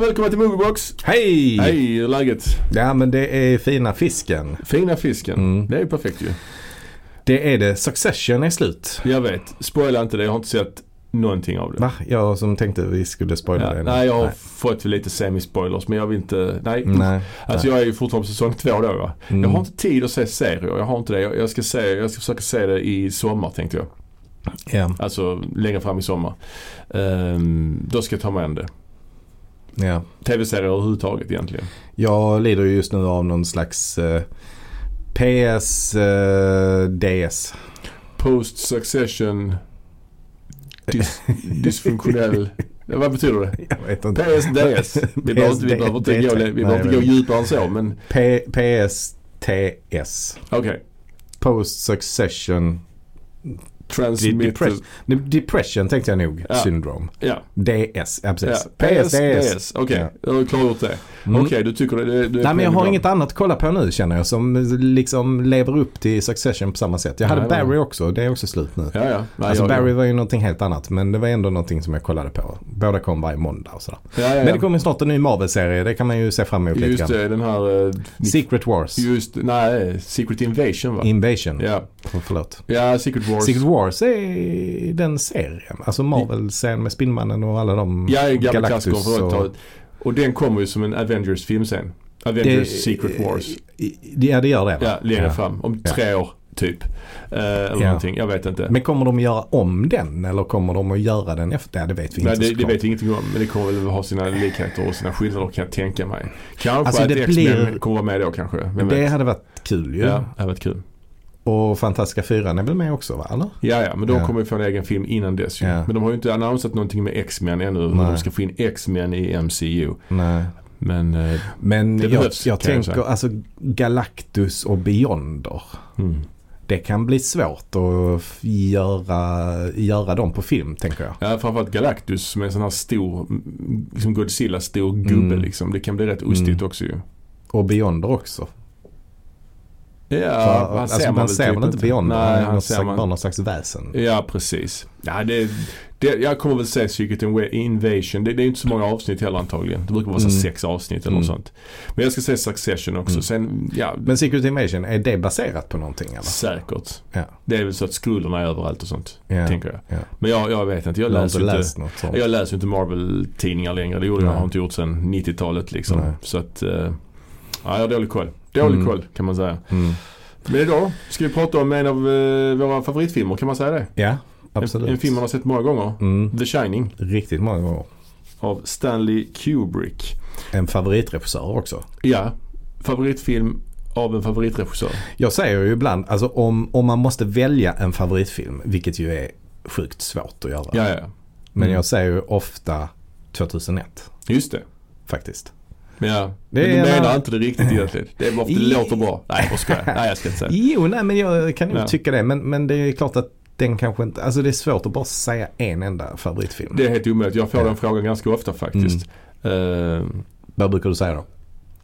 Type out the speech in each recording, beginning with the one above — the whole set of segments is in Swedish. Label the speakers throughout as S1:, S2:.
S1: välkomna till Moviebox!
S2: Hej!
S1: Hej, hur är läget?
S2: Ja men det är fina fisken.
S1: Fina fisken.
S2: Mm.
S1: Det är ju perfekt ju.
S2: Det är det. Succession är slut.
S1: Jag vet. Spoila inte det. Jag har inte sett någonting av det.
S2: Va? Jag som tänkte vi skulle spoila
S1: Ja,
S2: det.
S1: nej, jag har fått lite semi-spoilers men jag vill inte... Nej.
S2: Nej.
S1: Alltså jag är ju fortfarande på säsong två då va?
S2: Mm.
S1: Jag har inte tid att se serier. Jag har inte det. Jag jag ska, se, jag ska försöka se det i sommar tänkte jag.
S2: Ja,
S1: Alltså längre fram i sommar. Ehm, då ska jag ta mig an det.
S2: ja.
S1: Tv-serier överhuvudtaget egentligen.
S2: Jag lider ju just nu av någon slags eh, PS, eh, DS.
S1: Post succession dys, dysfunktionell. Vad betyder det?
S2: Jag vet inte.
S1: PSDS. Vi behöver inte, vi behöver inte, gå, vi behöver inte gå djupare än så men
S2: P- PSTS.
S1: okej.
S2: Post Succession
S1: Transmitter.
S2: Depression. Nej, Depression tänkte jag nog.
S1: Ja.
S2: Syndrome.
S1: Ja.
S2: DS, ja
S1: ja.
S2: precis. PSDS.
S1: PSDS. Okej,
S2: Ja.
S1: jag har klargjort det.
S2: Mm.
S1: Okej, du tycker det. det, det
S2: Nej men jag har
S1: det-
S2: inget annat att kolla på nu känner jag som liksom lever upp till Succession på samma sätt. Jag hade
S1: Nej, nej.
S2: Barry också, det är också slut nu.
S1: Ja, ja. Nej,
S2: alltså
S1: jag-
S2: Barry var ju någonting helt annat men det var ändå någonting som jag kollade på. Båda kom varje måndag och sådär.
S1: Ja, ja, ja.
S2: Men det kommer ju snart en ny Marvel-serie, det kan man ju se fram emot lite
S1: Just
S2: grann.
S1: det, den här... eh,
S2: Secret Wars,
S1: Just, nej, Secret Invasion va?
S2: Invasion,
S1: ja.
S2: För- förlåt.
S1: ja, Secret Wars.
S2: Secret Wars är den serien, alltså Marvel-serien med Spinmannen och alla de
S1: Ja, en gammal klassiker från
S2: och-
S1: 80-talet. Och den kommer ju som en Avengers-film sen. Avengers
S2: Det-
S1: Secret Wars.
S2: Ja det gör det va?
S1: Ja, längre
S2: Ja.
S1: fram. Om
S2: Ja.
S1: tre år, typ. Eh, eller
S2: Ja.
S1: någonting, jag vet inte.
S2: Men kommer de att göra om den eller kommer de att göra den efter? Ja, det vet vi
S1: Nej,
S2: inte
S1: det, det
S2: såklart.
S1: vet jag ingenting om. Men det kommer väl ha sina likheter och sina skillnader kan jag tänka mig. Kanske
S2: Alltså,
S1: att
S2: det
S1: X-Men
S2: blir-
S1: kommer vara med då kanske. Vem
S2: Det
S1: vet?
S2: hade varit kul ju.
S1: Ja, det hade varit kul.
S2: Och Fantastiska fyran är väl med också va? Eller?
S1: Ja, ja, men de
S2: Ja.
S1: kommer ju få en egen film innan dess ju.
S2: Ja.
S1: Men de har ju inte annonsat någonting med X-Men ännu. Hur
S2: Nej.
S1: de ska få in X-Men i MCU.
S2: Nej.
S1: Men, eh,
S2: Men
S1: Det
S2: jag,
S1: behövs,
S2: jag
S1: kan jag
S2: tänker
S1: säga.
S2: alltså Galactus och Beyonder.
S1: mm.
S2: Det kan bli svårt att f- göra, göra dem på film tänker jag.
S1: ja, framförallt Galactus som är en sån här stor, mm, liksom Godzilla stor gubbe
S2: Mm.
S1: liksom. Det kan bli rätt ostigt
S2: Mm.
S1: också ju.
S2: Och Beyonder också.
S1: Ja,
S2: För,
S1: han
S2: alltså,
S1: ser
S2: man,
S1: man, väl
S2: ser
S1: typ
S2: väl inte Beyonder?
S1: Nej, han
S2: något
S1: ser
S2: slags-
S1: man
S2: Bara någon slags väsen.
S1: Ja, precis. Ja, det, det, jag kommer väl se Secret Inv- Invasion. Det, det är inte så många avsnitt heller antagligen. Det brukar vara så
S2: Mm.
S1: sex avsnitt eller
S2: Mm.
S1: något sånt. Men jag ska se Succession också.
S2: Mm.
S1: Sen, ja,
S2: Men Secret Invasion, är det baserat på någonting eller?
S1: säkert.
S2: Ja.
S1: Det är väl så att skrullerna är överallt och sånt,
S2: Ja.
S1: tänker jag.
S2: ja.
S1: Men jag, jag vet inte. Jag
S2: Jag har
S1: läser
S2: inte
S1: inte,
S2: läst något sånt.
S1: jag läser inte Marvel-tidningar längre. Det gjorde jag,
S2: Nej.
S1: har inte gjort sedan 90-talet liksom.
S2: Nej.
S1: Så att, eh, ja, jag har dålig koll. Dålig
S2: Mm.
S1: koll kan man säga.
S2: Mm.
S1: Men idag ska vi prata om en av eh, våra favoritfilmer, kan man säga det?
S2: Ja,
S1: En,
S2: absolut.
S1: en film man har sett många gånger.
S2: mm.
S1: The Shining.
S2: Riktigt många gånger.
S1: av Stanley Kubrick.
S2: En favoritregissör också.
S1: Ja, favoritfilm av en favoritregissör.
S2: Jag säger ju ibland, alltså om, om man måste välja en favoritfilm, vilket ju är sjukt svårt att göra.
S1: Ja, ja.
S2: Men
S1: Mm.
S2: jag säger ju ofta 2001
S1: Just det.
S2: faktiskt.
S1: Ja. Men du
S2: Det är en
S1: menar
S2: annan-
S1: inte det riktigt egentligen. Det är bara för att det
S2: I-
S1: låter bra. Nej, jag skojar. Nej, jag ska inte säga.
S2: Jo, nej men jag kan nog
S1: Ja.
S2: tycka det. Men, men det är klart att den kanske inte, alltså det är svårt att bara säga en enda favoritfilm.
S1: Det är helt omöjligt. Jag får
S2: Ja.
S1: den frågan ganska ofta faktiskt. Eh,
S2: Vad brukar du säga då?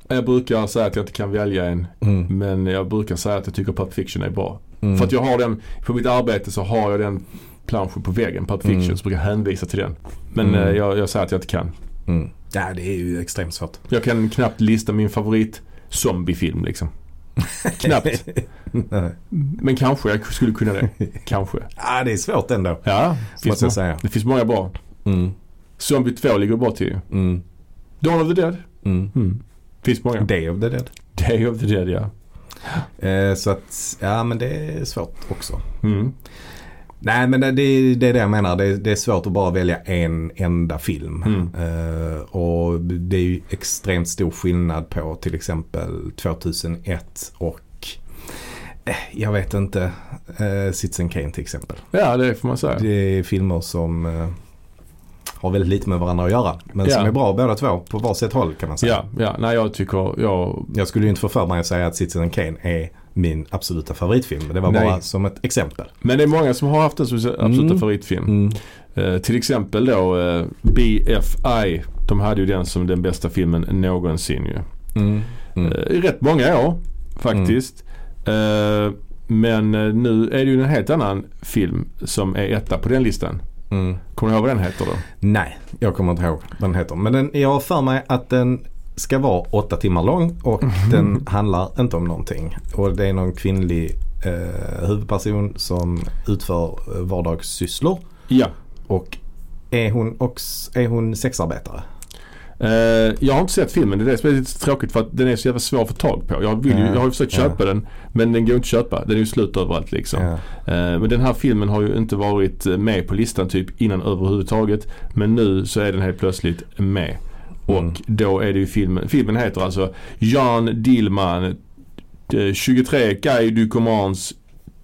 S1: jag brukar säga att jag inte kan välja en.
S2: Mm.
S1: Men jag brukar säga att jag tycker Pulp Fiction är bra.
S2: Mm.
S1: För att jag har den, på mitt arbete så har jag den planschen på väggen, Pulp Fiction,
S2: Mm.
S1: så brukar jag hänvisa till den. Men
S2: Mm.
S1: eh, jag, jag säger att jag inte kan.
S2: Mm. Ja, det är ju extremt svårt.
S1: Jag kan knappt lista min favorit zombiefilm liksom. knappt.
S2: Nej.
S1: Men kanske jag skulle kunna det. Kanske.
S2: ja, det är svårt ändå.
S1: Ja, finns
S2: Måste jag
S1: må-
S2: säga.
S1: det finns många bra.
S2: Mm.
S1: Zombie 2 ligger bra till ju.
S2: Mm.
S1: Dawn of the Dead.
S2: Mm.
S1: Finns många.
S2: Day of the Dead.
S1: Day of the Dead ja.
S2: Eh, så att, ja men det är svårt också.
S1: Mm.
S2: Nej men det, det, det är det jag menar. Det, det är svårt att bara välja en enda film.
S1: Mm.
S2: Eh, och det är ju extremt stor skillnad på till exempel 2001 och eh, jag vet inte. Eh, Citizen Kane till exempel.
S1: Ja, det får man säga.
S2: Det är filmer som eh, har väldigt lite med varandra att göra. Men
S1: Ja.
S2: som är bra båda två på varsitt håll kan man säga.
S1: Ja, ja. Nej, jag tycker jag...
S2: Jag skulle ju inte få för mig att säga att Citizen Kane är min absoluta favoritfilm. Det var
S1: Nej.
S2: bara som ett exempel.
S1: Men det är många som har haft den som sin absoluta
S2: Mm.
S1: favoritfilm. Eh, till exempel då eh, BFI. De hade ju den som den bästa filmen någonsin ju.
S2: Mm.
S1: Mm.
S3: Eh,
S1: I rätt många år faktiskt. Eh, men eh, nu är det ju en helt annan film som är etta på den listan.
S2: Mm.
S3: Kommer du ihåg vad den heter då?
S2: Nej, jag kommer inte ihåg vad den heter. Men den, jag har för mig att den ska vara åtta timmar lång och
S1: Mhm.
S2: den handlar inte om någonting. Och det är någon kvinnlig eh, huvudperson som utför eh, vardagssysslor.
S3: Ja.
S2: Och är hon, också, är hon sexarbetare?
S3: Eh, jag har inte sett filmen. Det är det som är lite tråkigt för att den är så jävla svår att få tag på. Jag, vill ju,
S2: Ja.
S3: jag har ju försökt
S2: Ja.
S3: köpa den men den går inte att köpa. Den är ju slut överallt liksom.
S2: Ja.
S3: Eh, men den här filmen har ju inte varit eh, med på listan typ innan överhuvudtaget. Men nu så är den helt plötsligt med. Och
S2: Mm.
S3: då är det ju filmen. Filmen heter alltså Jan Dillman eh, 23 Guy du Commans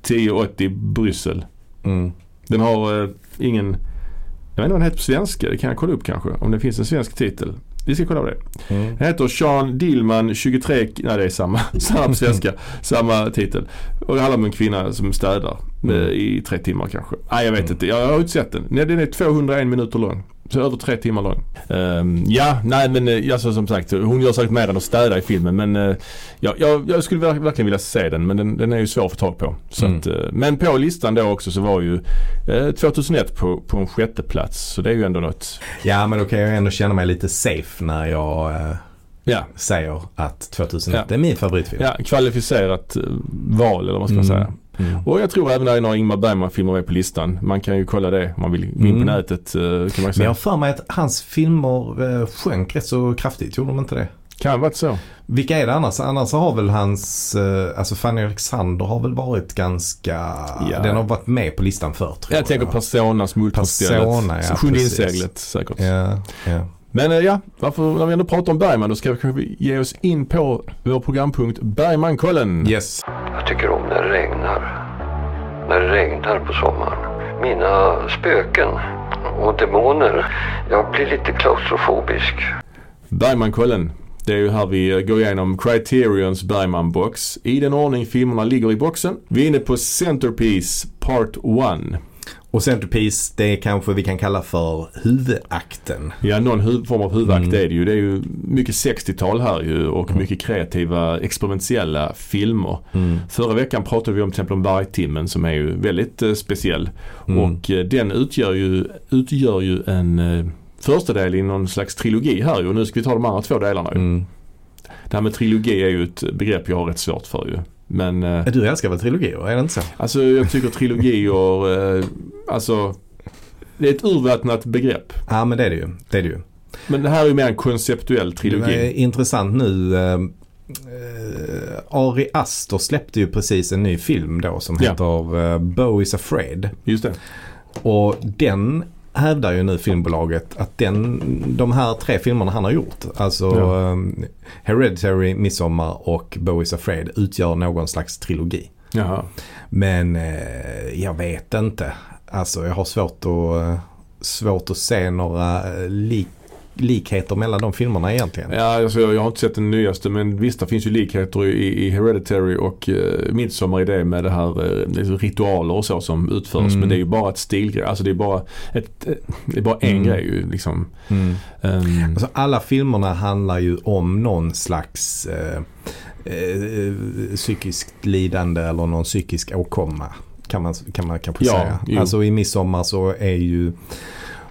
S3: 1080 Bryssel.
S2: Mm.
S3: Den har eh, ingen... Jag vet inte vad den heter på svenska. Det kan jag kolla upp kanske. Om det finns en svensk titel. Vi ska kolla på det.
S2: Mm.
S3: Den heter Sean Dillman 23, nej det är samma, samma på svenska, samma titel. Och det handlar om en kvinna som städar
S1: Mm.
S3: eh, i tre timmar kanske. Nej jag vet inte, jag har inte sett den. Nej, den är 201 minuter lång. Så över tre timmar lång.
S1: Ehm, ja, nej men eh, alltså, som sagt hon gör säkert med den och städar i filmen men eh, jag, jag, jag skulle verk- verkligen vilja se den men den, den är ju svår att få tag på. Så
S2: Mm.
S1: att, eh, men på listan då också så var ju eh, 2001 på, på en sjätte plats så det är ju ändå något.
S2: ja, men då kan jag ändå känna mig lite safe när jag eh,
S1: Ja,
S2: säger att 2001
S1: Ja.
S2: är min favoritfilm.
S1: ja kvalificerat eh, val eller vad ska man
S2: Mm.
S1: säga.
S2: Mm.
S1: Och jag tror även där är några Ingmar Bergman-filmer med på listan. Man kan ju kolla det om man vill gå in på
S2: Mm.
S1: nätet. eh, Kan man
S2: Men
S1: säga.
S2: jag har för mig att hans filmer eh, sjönk rätt så kraftigt, gjorde de inte det?
S1: Kan vara så.
S2: Vilka är det annars? Annars har väl hans, eh, alltså Fanny Alexander har väl varit ganska,
S1: Ja.
S2: den har varit med på listan förr tror jag.
S1: Jag tänker Personas, Multiprostället,
S2: Persona, ja,
S1: Sjunde
S2: precis.
S1: inseglet säkert.
S2: Ja, ja.
S1: Men eh, ja, varför, när vi ändå pratar om Bergman då ska vi kanske ge oss in på vår programpunkt Bergmankollen.
S2: Yes.
S4: Jag tycker om när det regnar. När det regnar på sommaren. Mina spöken och demoner. Jag blir lite klaustrofobisk.
S1: Bergmankollen. Det är ju här vi eh, går igenom Criterions Bergman-box i den ordning filmerna ligger i boxen. Vi är inne på Centerpiece Part 1.
S2: Och Centerpiece, det kanske vi kan kalla för huvudakten.
S1: Ja, någon hu- form av huvudakt
S2: Mm.
S1: är det ju. Det är ju mycket 60-tal här ju och mycket kreativa experimentella filmer.
S2: Mm.
S1: Förra veckan pratade vi om till exempel om Vargtimmen som är ju väldigt eh, speciell.
S2: Mm.
S1: Och eh, den utgör ju, utgör ju en eh, första del i någon slags trilogi här ju. Och nu ska vi ta de andra två delarna ju.
S2: Mm.
S1: Det här med trilogi är ju ett begrepp jag har rätt svårt för ju. Men eh,
S2: Du älskar väl trilogier, är det inte så?
S1: alltså jag tycker trilogier, eh, alltså det är ett urvattnat begrepp.
S2: Ja, men det är det ju. Det är det ju.
S1: Men det här är ju mer en konceptuell trilogi.
S2: Det är intressant nu. eh, eh, Ari Aster släppte ju precis en ny film då som
S1: Ja.
S2: heter eh, Bo is afraid.
S1: Just det.
S2: Och den hävdar ju nu filmbolaget att den, de här tre filmerna han har gjort, alltså
S1: Ja.
S2: eh, Hereditary, Midsommar och Bo is afraid utgör någon slags trilogi.
S1: Jaha.
S2: Men eh, jag vet inte. Alltså jag har svårt att, eh, svårt att se några eh, lik, likheter mellan de filmerna egentligen.
S1: Ja, alltså, jag har inte sett den nyaste men visst det finns ju likheter i, i Hereditary och eh, Midsommar i det med det här eh, liksom ritualer och så som utförs.
S2: Mm.
S1: Men det är ju bara ett stilgrej. Alltså det är bara, ett, eh, det är bara en
S2: Mm.
S1: grej ju liksom.
S2: Mm.
S1: Ehm,
S2: Alltså alla filmerna handlar ju om någon slags eh, eh, psykiskt lidande eller någon psykisk åkomma. Kan man, kan man kanske
S1: Ja,
S2: säga.
S1: jo.
S2: Alltså i Midsommar så är ju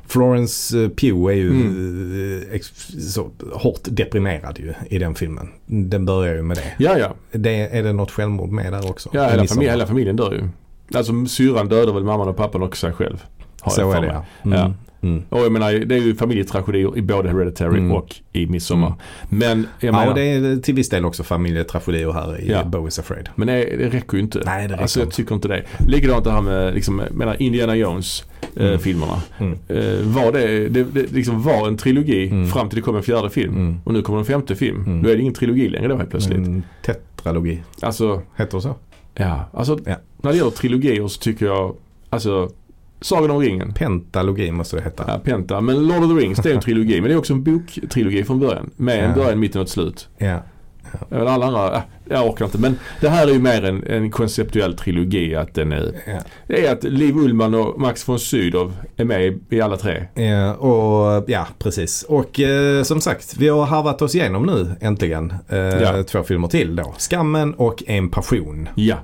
S2: Florence eh, Pugh är ju
S1: Mm.
S2: eh, ex- så hårt deprimerad ju i den filmen. Den börjar ju med det.
S1: ja, ja.
S2: det är det något självmord med där också?
S1: ja
S2: I
S1: hela,
S2: Midsommar?
S1: familj, hela familjen dör ju. Alltså syrran dödar väl mamman och pappan och sig själv. har jag
S2: Så
S1: för
S2: är det
S1: mig.
S2: ja. Mm.
S1: Ja.
S2: Mm.
S1: Och jag menar det är ju familjetragedier i både Hereditary
S2: Mm.
S1: och i Midsommar.
S2: Mm.
S1: Men jag
S2: Ja,
S1: menar,
S2: och det är till viss del också familjetragedier här i
S1: Ja.
S2: Bo is afraid.
S1: Men det, det räcker ju inte.
S2: Nej, det räcker
S1: alltså jag
S2: inte.
S1: tycker inte det. Likadant det här med liksom, jag menar Indiana Jones eh,
S2: Mm.
S1: filmerna.
S2: Mm.
S1: Eh, var det, det, det liksom var en trilogi
S2: Mm.
S1: fram till det kom en fjärde film.
S2: Mm.
S1: Och nu kommer en femte film.
S2: Mm.
S1: Då är det ingen trilogi längre då helt plötsligt.
S2: En Mm, tetralogi,
S1: Alltså,
S2: heter det så?
S1: ja. Alltså,
S2: Ja.
S1: när det gäller trilogier så tycker jag, alltså, Sagan om ringen.
S2: Pentalogi måste det heta.
S1: Ja, Penta. Men Lord of the Rings, det är en trilogi. Men det är också en boktrilogi från början. Med en
S2: Ja.
S1: början, mitten och ett slut.
S2: Ja.
S1: Jag menar, Alla andra, äh, jag orkar inte. Men det här är ju mer en, en konceptuell trilogi. Att den är
S2: Ja.
S1: Det är att Liv Ullman och Max von Sydow är med i- i alla tre.
S2: Ja, och, ja, precis. Och eh, som sagt, vi har harvat oss igenom nu äntligen. Eh,
S1: Ja.
S2: Två filmer till då. Skammen och En passion.
S1: Ja.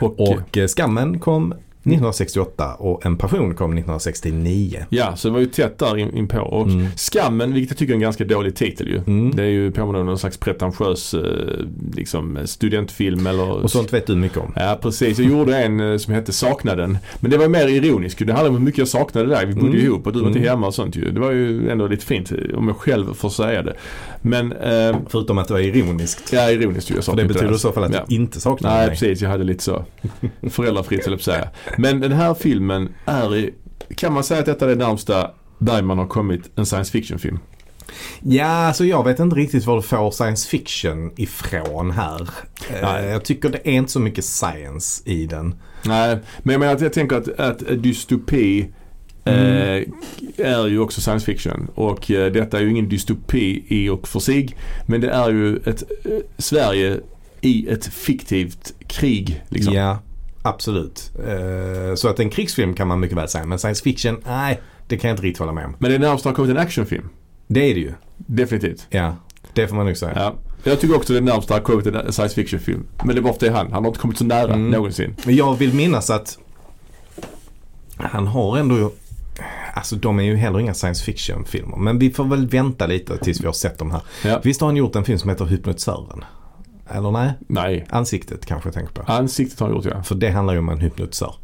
S1: Och,
S2: Och eh, Skammen kom 1968 och En passion kom 1969.
S1: Ja, så det var ju tätt där in, in på. Och
S2: Mm.
S1: Skammen, vilket jag tycker är en ganska dålig titel ju.
S2: Mm.
S1: Det är ju påminner om någon slags pretentiös eh, liksom, studentfilm eller
S2: Och sånt vet du mycket om.
S1: Ja precis, jag gjorde en eh, som hette Saknaden. Men det var mer ironiskt ju. Det handlade om hur mycket jag saknade dig. Vi bodde
S2: Mm.
S1: ihop och du var inte
S2: Mm.
S1: hemma och sånt ju. Det var ju ändå lite fint eh, om jag själv får säga det. Men, eh,
S2: Förutom att det var ironiskt.
S1: ja ironiskt ju. Jag
S2: För
S1: saknade
S2: det betyder i
S1: dig.
S2: så fall att
S1: Ja.
S2: du inte saknar
S1: Nej
S2: mig.
S1: precis, jag hade lite så föräldrafritt höll jag på att säga. Men den här filmen är, i- kan man säga att detta är det närmsta Bergman har kommit en science fiction film?
S2: Ja, alltså jag vet inte riktigt var du får science fiction ifrån här. Eh,
S1: Nej.
S2: Jag tycker det är inte så mycket science i den.
S1: Nej, men jag menar att jag tänker att, att dystopi eh, är ju också science fiction. Och eh, detta är ju ingen dystopi i och för sig. Men det är ju ett eh, Sverige i ett fiktivt krig. Liksom.
S2: Ja, absolut. Eh, Så att en krigsfilm kan man mycket väl säga. Men science fiction, nej, det kan jag inte riktigt hålla med om.
S1: Men det är närmast det har kommit en actionfilm.
S2: Det är det ju.
S1: Definitivt.
S2: Ja, det får man nog säga.
S1: Ja. Jag tycker också det är närmast det har kommit en science fiction film. Men det var för det han. Han har inte kommit så nära
S2: Mm.
S1: någonsin.
S2: Men Jag vill minnas att han har ändå Alltså de är ju heller inga science fiction filmer. Men vi får väl vänta lite tills vi har sett de här.
S1: Ja.
S2: Visst har han gjort en film som heter Hypnotisören? Eller nej?
S1: Nej.
S2: Ansiktet kanske jag tänker på.
S1: Ansiktet har han gjort ja.
S2: För det handlar ju om en hypnotisör.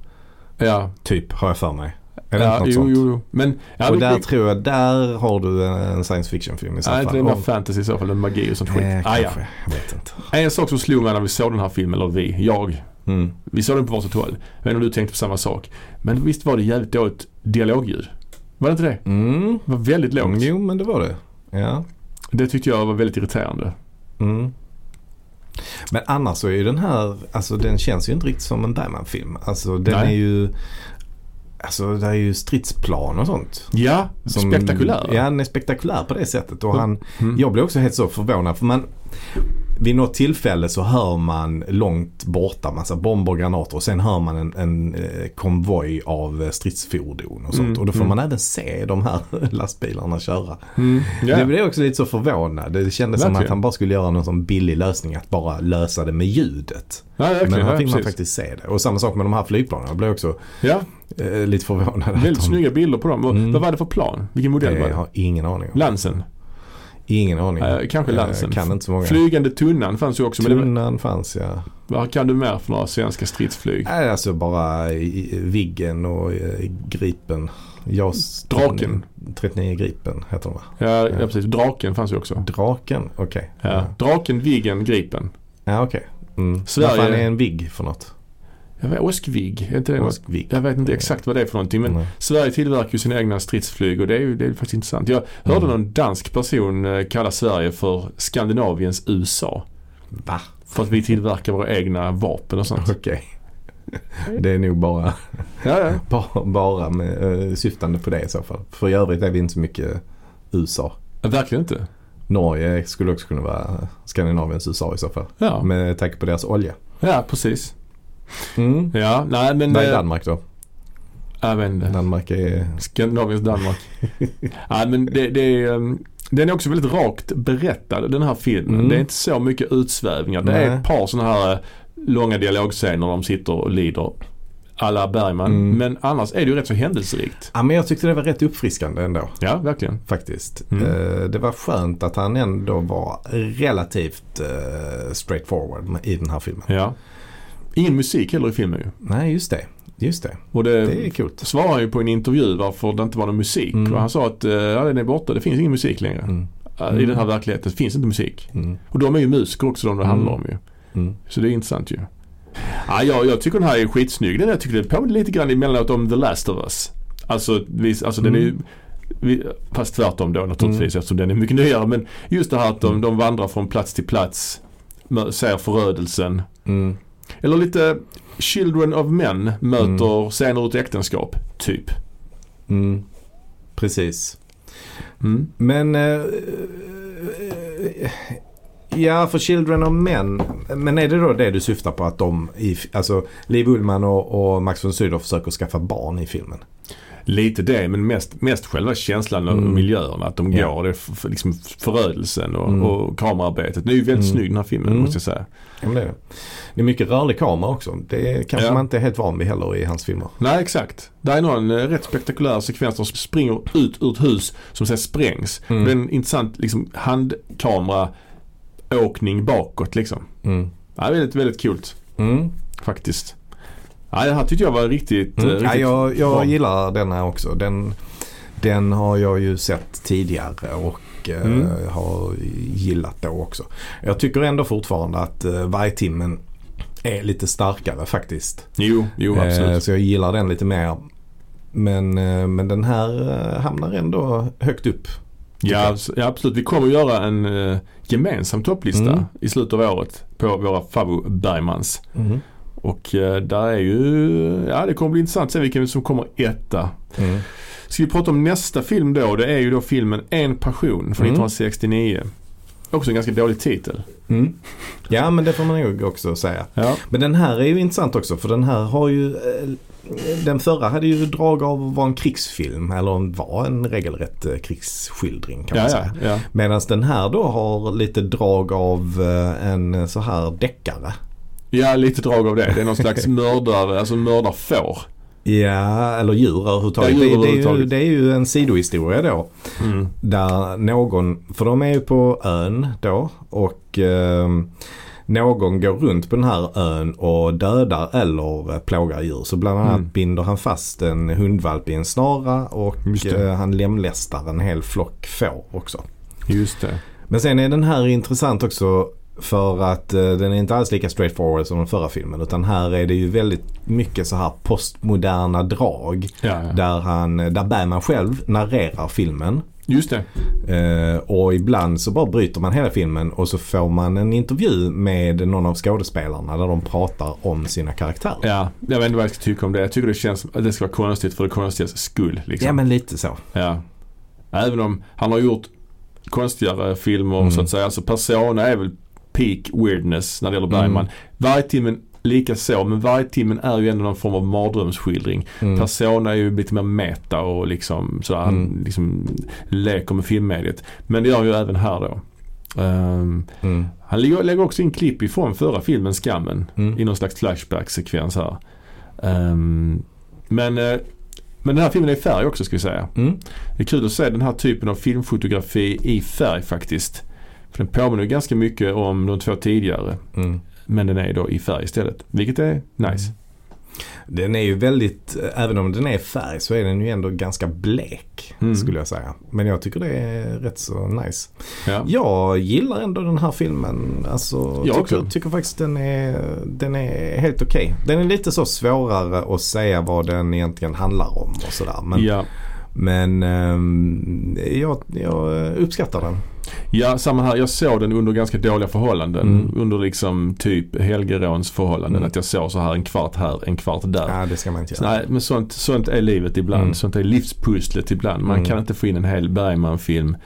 S1: Ja,
S2: Typ, har jag för mig. Är det
S1: ja
S2: inte något
S1: jo,
S2: sånt?
S1: jo, jo. Men... Ja,
S2: Och
S1: då-
S2: där tror jag, där har du en science fiction film i så
S1: Nej,
S2: fall.
S1: inte det är mer
S2: Om-
S1: fantasy i så fall. Det är magi och sånt skit.
S2: Eh,
S1: ah, ja.
S2: kanske. Jag vet inte.
S1: En sak som slog mig när vi såg den här filmen, eller vi, jag.
S2: Mm.
S1: Vi såg den på varsitt håll. Jag vet inte om du tänkte på samma sak. Men visst var det jävligt dåligt dialogljud? Var det inte det?
S2: Mm.
S1: Det var väldigt lågt.
S2: Jo, men det var det. Ja.
S1: Det tyckte jag var väldigt irriterande.
S2: Mm. Men annars så är ju den här, alltså den känns ju inte riktigt som en Bergman-film. Alltså den
S1: Nej.
S2: är ju, alltså det är ju stridsplan och sånt.
S1: Ja,
S2: Som-
S1: spektakulär.
S2: Ja, den är spektakulär på det sättet. Och
S1: Mm.
S2: han,
S1: Mm.
S2: Jag blev också helt så förvånad för man vid något tillfälle så hör man långt borta massa bomber och granater och sen hör man en, en eh, konvoj av eh, stridsfordon och sånt.
S1: Mm,
S2: Och då får
S1: mm.
S2: man även se de här lastbilarna köra.
S1: Mm. Ja.
S2: Det blev också lite så förvånad. Det kändes som
S1: Verkligen.
S2: att han bara skulle göra någon sån billig lösning att bara lösa det med ljudet.
S1: ja, verkligen.
S2: Men här
S1: ja,
S2: fick man
S1: precis.
S2: faktiskt se det. Och samma sak med de här flygplanen. Jag blev också
S1: Ja,
S2: eh, lite förvånad. att
S1: väldigt
S2: de-
S1: snygga bilder på dem. Och
S2: Mm.
S1: Vad var det för plan? Vilken modell var
S2: Jag
S1: det?
S2: har ingen aning. om.
S1: Lansen?
S2: Ingen aning.
S1: Eh, kanske
S2: Jag
S1: Lansen.
S2: Kan inte så många.
S1: Flygande tunnan fanns ju också. Men det var,
S2: Tunnan fanns ja.
S1: vad kan du mer för några svenska stridsflyg?
S2: Nej, alltså bara i- i Viggen och eh, Gripen. JAS
S1: Draken.
S2: 39 Gripen heter de va?
S1: Ja, ja, precis. Draken fanns ju också.
S2: Draken? Okej.
S1: Ja. Draken, Viggen, Gripen.
S2: Ja, okej. Mm.
S1: Sverige-
S2: Vad fan är en Vigg för något?
S1: Jag vet, Oskvig, är inte det något?
S2: Åskvigg.
S1: Jag vet inte exakt vad det är för någonting men
S2: Nej.
S1: Sverige tillverkar ju sina egna stridsflyg och det är ju det är faktiskt intressant. Jag hörde
S2: Mm.
S1: någon dansk person eh, kalla Sverige för Skandinaviens USA.
S2: Va?
S1: För att vi tillverkar våra egna vapen och sånt.
S2: Okej. Det är nog bara,
S1: Ja, ja.
S2: bara, bara med, eh, syftande på det i så fall. För i övrigt är vi inte så mycket USA.
S1: Ja, Verkligen inte.
S2: Norge skulle också kunna vara Skandinaviens USA i så fall.
S1: Ja,
S2: Med tanke på deras olja.
S1: ja precis.
S2: Mm.
S1: Ja, nej men...
S2: Vad är
S1: eh,
S2: Danmark då?
S1: ja, men, eh,
S2: Danmark är...
S1: Skandinaviens Danmark. ja, men det, det är, ehm, den är också väldigt rakt berättad den här filmen.
S2: Mm.
S1: Det är inte så mycket utsvävningar. Det är
S2: Nej.
S1: ett par sådana här eh, långa dialogscener där de sitter och lider. Alla Bergman.
S2: Mm.
S1: Men annars är det ju rätt så händelserikt.
S2: Ja men jag tyckte det var rätt uppfriskande ändå.
S1: Ja, verkligen.
S2: Faktiskt.
S1: Mm.
S2: Eh, Det var skönt att han ändå var relativt eh, straightforward med- i den här filmen.
S1: Ja. Ingen musik heller i filmen ju.
S2: Nej just det. Just det.
S1: Och det,
S2: Det är coolt.
S1: svarar ju på en intervju varför det inte var någon musik.
S2: Mm.
S1: Och han sa att eh, ja, den är borta. Det finns ingen musik längre.
S2: Mm.
S1: Eh, I den här verkligheten finns inte musik.
S2: Mm.
S1: Och de är ju musiker också de det handlar
S2: Mm.
S1: om ju.
S2: Mm.
S1: Så det är intressant ju. Ja, jag, jag tycker den här är skitsnygg. Den jag tycker det påminner lite grann emellanåt om The Last of Us. Alltså, vi, alltså den är
S2: Mm.
S1: ju vi, Fast tvärtom då naturligtvis eftersom den är mycket nyare. Men just det här att de,
S2: Mm.
S1: de vandrar från plats till plats. mö- Ser förödelsen.
S2: Mm.
S1: Eller lite Children of Men möter scener ut äktenskap. Typ.
S2: Mm. Precis.
S1: Mm.
S2: Men... eh, ja, för Children of Men. Men är det då det du syftar på att de, i, alltså Liv Ullman och, och Max von Sydow försöker skaffa barn i filmen?
S1: Lite det men mest, mest själva känslan och
S2: Mm.
S1: miljön. Att de
S2: Ja.
S1: går. Det är f- liksom förödelsen och,
S2: Mm.
S1: och kamerarbetet. Den är ju väldigt
S2: Mm.
S1: snygg den här filmen
S2: Mm.
S1: måste jag säga.
S2: Ja, men det, är det. det är mycket rörlig kamera också. Det är kanske
S1: Ja.
S2: man inte är helt van vid heller i hans filmer.
S1: Nej exakt. Det är någon eh, rätt spektakulär sekvens som springer ut ur ett hus som sen sprängs.
S2: Mm.
S1: Det är en intressant liksom, handkameraåkning bakåt liksom.
S2: Mm.
S1: Ja, väldigt, väldigt kul
S2: Mm.
S1: faktiskt. Ja, det här tyckte jag var riktigt... eh,
S2: Mm. Ja,
S1: riktigt
S2: jag
S1: bra.
S2: jag gillar denna också. Den, den har jag ju sett tidigare och eh,
S1: Mm.
S2: har gillat då också. Jag tycker ändå fortfarande att eh, Vargtimmen är lite starkare faktiskt.
S1: Jo, jo absolut.
S2: Eh, så jag gillar den lite mer. Men, eh, men den här eh, hamnar ändå högt upp.
S1: Ja, abs- ja absolut. Vi kommer att göra en eh, gemensam topplista
S2: Mm.
S1: i slutet av året på våra Favo Bergmans. Och eh, där är ju, ja det kommer bli intressant sen vilken som kommer etta.
S2: Mm.
S1: Ska vi prata om nästa film då? Det är ju då filmen En passion från 1969. Också en ganska dålig titel.
S2: Mm. Ja men det får man nog också säga.
S1: Ja,
S2: Men den här är ju intressant också för den här har ju eh, den förra hade ju drag av att vara en krigsfilm eller om var en regelrätt eh, krigsskildring kan
S1: ja,
S2: man
S1: ja.
S2: säga.
S1: ja.
S2: Medan den här då har lite drag av eh, en så här deckare.
S1: ja lite drag av det. Det är någon slags mördare, alltså mördarfår.
S2: Ja, eller djur överhuvudtaget.
S1: Ja, djur
S2: det, det, är ju,
S1: överhuvudtaget.
S2: det är ju en sidohistoria då. Mm. Där någon, för de är ju på ön då och ehm, någon går runt på den här ön och dödar eller eh, plågar djur. Så bland annat
S1: Mm.
S2: binder han fast en hundvalp i en snara och
S1: Just det.
S2: eh, han lemlästar en hel flock får också.
S1: Just det.
S2: Men sen är den här intressant också för att eh, den är inte alls lika straightforward som den förra filmen. Utan här är det ju väldigt mycket så här postmoderna drag.
S1: Ja, ja.
S2: Där, han, där Bergman själv narrerar filmen.
S1: Just det.
S2: Eh, och ibland så bara bryter man hela filmen och så får man en intervju med någon av skådespelarna där de pratar om sina karaktärer. Ja,
S1: Ja, jag vet inte vad jag ska tycka om det. Jag tycker det känns som att det ska vara konstigt för det konstigas skull. Liksom.
S2: men lite så.
S1: Ja. Även om han har gjort konstigare filmer
S2: Mm.
S1: så att säga. Alltså Persona är väl peak weirdness när det gäller Bergman.
S2: Mm.
S1: Vargtimmen lika så, men Vargtimmen är ju ändå någon form av mardrömsskildring.
S2: Mm.
S1: Persona är ju lite mer meta och liksom sådär,
S2: Mm.
S1: han liksom leker med filmmediet. Men det gör han ju även här då. Ehm,
S2: Mm.
S1: han lägger lägger också in klipp ifrån förra filmen Skammen
S2: Mm.
S1: i någon slags flashback-sekvens här. Ehm, men, eh, men den här filmen är i färg också ska vi säga.
S2: Mm.
S1: Det är kul att se den här typen av filmfotografi i färg faktiskt. För den påminner ju ganska mycket om de två tidigare.
S2: Mm.
S1: Men den är då i färg istället. Vilket är nice.
S2: Den är ju väldigt, eh, även om den är färg så är den ju ändå ganska blek
S1: Mm.
S2: skulle jag säga. Men jag tycker det är rätt så nice.
S1: Ja.
S2: Jag gillar ändå den här filmen. Alltså,
S1: Jag
S2: tycker,
S1: också.
S2: tycker faktiskt den är, den är helt okej. Den är lite så svårare att säga vad den egentligen handlar om och sådär. Men,
S1: Ja.
S2: men ehm, jag, jag uppskattar den.
S1: ja, samma här. Jag såg den under ganska dåliga förhållanden.
S2: Mm.
S1: Under liksom typ Helgerons förhållanden.
S2: Mm.
S1: Att jag såg så här en kvart här, en kvart där.
S2: Nej, det ska man inte
S1: Så,
S2: göra.
S1: Nej, men sånt, sånt är livet ibland.
S2: Mm.
S1: Sånt är livspusslet ibland. Man
S2: Mm.
S1: kan inte få in en hel Bergman-film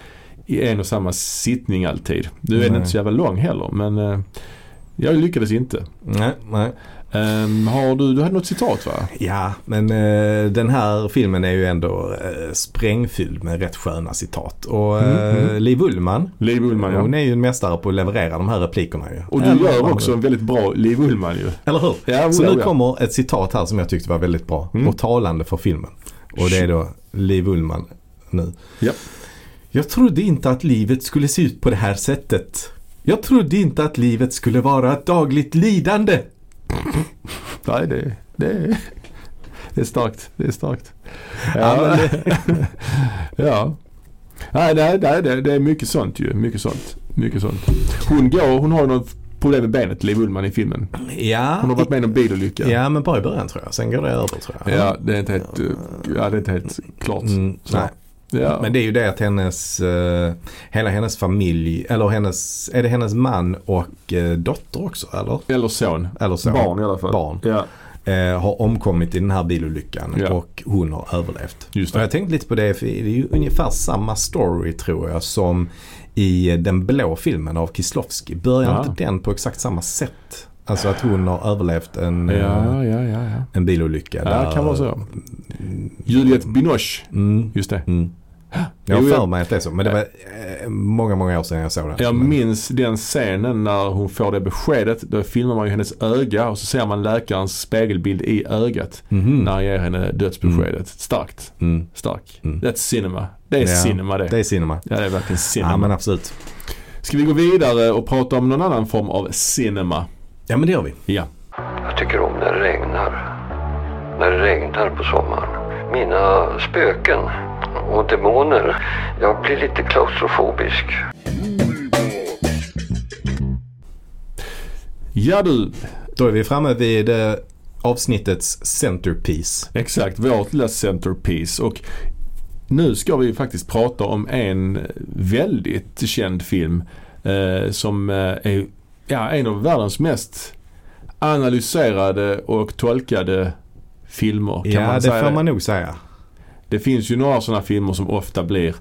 S1: i en och samma sittning alltid. Nu är den
S2: Nej.
S1: inte så jävla lång heller, men eh, jag lyckades inte.
S2: Nej, nej.
S1: Ehm, har du, du hade något citat va?
S2: Ja, men eh, den här filmen är ju ändå eh, sprängfylld med rätt sköna citat. Och eh, Liv Ullman,
S1: Liv Ullman Mm, ja.
S2: hon är ju en mästare på att leverera de här replikerna ju.
S1: Och du
S2: Eller
S1: gör
S2: vad
S1: också en väldigt bra Liv Ullman ju.
S2: Eller hur?
S1: Ja,
S2: Så
S1: oja,
S2: nu
S1: oja.
S2: kommer ett citat här som jag tyckte var väldigt bra
S1: Mm.
S2: och talande för filmen. Och det är då Liv Ullman nu.
S1: Ja.
S2: Jag trodde inte att livet skulle se ut på det här sättet. Jag trodde inte att livet skulle vara ett dagligt lidande.
S1: Nej, det, det, det är starkt. Det är starkt.
S2: Ja,
S1: Ja. ja. Nej, nej, nej det, det är mycket sånt ju. Mycket sånt. Mycket sånt. Hon går, hon har ju något problem med benet, Liv Ullman i filmen. Hon har
S2: Ja,
S1: varit med i någon bilolycka.
S2: ja men bara i början tror jag. Sen går det över tror jag.
S1: Ja, det är inte helt, eh, ja, det är inte helt klart.
S2: Mm,
S1: Så.
S2: nej.
S1: Ja.
S2: Men det är ju det att hennes, eh, hela hennes familj, eller hennes, är det hennes man och eh, dotter också eller?
S1: Eller son.
S2: Eller så.
S1: Barn i alla fall.
S2: Barn.
S1: Ja,
S2: eh, har omkommit i den här bilolyckan
S1: Ja.
S2: och hon har överlevt.
S1: Just det.
S2: Och jag tänkte lite på det, för det är ju ungefär samma story tror jag som i den blå filmen av Kislovski. Börjar
S1: Ja.
S2: inte den på exakt samma sätt? Alltså att hon har överlevt en, eh,
S1: Ja, ja, ja. ja. Mm.
S2: en bilolycka.
S1: Ja, det kan vara så. Juliette Binoche.
S2: Mm,
S1: Just det.
S2: mm. Jag har
S1: Jo, jag-
S2: för mig att det är så. Men det var eh, många, många år sedan jag såg det.
S1: Jag
S2: Men-
S1: minns den scenen när hon får det beskedet. Då filmar man ju hennes öga och så ser man läkarens spegelbild i ögat.
S2: Mhm.
S1: När han ger henne dödsbeskedet. Starkt.
S2: Mm.
S1: Stark.
S2: Mm.
S1: That's cinema. Det är
S2: Ja,
S1: cinema det.
S2: Det är cinema.
S1: Ja, det är verkligen cinema.
S2: Ja men absolut.
S1: Ska vi gå vidare och prata om någon annan form av cinema?
S2: Ja men det gör vi.
S1: Ja.
S4: Jag tycker om när det regnar. När det regnar på sommaren. Mina spöken och demoner. Jag blir lite klaustrofobisk.
S1: Ja du.
S2: Då är vi framme vid eh, avsnittets centerpiece.
S1: Exakt. Vårt lilla centerpiece. Och nu ska vi faktiskt prata om en väldigt känd film. Eh, som eh, är ja, en av världens mest analyserade och tolkade filmer. Kan
S2: ja
S1: man
S2: det
S1: säga
S2: får man nog säga.
S1: Det finns ju några sådana filmer som ofta blir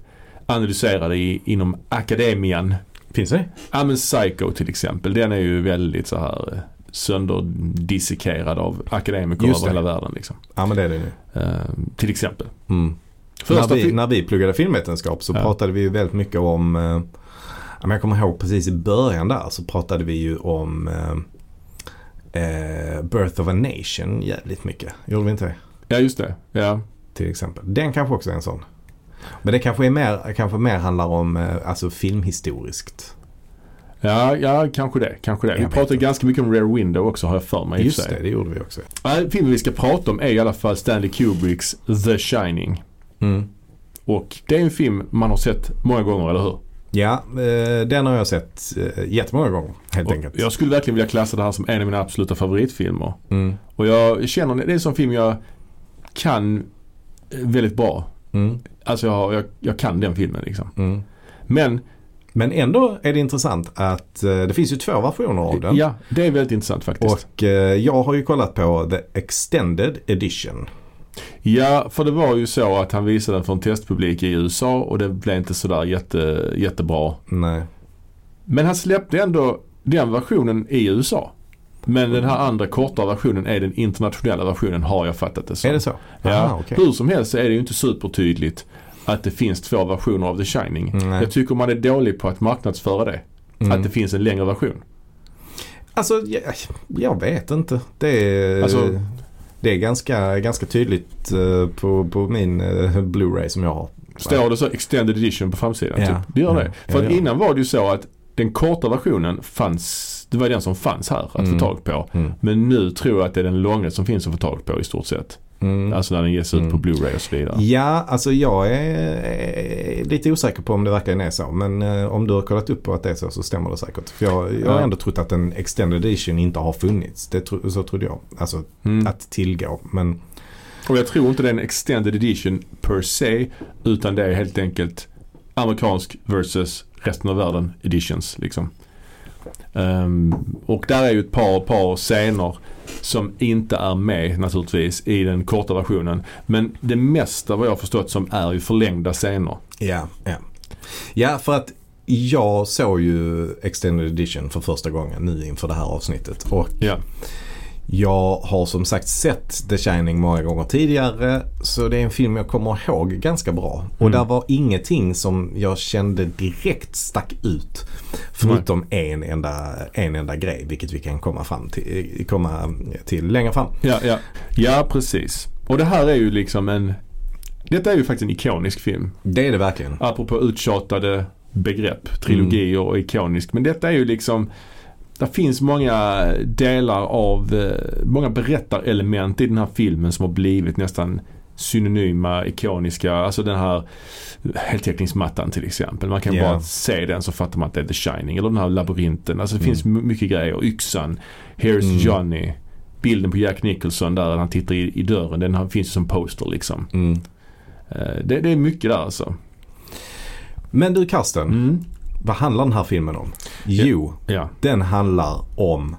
S1: analyserade i, inom akademian.
S2: Finns det?
S1: Ja men Psycho till exempel. Den är ju väldigt så här eh, sönderdissekerad av akademiker
S2: Just
S1: över
S2: det.
S1: hela världen. Liksom.
S2: Ja men det är det nu.
S1: Eh, till exempel.
S2: Mm. När,
S1: Första
S2: vi,
S1: fi-
S2: när vi pluggade filmvetenskap så
S1: Ja.
S2: pratade vi ju väldigt mycket om, eh, ja, men jag kommer ihåg precis i början där så pratade vi ju om eh, eh, Birth of a Nation jävligt mycket. Gjorde vi inte det?
S1: ja just det. Ja.
S2: Till exempel. Den kanske också är en sån. Men det kanske, är mer, kanske mer handlar om eh, alltså filmhistoriskt.
S1: Ja, ja, kanske det. Kanske det.
S2: Jag
S1: Vi
S2: vet
S1: pratade
S2: inte.
S1: ganska mycket om Rare Window också har jag för mig. i och
S2: Just
S1: för sig.
S2: det, det gjorde vi också.
S1: Ja, filmen vi ska prata om är i alla fall Stanley Kubricks The Shining.
S2: Mm.
S1: Och det är en film man har sett många gånger, eller hur?
S2: Ja, eh, den har jag sett eh, jättemånga gånger helt
S1: Och
S2: enkelt.
S1: jag skulle verkligen vilja klassa det här som en av mina absoluta favoritfilmer.
S2: Mm.
S1: Och jag känner, det är en sån film jag kan eh, väldigt bra.
S2: Mm.
S1: Alltså jag, har- jag, jag kan den filmen liksom.
S2: Mm.
S1: Men,
S2: Men ändå är det intressant att eh, det finns ju två versioner av den.
S1: ja, det är väldigt intressant faktiskt.
S2: Och eh, jag har ju kollat på The Extended Edition.
S1: Ja, för det var ju så att han visade den för en testpublik i USA och det blev inte sådär jätte, jättebra.
S2: Nej.
S1: Men han släppte ändå den versionen i USA. Men den här andra korta versionen är den internationella versionen har jag fattat det som.
S2: Är det så?
S1: Ja.
S2: Aha, okej.
S1: Hur som helst så är det ju inte supertydligt att det finns två versioner av The Shining.
S2: Mm. Nej.
S1: Jag tycker man är dålig på att marknadsföra det.
S2: Mm.
S1: Att det finns en längre version.
S2: Alltså, jag, jag vet inte. Det är,
S1: Alltså-
S2: det är ganska, ganska tydligt eh, på, på min eh, Blu-ray som jag har.
S1: Står det så extended edition på framsidan?
S2: Ja.
S1: Typ. Det gör
S2: Ja.
S1: det.
S2: Ja,
S1: För
S2: det
S1: att
S2: gör det.
S1: innan var det ju så att den korta versionen fanns, det var den som fanns här att
S2: Mm.
S1: få tag på.
S2: Mm.
S1: Men nu tror jag att det är den långa som finns att få tag på i stort sett.
S2: Mm.
S1: Alltså när den ges ut
S2: Mm.
S1: på Blu-ray och så vidare.
S2: Ja, alltså jag är eh, lite osäker på om det verkligen är så. Men eh, om du har kollat upp på att det är så så stämmer det säkert. För jag, jag har
S1: Ja.
S2: ändå trott att en extended edition inte har funnits. Det tro, så trodde jag. Alltså
S1: Mm.
S2: att tillgå. Men
S1: Och jag tror inte det är en extended edition per se. Utan det är helt enkelt amerikansk versus resten av världen editions. Liksom. Ehm, och där är ju ett par, par scener som inte är med naturligtvis i den korta versionen. Men det mesta vad jag har förstått som är ju förlängda scener.
S2: ja, ja. Ja, för att jag såg ju extended edition för första gången nu inför det här avsnittet. Och
S1: Ja.
S2: Jag har som sagt sett The Shining många gånger tidigare så det är en film jag kommer ihåg ganska bra. Och
S1: Mm.
S2: där var ingenting som jag kände direkt stack ut. Förutom en enda, en enda grej vilket vi kan komma, fram till, komma till längre fram.
S1: Ja, ja. ja, precis. Och det här är ju liksom en... Detta är ju faktiskt en ikonisk film.
S2: Det är det verkligen.
S1: apropå uttjatade begrepp, trilogier och ikonisk. Men detta är ju liksom, det finns många delar av, eh, många berättarelement i den här filmen som har blivit nästan synonyma, ikoniska. Alltså den här heltäckningsmattan till exempel. Man kan
S2: Ja.
S1: bara se den så fattar man att det är The Shining. Eller den här labyrinten. Alltså det finns m- mycket grejer. Yxan, Here's
S2: Mm.
S1: Johnny. Bilden på Jack Nicholson där när han tittar i, i dörren. Den här finns ju som poster liksom.
S2: Mm.
S1: Eh, Det, det är mycket där alltså.
S2: Men du Karsten,
S1: Mm.
S2: vad handlar den här filmen om? Jo,
S1: Ja.
S2: den handlar om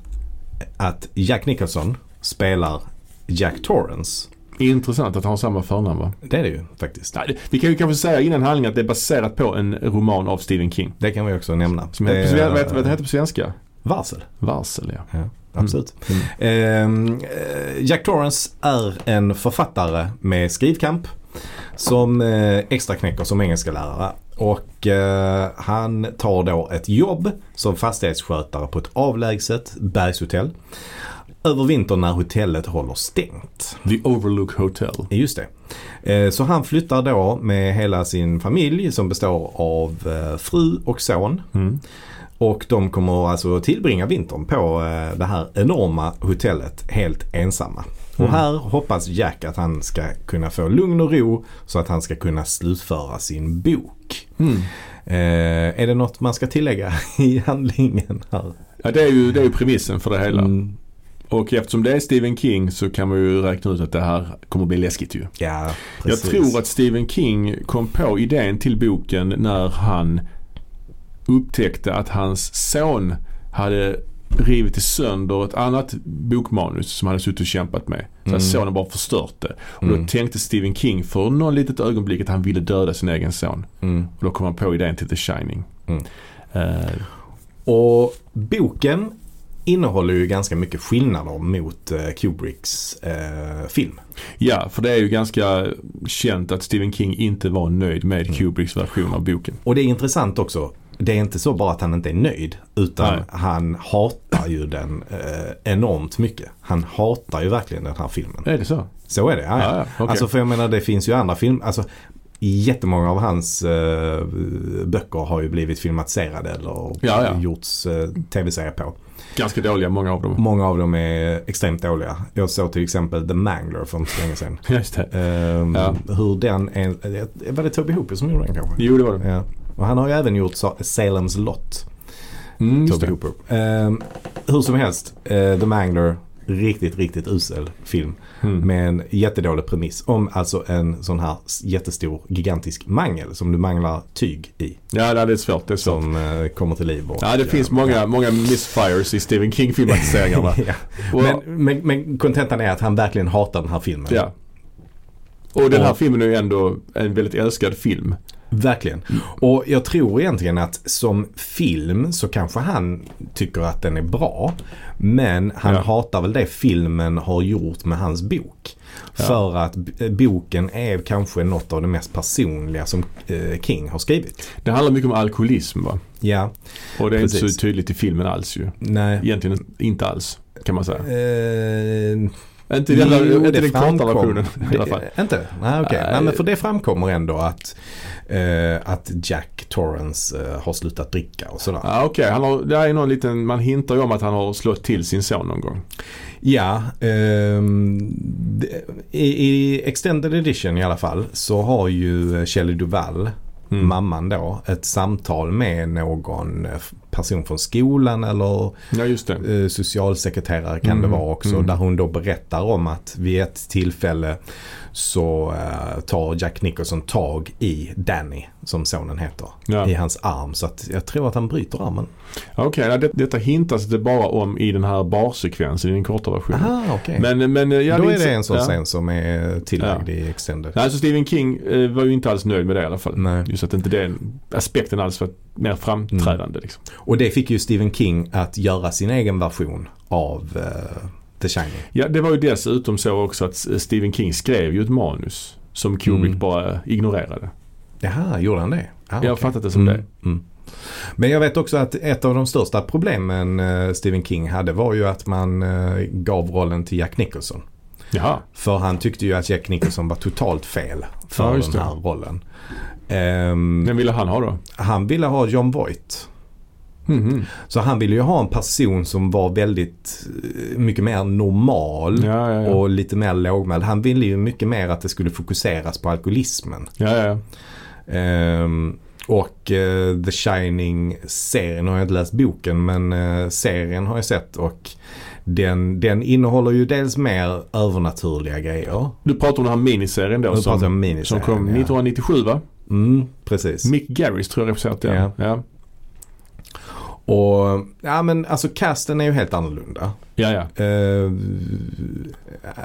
S2: att Jack Nicholson spelar Jack Torrance.
S1: Intressant att han har samma förnamn va?
S2: Det är det ju faktiskt.
S1: Nej, det- Vi kan ju kanske säga innan handlingen att det är baserat på en roman av Stephen King.
S2: Det kan vi också nämna.
S1: Som heter,
S2: Det-
S1: på sven- vad, heter, vad heter det på svenska?
S2: Varsel.
S1: Varsel ja.
S2: Ja, absolut. Ehm, eh, Jack Torrance är en författare med skrivkamp som eh, extraknäcker som engelska lärare. Och eh, han tar då ett jobb som fastighetsskötare på ett avlägset bergshotell. Över vintern när hotellet håller stängt.
S1: The Overlook Hotel.
S2: Just det. Eh, Så han flyttar då med hela sin familj som består av eh, fru och son.
S1: Mm.
S2: Och de kommer alltså att tillbringa vintern på eh, det här enorma hotellet helt ensamma. Och
S1: Mm.
S2: här hoppas Jack att han ska kunna få lugn och ro så att han ska kunna slutföra sin bok.
S1: Mm.
S2: Eh, är det något man ska tillägga i handlingen här? Mm.
S1: Ja, det är ju, det är ju premissen för det hela. Och eftersom det är Stephen King så kan man ju räkna ut att det här kommer bli läskigt ju.
S2: Ja,
S1: Jag
S2: precis.
S1: tror att Stephen King kom på idén till boken när han upptäckte att hans son hade rivit i sönder ett annat bokmanus som han hade suttit och kämpat med. Så
S2: Mm.
S1: att sonen bara förstört det. Och då tänkte Stephen King för någon litet ögonblick att han ville döda sin egen son.
S2: Mm.
S1: Och då kom han på idén till The Shining.
S2: Mm.
S1: Eh,
S2: Och boken innehåller ju ganska mycket skillnader mot eh, Kubricks eh, film.
S1: ja, för det är ju ganska känt att Stephen King inte var nöjd med
S2: Mm.
S1: Kubricks version av boken.
S2: Och det är intressant också. Det är inte så bara att han inte är nöjd utan
S1: Nej.
S2: han hatar ju den eh, enormt mycket. Han hatar ju verkligen den här filmen.
S1: Är det så?
S2: Så är det. Ah, Ja, ja.
S1: Ja, ja, okej.
S2: Alltså för jag menar det finns ju andra filmer. Alltså, jättemånga av hans eh, böcker har ju blivit filmatiserade eller
S1: Ja, ja.
S2: gjorts eh, tv-serier på.
S1: Ganska dåliga många av dem.
S2: Många av dem är extremt dåliga. Jag såg till exempel The Mangler för inte så länge sedan.
S1: Just det.
S2: Ehm,
S1: Ja.
S2: Hur den är, var det Toby Hooper som gjorde den kanske?
S1: Jo, det var det.
S2: Ja. Och han har ju även gjort Sa- Salem's Lot,
S1: Mm, just
S2: Toby
S1: det.
S2: Hooper. Ehm, hur som helst, eh, The Mangler, riktigt, riktigt usel film.
S1: Hmm.
S2: Med en jättedålig premiss om alltså en sån här s- jättestor, gigantisk mangel som du manglar tyg i.
S1: Ja, nej, det är svårt. Det är svårt.
S2: Som eh, kommer till liv. Och,
S1: Ja, det finns många, många misfires i Stephen King-filmatiseringarna.
S2: Ja.
S1: Och-
S2: Men, men, men kontentan är att han verkligen hatar den här filmen.
S1: ja. Och den här
S2: Och-
S1: filmen är ju ändå en väldigt älskad film.
S2: Verkligen. Och jag tror egentligen att som film så kanske han tycker att den är bra. Men han
S1: Ja.
S2: hatar väl det filmen har gjort med hans bok. För att b- boken är kanske något av det mest personliga som eh, King har skrivit.
S1: Det handlar mycket om alkoholism va?
S2: Ja,
S1: Och det är inte
S2: Precis.
S1: så tydligt i filmen alls ju.
S2: nej.
S1: Egentligen inte alls, kan man säga.
S2: Eh,
S1: Inte i den,
S2: jo,
S1: där- inte
S2: det
S1: den korta
S2: framkom.
S1: versionen i alla
S2: Det-
S1: fall.
S2: Inte? Nej, okej.
S1: Nej.
S2: Nej, men för det framkommer ändå att, eh, att Jack Torrance eh, har slutat dricka och sådär.
S1: Ja, okej. Han har, det här är någon liten, man hintar ju om att han har slått till sin son någon gång.
S2: Ja, ehm, det- i, i Extended Edition i alla fall så har ju Shelley Duvall,
S1: Mm.
S2: mamman då, ett samtal med någon eh, person från skolan eller
S1: Ja, just det.
S2: eh, socialsekreterare kan
S1: Mm.
S2: det vara också. Där hon då berättar om att vid ett tillfälle så eh, tar Jack Nicholson tag i Danny, som sonen heter,
S1: Ja.
S2: i hans arm. Så att jag tror att han bryter armen.
S1: Okej, nej, det, detta hintas det bara om i den här barsekvensen, i den korta versionen.
S2: Aha, okej.
S1: Men, men, ja,
S2: Då är
S1: inte-
S2: det en sån
S1: ja.
S2: scen som är tillagd
S1: Ja.
S2: i Extended.
S1: Nej, så Stephen King eh, var ju inte alls nöjd med det i alla fall.
S2: Nej.
S1: Just att inte den aspekten alls var mer framträdande.
S2: Mm.
S1: Liksom.
S2: Och det fick ju Stephen King att göra sin egen version av eh, The Shining.
S1: Ja, det var ju dessutom så också att eh, Stephen King skrev ju ett manus som Kubrick
S2: Mm.
S1: bara ignorerade.
S2: Jaha, gjorde han det?
S1: Jag
S2: Ah,
S1: har
S2: okej.
S1: fattat det som det.
S2: Mm. Men jag vet också att ett av de största problemen eh, Stephen King hade var ju att man eh, gav rollen till Jack Nicholson.
S1: Jaha.
S2: För han tyckte ju att Jack Nicholson var totalt fel
S1: Ja,
S2: för
S1: just
S2: den
S1: det.
S2: här rollen. Ehm,
S1: Vem ville han ha då?
S2: han ville ha John Voight.
S1: Mhm.
S2: Så han ville ju ha en person som var väldigt eh, mycket mer normal.
S1: Ja, ja, ja.
S2: och lite mer lågmäld. Han ville ju mycket mer att det skulle fokuseras på alkoholismen.
S1: ja, ja, ja.
S2: Ehm, och eh, The Shining-serien har jag inte läst boken men eh, serien har jag sett och den, den innehåller ju dels mer övernaturliga grejer.
S1: Du pratar om den här miniserien då
S2: Nu
S1: som,
S2: pratar jag om
S1: som
S2: miniserien.
S1: kom
S2: ja.
S1: 1997 va?
S2: Mm, precis.
S1: Mick Garris tror jag representerat den.
S2: Ja.
S1: Ja.
S2: Och ja men alltså casten är ju helt annorlunda.
S1: Ja, ja.
S2: Eh,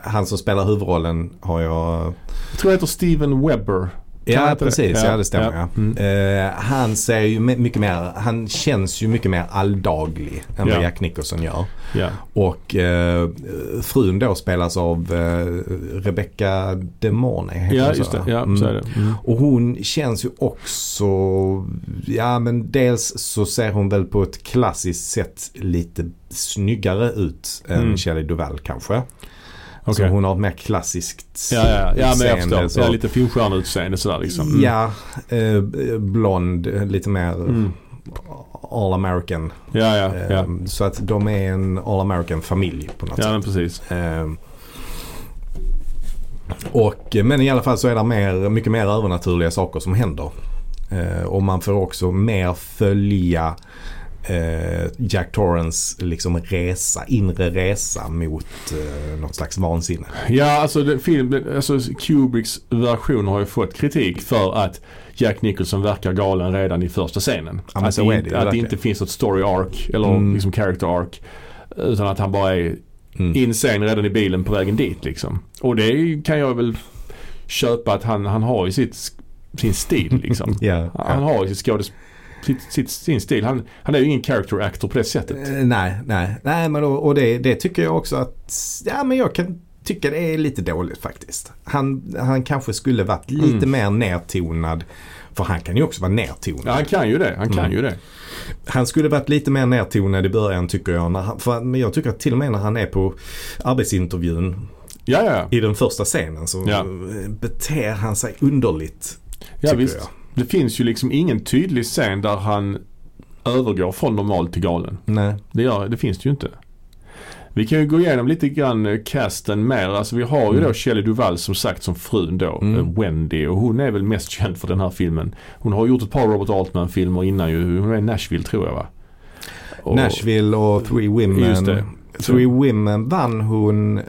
S2: han som spelar huvudrollen har jag...
S1: Jag tror det heter Steven Webber. Kan han
S2: Ja
S1: inte det?
S2: precis, ja,
S1: Ja,
S2: det stämmer.
S1: ja. Mm.
S2: Ja. Eh, han ser ju me- mycket mer, han känns ju mycket mer alldaglig än
S1: Ja.
S2: vad Jack Nicholson gör.
S1: Ja.
S2: Och eh, frun då spelas av eh, Rebecca De Mornay. heter
S1: Ja,
S2: hon så,
S1: just det.
S2: va?
S1: Ja,
S2: Mm.
S1: så är det. Mm.
S2: Och hon känns ju också, ja men dels så ser hon väl på ett klassiskt sätt lite snyggare ut än
S1: Mm.
S2: Shelley Duvall kanske. Så
S1: Okej.
S2: hon har ett mer klassiskt
S1: Ja, ja, ja, men jag
S2: utseende,
S1: förstår.
S2: så.
S1: Ja, lite filmstjärneutseende sådär liksom. Mm.
S2: Ja, eh, blond, eh, lite mer
S1: Mm.
S2: all American.
S1: Ja, ja,
S2: Eh,
S1: ja.
S2: Så att de är en all American familj på något
S1: Ja,
S2: sätt.
S1: men precis.
S2: Eh, och, men i alla fall så är det mer, mycket mer övernaturliga saker som händer. Eh, och man får också mer följa eh, Jack Torrance liksom resa, inre resa mot eh, något slags vansinne.
S1: Ja, alltså, det, film, alltså Kubricks version har ju fått kritik för att Jack Nicholson verkar galen redan i första scenen.
S2: Ja, men
S1: att
S2: så
S1: det,
S2: är det
S1: inte-
S2: ju
S1: att det
S2: verkligen.
S1: inte finns något story arc eller
S2: Mm.
S1: liksom character arc. Utan att han bara är
S2: Mm.
S1: insane redan i bilen på vägen dit liksom. Och det är ju- kan jag väl köpa att han, han har ju sitt, sin stil liksom.
S2: Ja, ja.
S1: Han har ju sitt skådes... Sitt, sitt, sin stil. Han, han är ju ingen character actor på det sättet.
S2: Eh, Nej, nej, nej men och, och det, det tycker jag också att, ja men jag kan tycka det är lite dåligt faktiskt. Han, han kanske skulle varit lite mer nertonad. För han kan ju också vara nertonad.
S1: Mm. Ja, han kan ju det. Han kan
S2: Mm.
S1: ju det.
S2: Han skulle varit lite mer nertonad i början tycker jag. När han, för, men jag tycker att till och med när han är på arbetsintervjun
S1: Ja, ja, ja.
S2: i den första scenen så
S1: Ja.
S2: eh, beter han sig underligt.
S1: ja
S2: tycker
S1: visst.
S2: jag.
S1: Det finns ju liksom ingen tydlig scen där han övergår från normal till galen.
S2: Nej.
S1: Det, gör, det finns det ju inte. Vi kan ju gå igenom lite grann eh, casten mer. Alltså vi har ju då Shelley Duvall som sagt som frun då,
S2: Mm.
S1: eh, Wendy. Och hon är väl mest känd för den här filmen. Hon har gjort ett par Robert Altman-filmer innan ju. Hon är i Nashville tror jag va? Och-
S2: Nashville och Three Women.
S1: Just det.
S2: Three Women vann hon eh,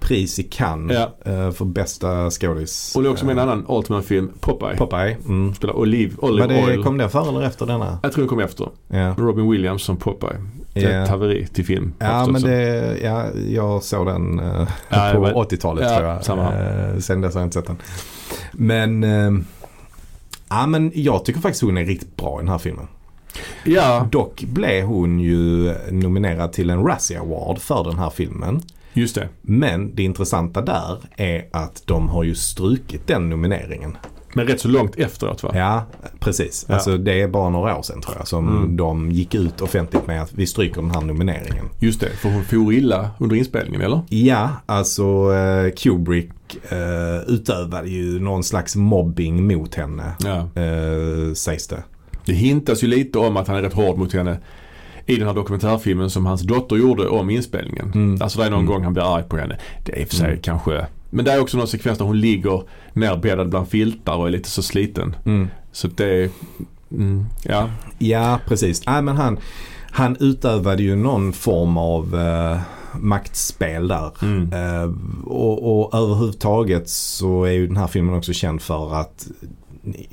S2: pris i Cannes
S1: Ja.
S2: eh, för bästa skådis.
S1: Och det är också med en
S2: Eh,
S1: annan Altman-film, Popeye.
S2: Popeye. Mm.
S1: Spelar Olive, Olive
S2: Var det,
S1: Oil.
S2: kom den före eller efter denna?
S1: Jag tror den kom efter.
S2: Ja,
S1: Robin Williams som Popeye. Det är
S2: Ja.
S1: ett haveri till film.
S2: ja
S1: förstås.
S2: men det, ja, jag såg den eh,
S1: Ja,
S2: på
S1: det var-
S2: 80-talet
S1: ja,
S2: tror jag.
S1: samma
S2: Eh, sen dess har jag inte sett den. Men, eh, ja, men jag tycker faktiskt hon är riktigt bra i den här filmen.
S1: Ja,
S2: Dock blev hon ju nominerad till en Razzie Award för den här filmen.
S1: just det.
S2: Men det intressanta där är att de har ju strukit den nomineringen.
S1: Men rätt så långt efteråt va?
S2: Ja, precis.
S1: Ja.
S2: Alltså det är bara några år sedan tror jag som de gick ut offentligt med att vi stryker den här nomineringen.
S1: Just det, för hon for illa under inspelningen eller?
S2: Ja, alltså eh, Kubrick eh, utövade ju någon slags mobbing mot henne.
S1: Ja.
S2: Eh, sägs det.
S1: Det hintas ju lite om att han är rätt hård mot henne i den här dokumentärfilmen som hans dotter gjorde om inspelningen.
S2: Mm.
S1: Alltså det är någon gång han blir arg på henne. Det är i och för sig kanske men det är också någon sekvens där hon ligger nerbäddad bland filtar och är lite så sliten.
S2: Mm.
S1: Så det är... Mm, ja.
S2: Ja, precis. Nej, men han, han utövade ju någon form av eh, maktspel där. Eh, och, och överhuvudtaget så är ju den här filmen också känd för att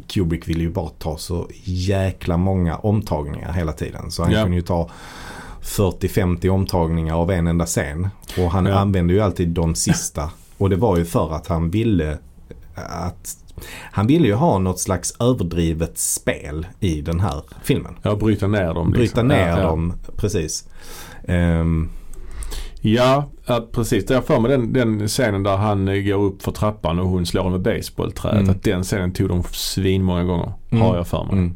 S2: Kubrick ville ju bara ta så jäkla många omtagningar hela tiden. Så han
S1: Ja.
S2: kunde ju ta 40-50 omtagningar av en enda scen. Och han
S1: Ja.
S2: använde ju alltid de sista. Och det var ju för att han ville eh, att han ville ju ha något slags överdrivet spel i den här filmen.
S1: ja, bryta ner dem.
S2: Bryta
S1: liksom.
S2: ner
S1: ja, ja.
S2: dem, precis. Ehm,
S1: Ja, ja precis. Jag har för mig den, den scenen där han eh, går upp för trappan och hon slår honom med basebollträet.
S2: Mm.
S1: Att den scenen tog de svin många gånger. Har
S2: Mm.
S1: jag för mig.
S2: mm,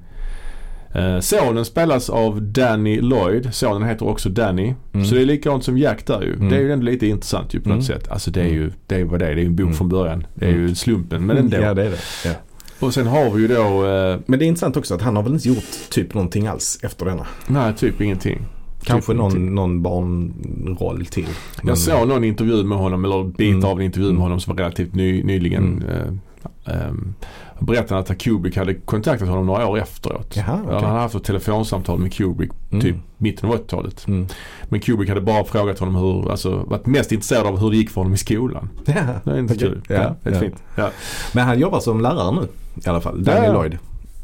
S1: Eh, sonen spelas av Danny Lloyd. Sonen heter också Danny.
S2: Mm.
S1: Så det är likadant som Jack där ju. Det är ju ändå lite intressant ju på något sätt. Alltså det är ju det är ju vad det är. Det är ju en
S2: Mm.
S1: bok från början. Det är ju slumpen men ändå.
S2: ja, det är det. Mm. Ja.
S1: Och sen har vi ju då, eh,
S2: Men det är intressant också att han har väl inte gjort typ någonting alls efter denna.
S1: nej typ ingenting.
S2: Kanske
S1: typ,
S2: någon, någon barnroll till. Men-
S1: Jag såg någon intervju med honom, eller bit
S2: Mm.
S1: av en intervju med honom som var relativt ny, nyligen. Mm. berättade han att Kubrick hade kontaktat honom några år efteråt.
S2: Jaha, okej.
S1: Han hade haft ett telefonsamtal med Kubrick typ mitten av 80-talet.
S2: Mm.
S1: Men Kubrick hade bara frågat honom hur, alltså varit mest intresserad av hur det gick för honom i skolan.
S2: Ja,
S1: Det är inte
S2: okej.
S1: kul.
S2: Ja,
S1: Ja, det är
S2: ja.
S1: fint. Ja.
S2: Men han jobbar som lärare nu i alla fall. Danny
S1: Ja, ja.
S2: Lloyd.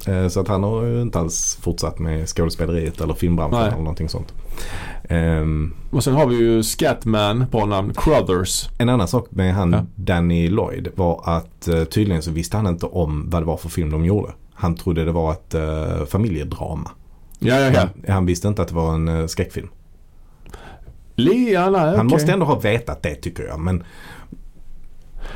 S2: Eh, Så att han har ju inte alls fortsatt med skådespeleriet eller filmbranschen
S1: Nej.
S2: eller någonting sånt. Ehm,
S1: Och sen har vi ju Scatman, bra namn, Crothers.
S2: En annan sak med han
S1: Ja.
S2: Danny Lloyd var att eh, tydligen så visste han inte om vad det var för film de gjorde. Han trodde det var ett eh, familjedrama.
S1: Ja, ja, ja.
S2: Han, han visste inte att det var en eh, skräckfilm.
S1: Lian, nej,
S2: Han
S1: okej.
S2: måste ändå ha vetat det tycker jag. Men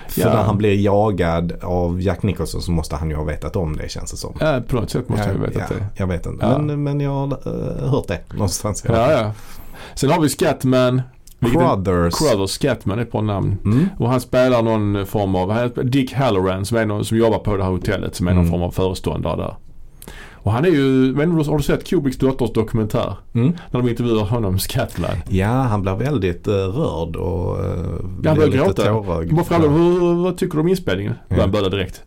S2: för
S1: Ja.
S2: när han blir jagad av Jack Nicholson så måste han ju ha vetat om det känns det som.
S1: Ja, på något sätt måste jag ju veta
S2: ja,
S1: det.
S2: Jag vet inte.
S1: Ja.
S2: Men, men jag har eh, hört det någonstans.
S1: Ja, ja. Sen har vi Scatman. vilket är-
S2: Crothers.
S1: Crothers Scatman är ett bra namn.
S2: Mm.
S1: Och han spelar någon form av, han heter Dick Halloran som är någon som jobbar på det här hotellet som är någon
S2: Mm.
S1: form av föreståndare där. Och han är ju, men har du sett Kubricks dotters dokumentär?
S2: Mm.
S1: När de intervjuar honom, Scatman.
S2: Ja, han blir väldigt eh, rörd och uh,
S1: Ja, han
S2: blir
S1: börjar
S2: lite
S1: gråta.
S2: tårögd.
S1: Man frågar hur, hur, vad tycker du om inspelningen? Då
S2: Ja.
S1: han börjar direkt.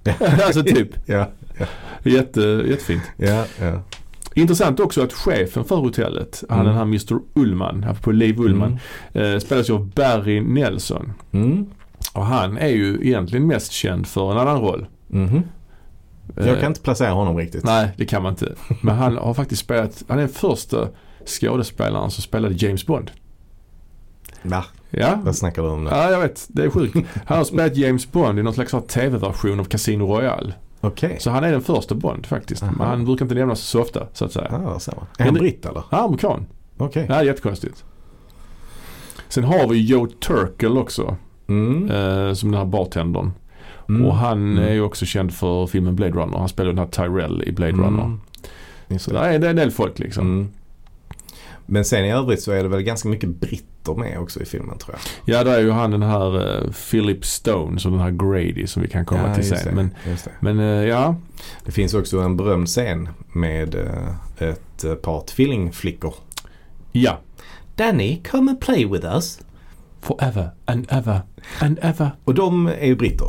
S1: alltså typ,
S2: Ja, ja,
S1: jätte, jättefint.
S2: ja. ja.
S1: Intressant också att chefen för hotellet, han
S2: Mm.
S1: den här Mr Ullman, här på Liv Ullman, eh, spelas ju av Barry Nelson.
S2: Mm.
S1: Och han är ju egentligen mest känd för en annan roll.
S2: Mhm. Jag
S1: Eh,
S2: kan inte placera honom riktigt.
S1: Nej, det kan man inte. Men han har faktiskt spelat, han är den första skådespelaren som spelade James Bond.
S2: Va?
S1: Ja,
S2: Vad snackar du om nu?
S1: ja jag vet. Det är sjukt. Han har spelat James Bond i någon slags så här TV-version av Casino Royale.
S2: Okej.
S1: Så han är den första Bond faktiskt.
S2: Aha.
S1: Men han brukar inte nämnas så ofta, så att säga.
S2: Ah, så. Är han
S1: Men-
S2: britt eller?
S1: Han är amerikan.
S2: Okej.
S1: Det här är jättekonstigt. Sen har vi Joe Turkel också,
S2: Mm.
S1: eh, som den här bartendern.
S2: Mm.
S1: Och han
S2: Mm.
S1: är ju också känd för filmen Blade Runner. Han spelar den här Tyrell i Blade Runner.
S2: Mm. Just
S1: Så
S2: det.
S1: där är, det är en del folk liksom.
S2: Mm. Men sen i övrigt så är det väl ganska mycket britter med också i filmen tror jag.
S1: Ja, där är ju han den här eh, Philip Stone som den här Grady som vi kan komma till
S2: just
S1: sen.
S2: det.
S1: Men,
S2: Just det.
S1: men eh, ja,
S2: det finns också en berömd scen med eh, ett eh, par tvillingflickor.
S1: ja.
S2: Danny, come and play with us.
S1: Forever and ever and ever.
S2: Och de är ju britter.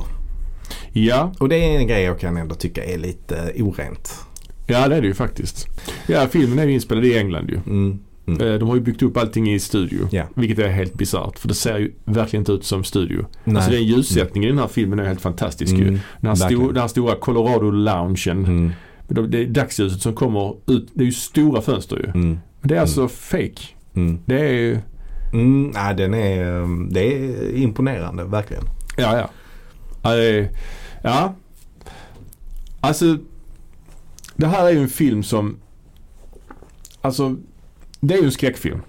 S1: Ja,
S2: Och det är en grej jag kan ändå tycka är lite eh, orent.
S1: ja det är det ju faktiskt. Ja, filmen är ju inspelad i England ju.
S2: Mm. Mm.
S1: Eh, De har ju byggt upp allting i studio.
S2: Ja.
S1: Vilket är helt bisarrt för det ser ju verkligen inte ut som studio.
S2: Nej.
S1: Alltså den ljussättningen i den här filmen är helt fantastisk ju.
S2: Mm.
S1: Den här, sto-
S2: verkligen.
S1: den här stora Colorado-loungen.
S2: Mm.
S1: De- Det är dagsljuset som kommer ut. Det är ju stora fönster ju.
S2: Mm.
S1: Men det är alltså fake.
S2: Mm.
S1: Det är ju...
S2: Mm, nej, den är, eh, det är imponerande verkligen.
S1: Ja, ja. Ja, det är- Ja. Alltså, det här är ju en film som... Alltså, det är ju en skräckfilm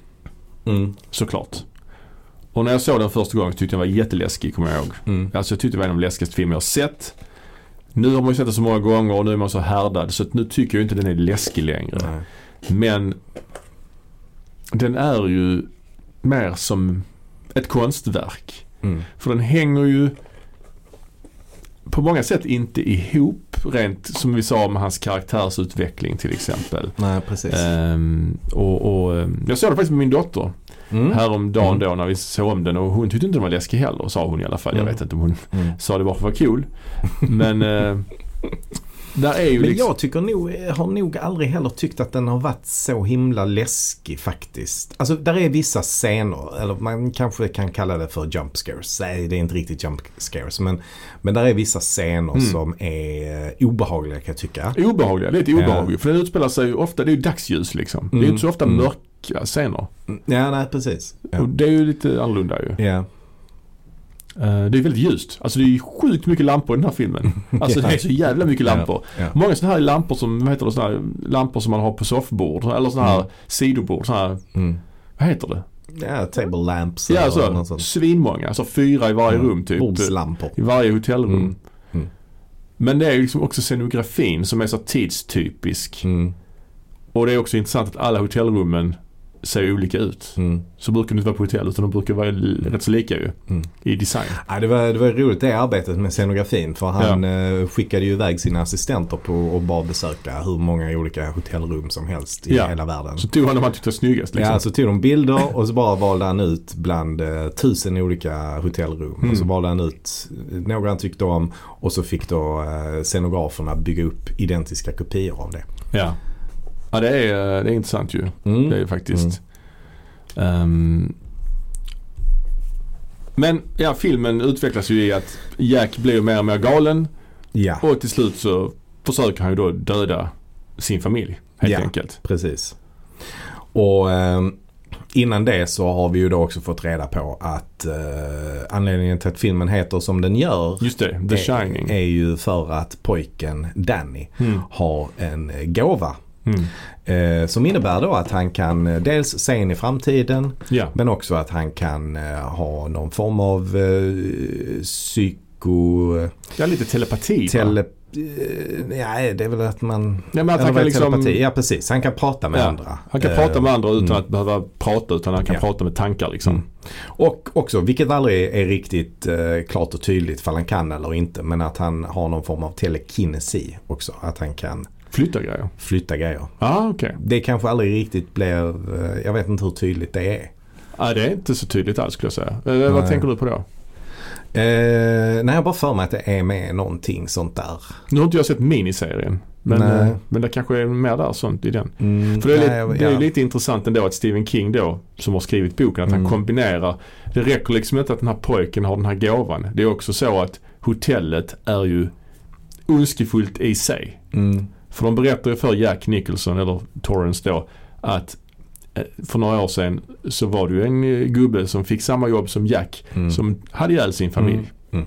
S2: Mm.
S1: såklart. Och när jag såg den första gången tyckte jag den var jätteläskig, kommer jag ihåg.
S2: Mm.
S1: Alltså jag tyckte det var en av de läskigaste filmer jag har sett. Nu har man ju sett den så många gånger och nu är man så härdad så att nu tycker jag inte den är läskig längre.
S2: Nej.
S1: Men den är ju mer som ett konstverk.
S2: Mm.
S1: För den hänger ju på många sätt inte ihop rent som vi sa med hans karaktärsutveckling till exempel.
S2: nej, precis.
S1: Ehm, och, och, ehm, jag såg det faktiskt med min dotter
S2: Mm.
S1: häromdagen då när vi såg om den och hon tyckte inte den var läskig heller sa hon i alla fall. Jag
S2: Mm.
S1: vet inte om hon
S2: Mm.
S1: sa det bara för att vara cool. Men eh, där är ju
S2: Men
S1: liksom...
S2: jag tycker nog, har nog aldrig heller tyckt att den har varit så himla läskig faktiskt. Alltså där är vissa scener, eller man kanske kan kalla det för jump scares. Nej, det är inte riktigt jump scares. Men, men där är vissa
S1: Mm.
S2: scener som är eh, obehagliga kan jag tycka.
S1: Obehagliga, det är ett obehag ju. För den utspelar sig ju ofta, det är ju dagsljus liksom. Det är ju inte så ofta mörka scener.
S2: Ja, nej precis.
S1: Och
S2: Mm. Ja.
S1: det är ju lite annorlunda ju.
S2: Ja.
S1: Eh, Det är väldigt ljust. Alltså det är sjukt mycket lampor i den här filmen. Alltså det är så jävla mycket lampor.
S2: Ja, ja.
S1: Många sådana här lampor som, vad heter det, såna här lampor som man har på soffbord eller sådana här sidobord. Såna här,
S2: Mm.
S1: vad heter det?
S2: ja, table lamps
S1: Ja,
S2: eller
S1: så,
S2: något sånt.
S1: svinmånga. Alltså fyra i varje rum typ.
S2: Bordslampor.
S1: I varje hotellrum.
S2: Mm. Mm.
S1: Men det är liksom också scenografin som är så tidstypisk.
S2: Mm.
S1: Och det är också intressant att alla hotellrummen ser olika ut.
S2: Mm.
S1: Så brukar de inte vara på hotell utan de brukar vara l- rätt så lika ju.
S2: Mm.
S1: I design.
S2: Ja, det, var, det var roligt det arbetet med scenografin för han eh, skickade ju iväg sina assistenter på att bara besöka hur många olika hotellrum som helst i
S1: Ja.
S2: hela världen.
S1: Så tog han de han tyckte var snyggast liksom.
S2: Ja, så tog de bilder och så bara valde han ut bland eh, tusen olika hotellrum. Och
S1: Mm.
S2: så valde han ut några han tyckte om och så fick då eh, scenograferna bygga upp identiska kopior av det.
S1: Ja. Ja det är, eh, det är intressant ju.
S2: Mm.
S1: Det är det faktiskt. Ehm, men ja, filmen utvecklas ju i att Jack blir mer och mer galen
S2: Ja,
S1: och till slut så försöker han ju då döda sin familj helt
S2: Ja.
S1: enkelt.
S2: Precis. Och eh, innan det så har vi ju då också fått reda på att eh, anledningen till att filmen heter som den gör
S1: Just det,
S2: Eh,
S1: The Shining.
S2: Är, är ju för att pojken Danny
S1: Mm.
S2: har en eh, gåva.
S1: Mm.
S2: Eh, som innebär då att han kan eh, dels se in i framtiden
S1: Ja.
S2: men också att han kan eh, ha någon form av eh, psyko...
S1: ja, lite telepati. va?
S2: Tele... eh, Nej, det är väl att man...
S1: ja, men att
S2: Eller
S1: han
S2: vad
S1: kan
S2: är
S1: liksom,
S2: telepati? Ja, precis. Han kan prata med
S1: Ja,
S2: andra.
S1: han kan
S2: Eh,
S1: prata med andra utan
S2: mm.
S1: att behöva prata utan han kan
S2: Ja.
S1: prata med tankar liksom.
S2: Mm. Och också, vilket aldrig är riktigt eh, klart och tydligt ifall han kan eller inte, men att han har någon form av telekinesi också. Att han kan
S1: Flytta grejer.
S2: flytta grejer.
S1: ah, okej.
S2: Det kanske aldrig riktigt blir, eh, jag vet inte hur tydligt det är.
S1: Ah, det är inte så tydligt alls skulle jag säga. Eh, vad
S2: Nej.
S1: tänker du på då?
S2: Eh, nej, jag har bara för mig att det är med någonting sånt där.
S1: Nu har inte jag sett miniserien. Men,
S2: Nej.
S1: eh, men det kanske är mer där sånt i den.
S2: Mm,
S1: För det är,
S2: nej,
S1: lite,
S2: jag-
S1: det är
S2: ja.
S1: lite intressant ändå att Stephen King då, som har skrivit boken, att han
S2: Mm.
S1: kombinerar. Det räcker liksom inte att den här pojken har den här gåvan. Det är också så att hotellet är ju ondskefullt i sig.
S2: Mm,
S1: För de berättar ju för Jack Nicholson, eller Torrance då, att eh, för några år sedan så var det ju en eh, gubbe som fick samma jobb som Jack
S2: mm,
S1: som hade ihjäl sin familj.
S2: Mm.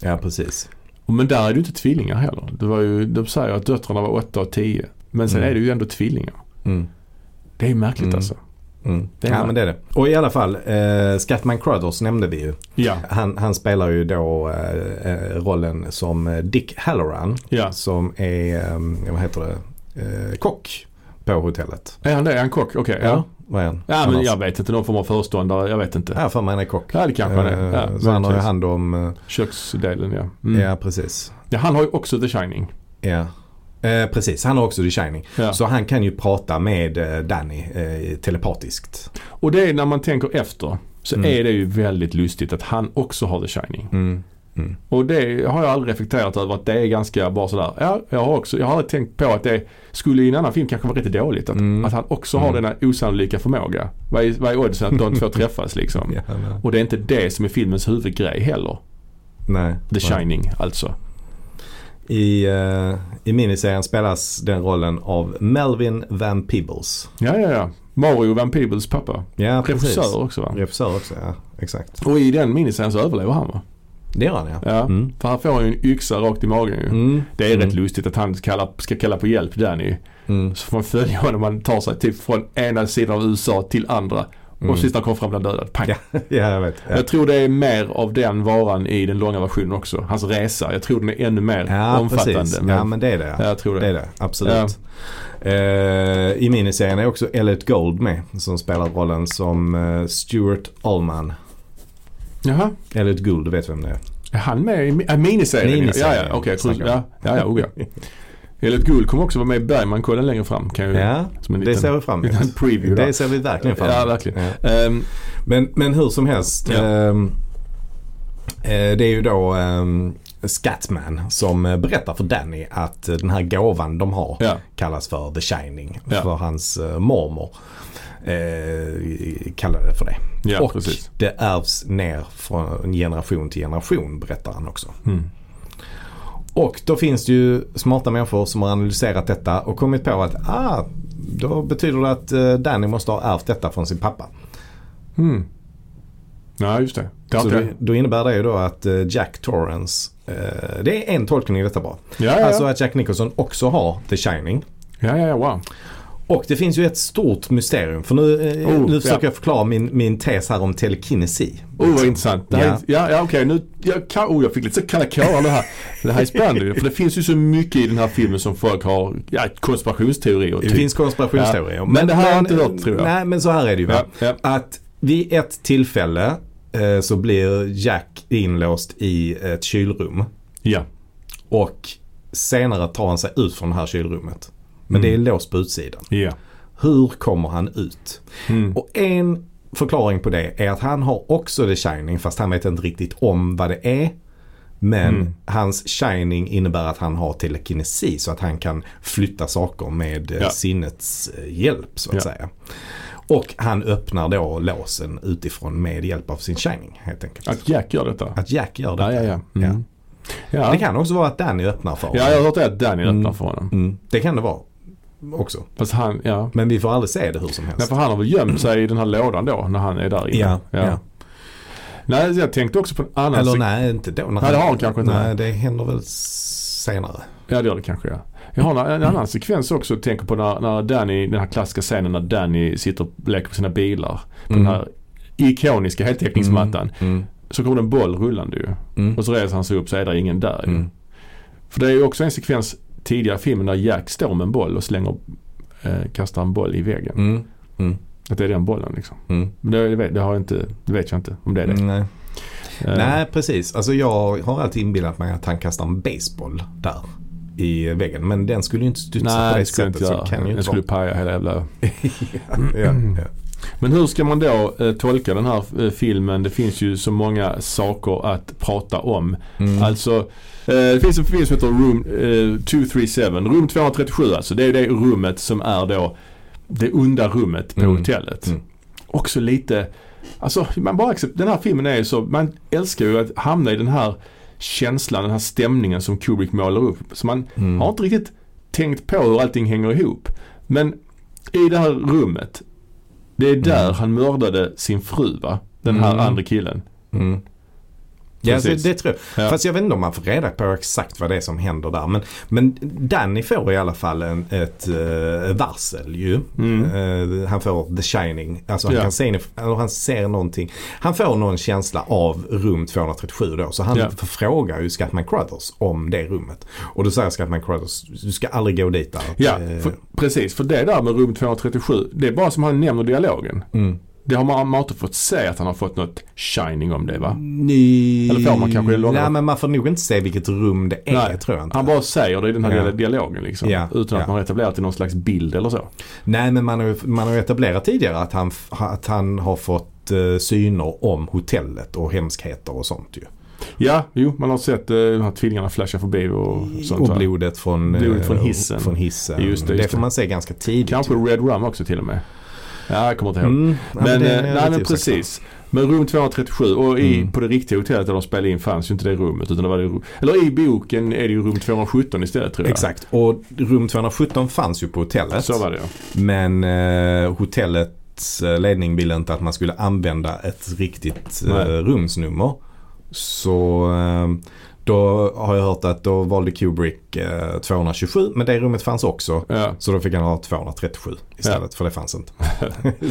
S2: ja, precis.
S1: Men där är det ju inte tvillingar heller. Det var ju, de säger att döttrarna var 8 och 10. Men sen
S2: Mm.
S1: är det ju ändå tvillingar.
S2: Mm.
S1: Det är ju märkligt
S2: Mm.
S1: alltså.
S2: Mm.
S1: Det är
S2: ja
S1: det.
S2: men det är det. Och i alla fall, eh, Scatman Crothers nämnde vi ju.
S1: Ja,
S2: Han, han spelar ju då eh, eh, rollen som eh, Dick Halloran.
S1: ja.
S2: Som är, eh, vad heter det, eh, kock på hotellet.
S1: Är han det? Är han kock? Okej, ja.
S2: Vad är han?
S1: Ja, men
S2: Annars-
S1: jag vet inte. Någon form av föreståndare. Jag vet inte.
S2: Ja, för mig han är kock.
S1: Ja, det kanske han är.
S2: Eh,
S1: Ja,
S2: så han har ju
S1: möjligtvis.
S2: hand om, eh,
S1: Köksdelen, ja. Mm.
S2: ja precis.
S1: ja. Han har ju också The Shining.
S2: Ja. Eh, precis, han har också The Shining.
S1: Ja.
S2: Så han kan ju prata med eh, Danny eh, telepatiskt.
S1: Och det är när man tänker efter så
S2: Mm.
S1: är det ju väldigt lustigt att han också har The Shining.
S2: Mm.
S1: Och det har jag aldrig reflekterat över att det är ganska bara sådär. Ja, jag har också, jag har aldrig tänkt på att det skulle i en annan film kanske vara rätt dåligt. Att,
S2: Mm.
S1: att han också har
S2: Mm.
S1: denna osannolika förmåga. Vad är, vad är oddsen att de två träffas liksom?
S2: Ja, men-
S1: Och det är inte det som är filmens huvudgrej heller.
S2: nej.
S1: The
S2: nej.
S1: Shining alltså.
S2: I, eh, I miniserien spelas den rollen av Melvin Van Peebles.
S1: Ja, ja, ja. Mario Van Peebles pappa.
S2: Ja, precis.
S1: Regissör också va?
S2: Regissör också, ja. Exakt.
S1: Och i den miniserien så överlever han va?
S2: Det gör han ja.
S1: Ja.
S2: Mm.
S1: För han får ju en yxa rakt i magen ju.
S2: Mm.
S1: Det är
S2: Mm.
S1: rätt lustigt att han kalla, ska kalla på hjälp där nu.
S2: Mm.
S1: Så får man följa honom. Han tar sig typ från ena sidan av USA till andra. Och sist när han kommer fram blir han dödad. Pang.
S2: Mm. Ja, jag vet. Ja.
S1: Jag tror det är mer av den varan i den långa versionen också. Hans resa. Jag tror den är ännu mer
S2: Ja,
S1: omfattande.
S2: precis.
S1: Men,
S2: Ja, men det är det.
S1: ja,
S2: Ja.
S1: jag tror det.
S2: Det är det, absolut. Eh, I miniserien är också Elliot Gold med som spelar rollen som eh, Stuart Allman.
S1: Jaha,
S2: Elliot Gold, du vet vem det är?
S1: är han med i mi- äh, miniserien?
S2: Miniserien.
S1: Ja, ja, okej. jag tror-
S2: Snackar
S1: ja, ja, ja, oh, ja. Elliot Gould kommer också vara med i Bergman-kollen längre fram. Kan jag,
S2: Ja,
S1: som en
S2: det
S1: Mm. liten-
S2: ser vi fram
S1: liten
S2: emot.
S1: preview där.
S2: Det ser vi verkligen fram
S1: Ja,
S2: emot.
S1: verkligen.
S2: Ja.
S1: Ehm,
S2: Men, men hur som helst.
S1: Ja.
S2: ehm, eh, det är ju då ehm, Scatman som eh, berättar för Danny att eh, den här gåvan de har
S1: ja.
S2: kallas för The Shining.
S1: Ja.
S2: För hans eh, mormor eh, kallade det för det.
S1: Ja,
S2: Och
S1: precis.
S2: det ärvs ner från generation till generation berättar han också.
S1: Mm.
S2: Och då finns det ju smarta människor som har analyserat detta och kommit på att ah, då betyder det att eh, Danny måste ha ärvt detta från sin pappa.
S1: Mm. Ja, just det. det har
S2: Så
S1: inte-
S2: det, då innebär det ju då att eh, Jack Torrance, eh, det är en tolkning i detta bara.
S1: ja, ja,
S2: Alltså
S1: ja.
S2: att Jack Nicholson också har The Shining.
S1: ja, ja, ja, wow.
S2: Och det finns ju ett stort mysterium. För nu, eh,
S1: Oh,
S2: nu försöker
S1: ja.
S2: jag förklara min, min tes här om telekinesi.
S1: Oh vad intressant. Det här är, ja, ja okej nu, jag, kan, oh, jag fick lite så kalla kårar det här. Det här är spännande ju, För det finns ju så mycket i den här filmen som folk har, ja konspirationsteorier
S2: Det finns konspirationsteorier.
S1: typ- Ja, men det här har jag inte hört, tror jag.
S2: Nej, men så här är det ju. Va?
S1: ja, ja,
S2: Att vid ett tillfälle eh, så blir Jack inlåst i ett kylrum.
S1: ja.
S2: Och senare tar han sig ut från det här kylrummet. Men
S1: Mm.
S2: det är låst på utsidan.
S1: ja.
S2: Hur kommer han ut?
S1: Mm.
S2: Och en förklaring på det är att han har också The Shining fast han vet inte riktigt om vad det är. Men
S1: Mm.
S2: hans Shining innebär att han har telekinesi så att han kan flytta saker med eh,
S1: Ja.
S2: sinnets eh, hjälp så att
S1: Ja.
S2: säga. Och han öppnar då låsen utifrån med hjälp av sin Shining helt enkelt.
S1: Att Jack gör detta.
S2: Att Jack gör det.
S1: Ja, ja, ja. Mm. Ja.
S2: Det kan också vara att Danny öppnar för honom.
S1: Ja, jag har hört det att Danny öppnar
S2: Mm.
S1: för honom.
S2: Mm, det kan det vara också.
S1: Fast han, ja.
S2: Men vi får aldrig se det hur som
S1: Nej,
S2: helst.
S1: för han har väl gömt sig i den här lådan då när han är där inne.
S2: Ja, ja.
S1: Nej, jag tänkte också på en annan
S2: Eller
S1: sek-
S2: nej, inte då.
S1: Nej, Alltså, det har han kanske inte.
S2: Nej, det händer väl senare.
S1: Ja, det gör det kanske ja. Jag har en, en annan sekvens också. Jag tänker på när, när Danny, den här klassiska scenen när Danny sitter och leker på sina bilar. På den här ikoniska heltäckningsmattan.
S2: Mm.
S1: Så kommer det en boll rullande ju.
S2: Mm.
S1: Och så reser han sig upp så är det ingen där ju.
S2: Mm.
S1: För det är ju också en sekvens tidigare i filmen där Jack står med en boll och slänger, eh, kastar en boll i väggen.
S2: Mm. Mm.
S1: Att det är den bollen liksom.
S2: Mm.
S1: Men det, det, vet, det, har jag inte, det vet jag inte om det är det.
S2: Nej.
S1: Eh,
S2: Mm. nej, precis. Alltså jag har alltid inbillat mig att han kastar en baseball där i väggen. Men den skulle ju inte studsa
S1: Nej,
S2: på det
S1: det skulle jag
S2: sättet.
S1: inte
S2: så
S1: göra.
S2: det kan ju
S1: Den
S2: inte
S1: skulle
S2: vara.
S1: paja hela jävla
S2: Ja, ja.
S1: Men hur ska man då eh, tolka den här eh, filmen? Det finns ju så många saker att prata om.
S2: Mm.
S1: Alltså, eh, det finns en film som heter Room eh, 237. Rum 237 alltså. Det är det rummet som är då det onda rummet på
S2: Mm.
S1: hotellet.
S2: Mm.
S1: Också lite, alltså man bara accept, den här filmen är ju så, man älskar ju att hamna i den här känslan, den här stämningen som Kubrick målar upp. Så man
S2: Mm.
S1: har inte riktigt tänkt på hur allting hänger ihop. Men i det här rummet, det är där
S2: Mm.
S1: han mördade sin fru va? Den här
S2: Mm.
S1: andra killen.
S2: Mm. Ja, det,
S1: Precis.
S2: det tror jag.
S1: Ja.
S2: Fast jag vet inte om man får reda på exakt vad det är som händer där. Men, men Danny får i alla fall en, ett eh, varsel ju. Eh, han får The Shining. Alltså han,
S1: Mm. Ja.
S2: kan se, eller han ser någonting. Han får någon känsla av rum 237 då. Så han
S1: Ja.
S2: frågar ju Scatman Crothers om det rummet. Och då säger Scatman Crothers, du ska aldrig gå dit där.
S1: Ja,
S2: Eh,
S1: för, precis. För det där med rum 237, det är bara som han nämner dialogen.
S2: Mm.
S1: Det har man, man har inte fått se att han har fått något shining om det va?
S2: Ny...
S1: Eller får man kanske det långa-
S2: Nej men man får nog inte se vilket rum det är
S1: Nej,
S2: tror jag inte.
S1: Han bara säger det i den här
S2: Ja.
S1: dialogen liksom.
S2: Ja,
S1: Utan att
S2: ja.
S1: man har etablerat det i någon slags bild eller så.
S2: Nej men man har, ju- man har ju etablerat tidigare att han, f- att han har fått eh, syner om hotellet och hemskheter och sånt ju.
S1: Ja, jo, man har sett eh, de här tvillingarna flasha förbi och sånt
S2: och
S1: va?
S2: blodet från, eh,
S1: Blodet från hissen.
S2: Från hissen.
S1: Just det,
S2: det,
S1: just
S2: får
S1: det.
S2: man se ganska tidigt.
S1: Kanske
S2: ju.
S1: Red Rum också till och med. Ja, jag kommer inte ihåg.
S2: Mm, ja,
S1: Men,
S2: det är
S1: eh, nej
S2: jag
S1: men
S2: lite osäker på.
S1: precis. Men rum 237 och i,
S2: Mm.
S1: på det riktiga hotellet där de spelade in fanns ju inte det rummet. Utan det var det, ru- eller i boken är det ju rum 217 istället tror jag.
S2: Exakt. Och rum 217 fanns ju på hotellet.
S1: Så var det ja.
S2: Men eh, hotellets eh, ledning ville inte att man skulle använda ett riktigt eh,
S1: Nej.
S2: rumsnummer. Så eh, då har jag hört att då valde Kubrick eh, 227 men det rummet fanns också.
S1: ja.
S2: Så då fick han ha 237 istället för det fanns inte.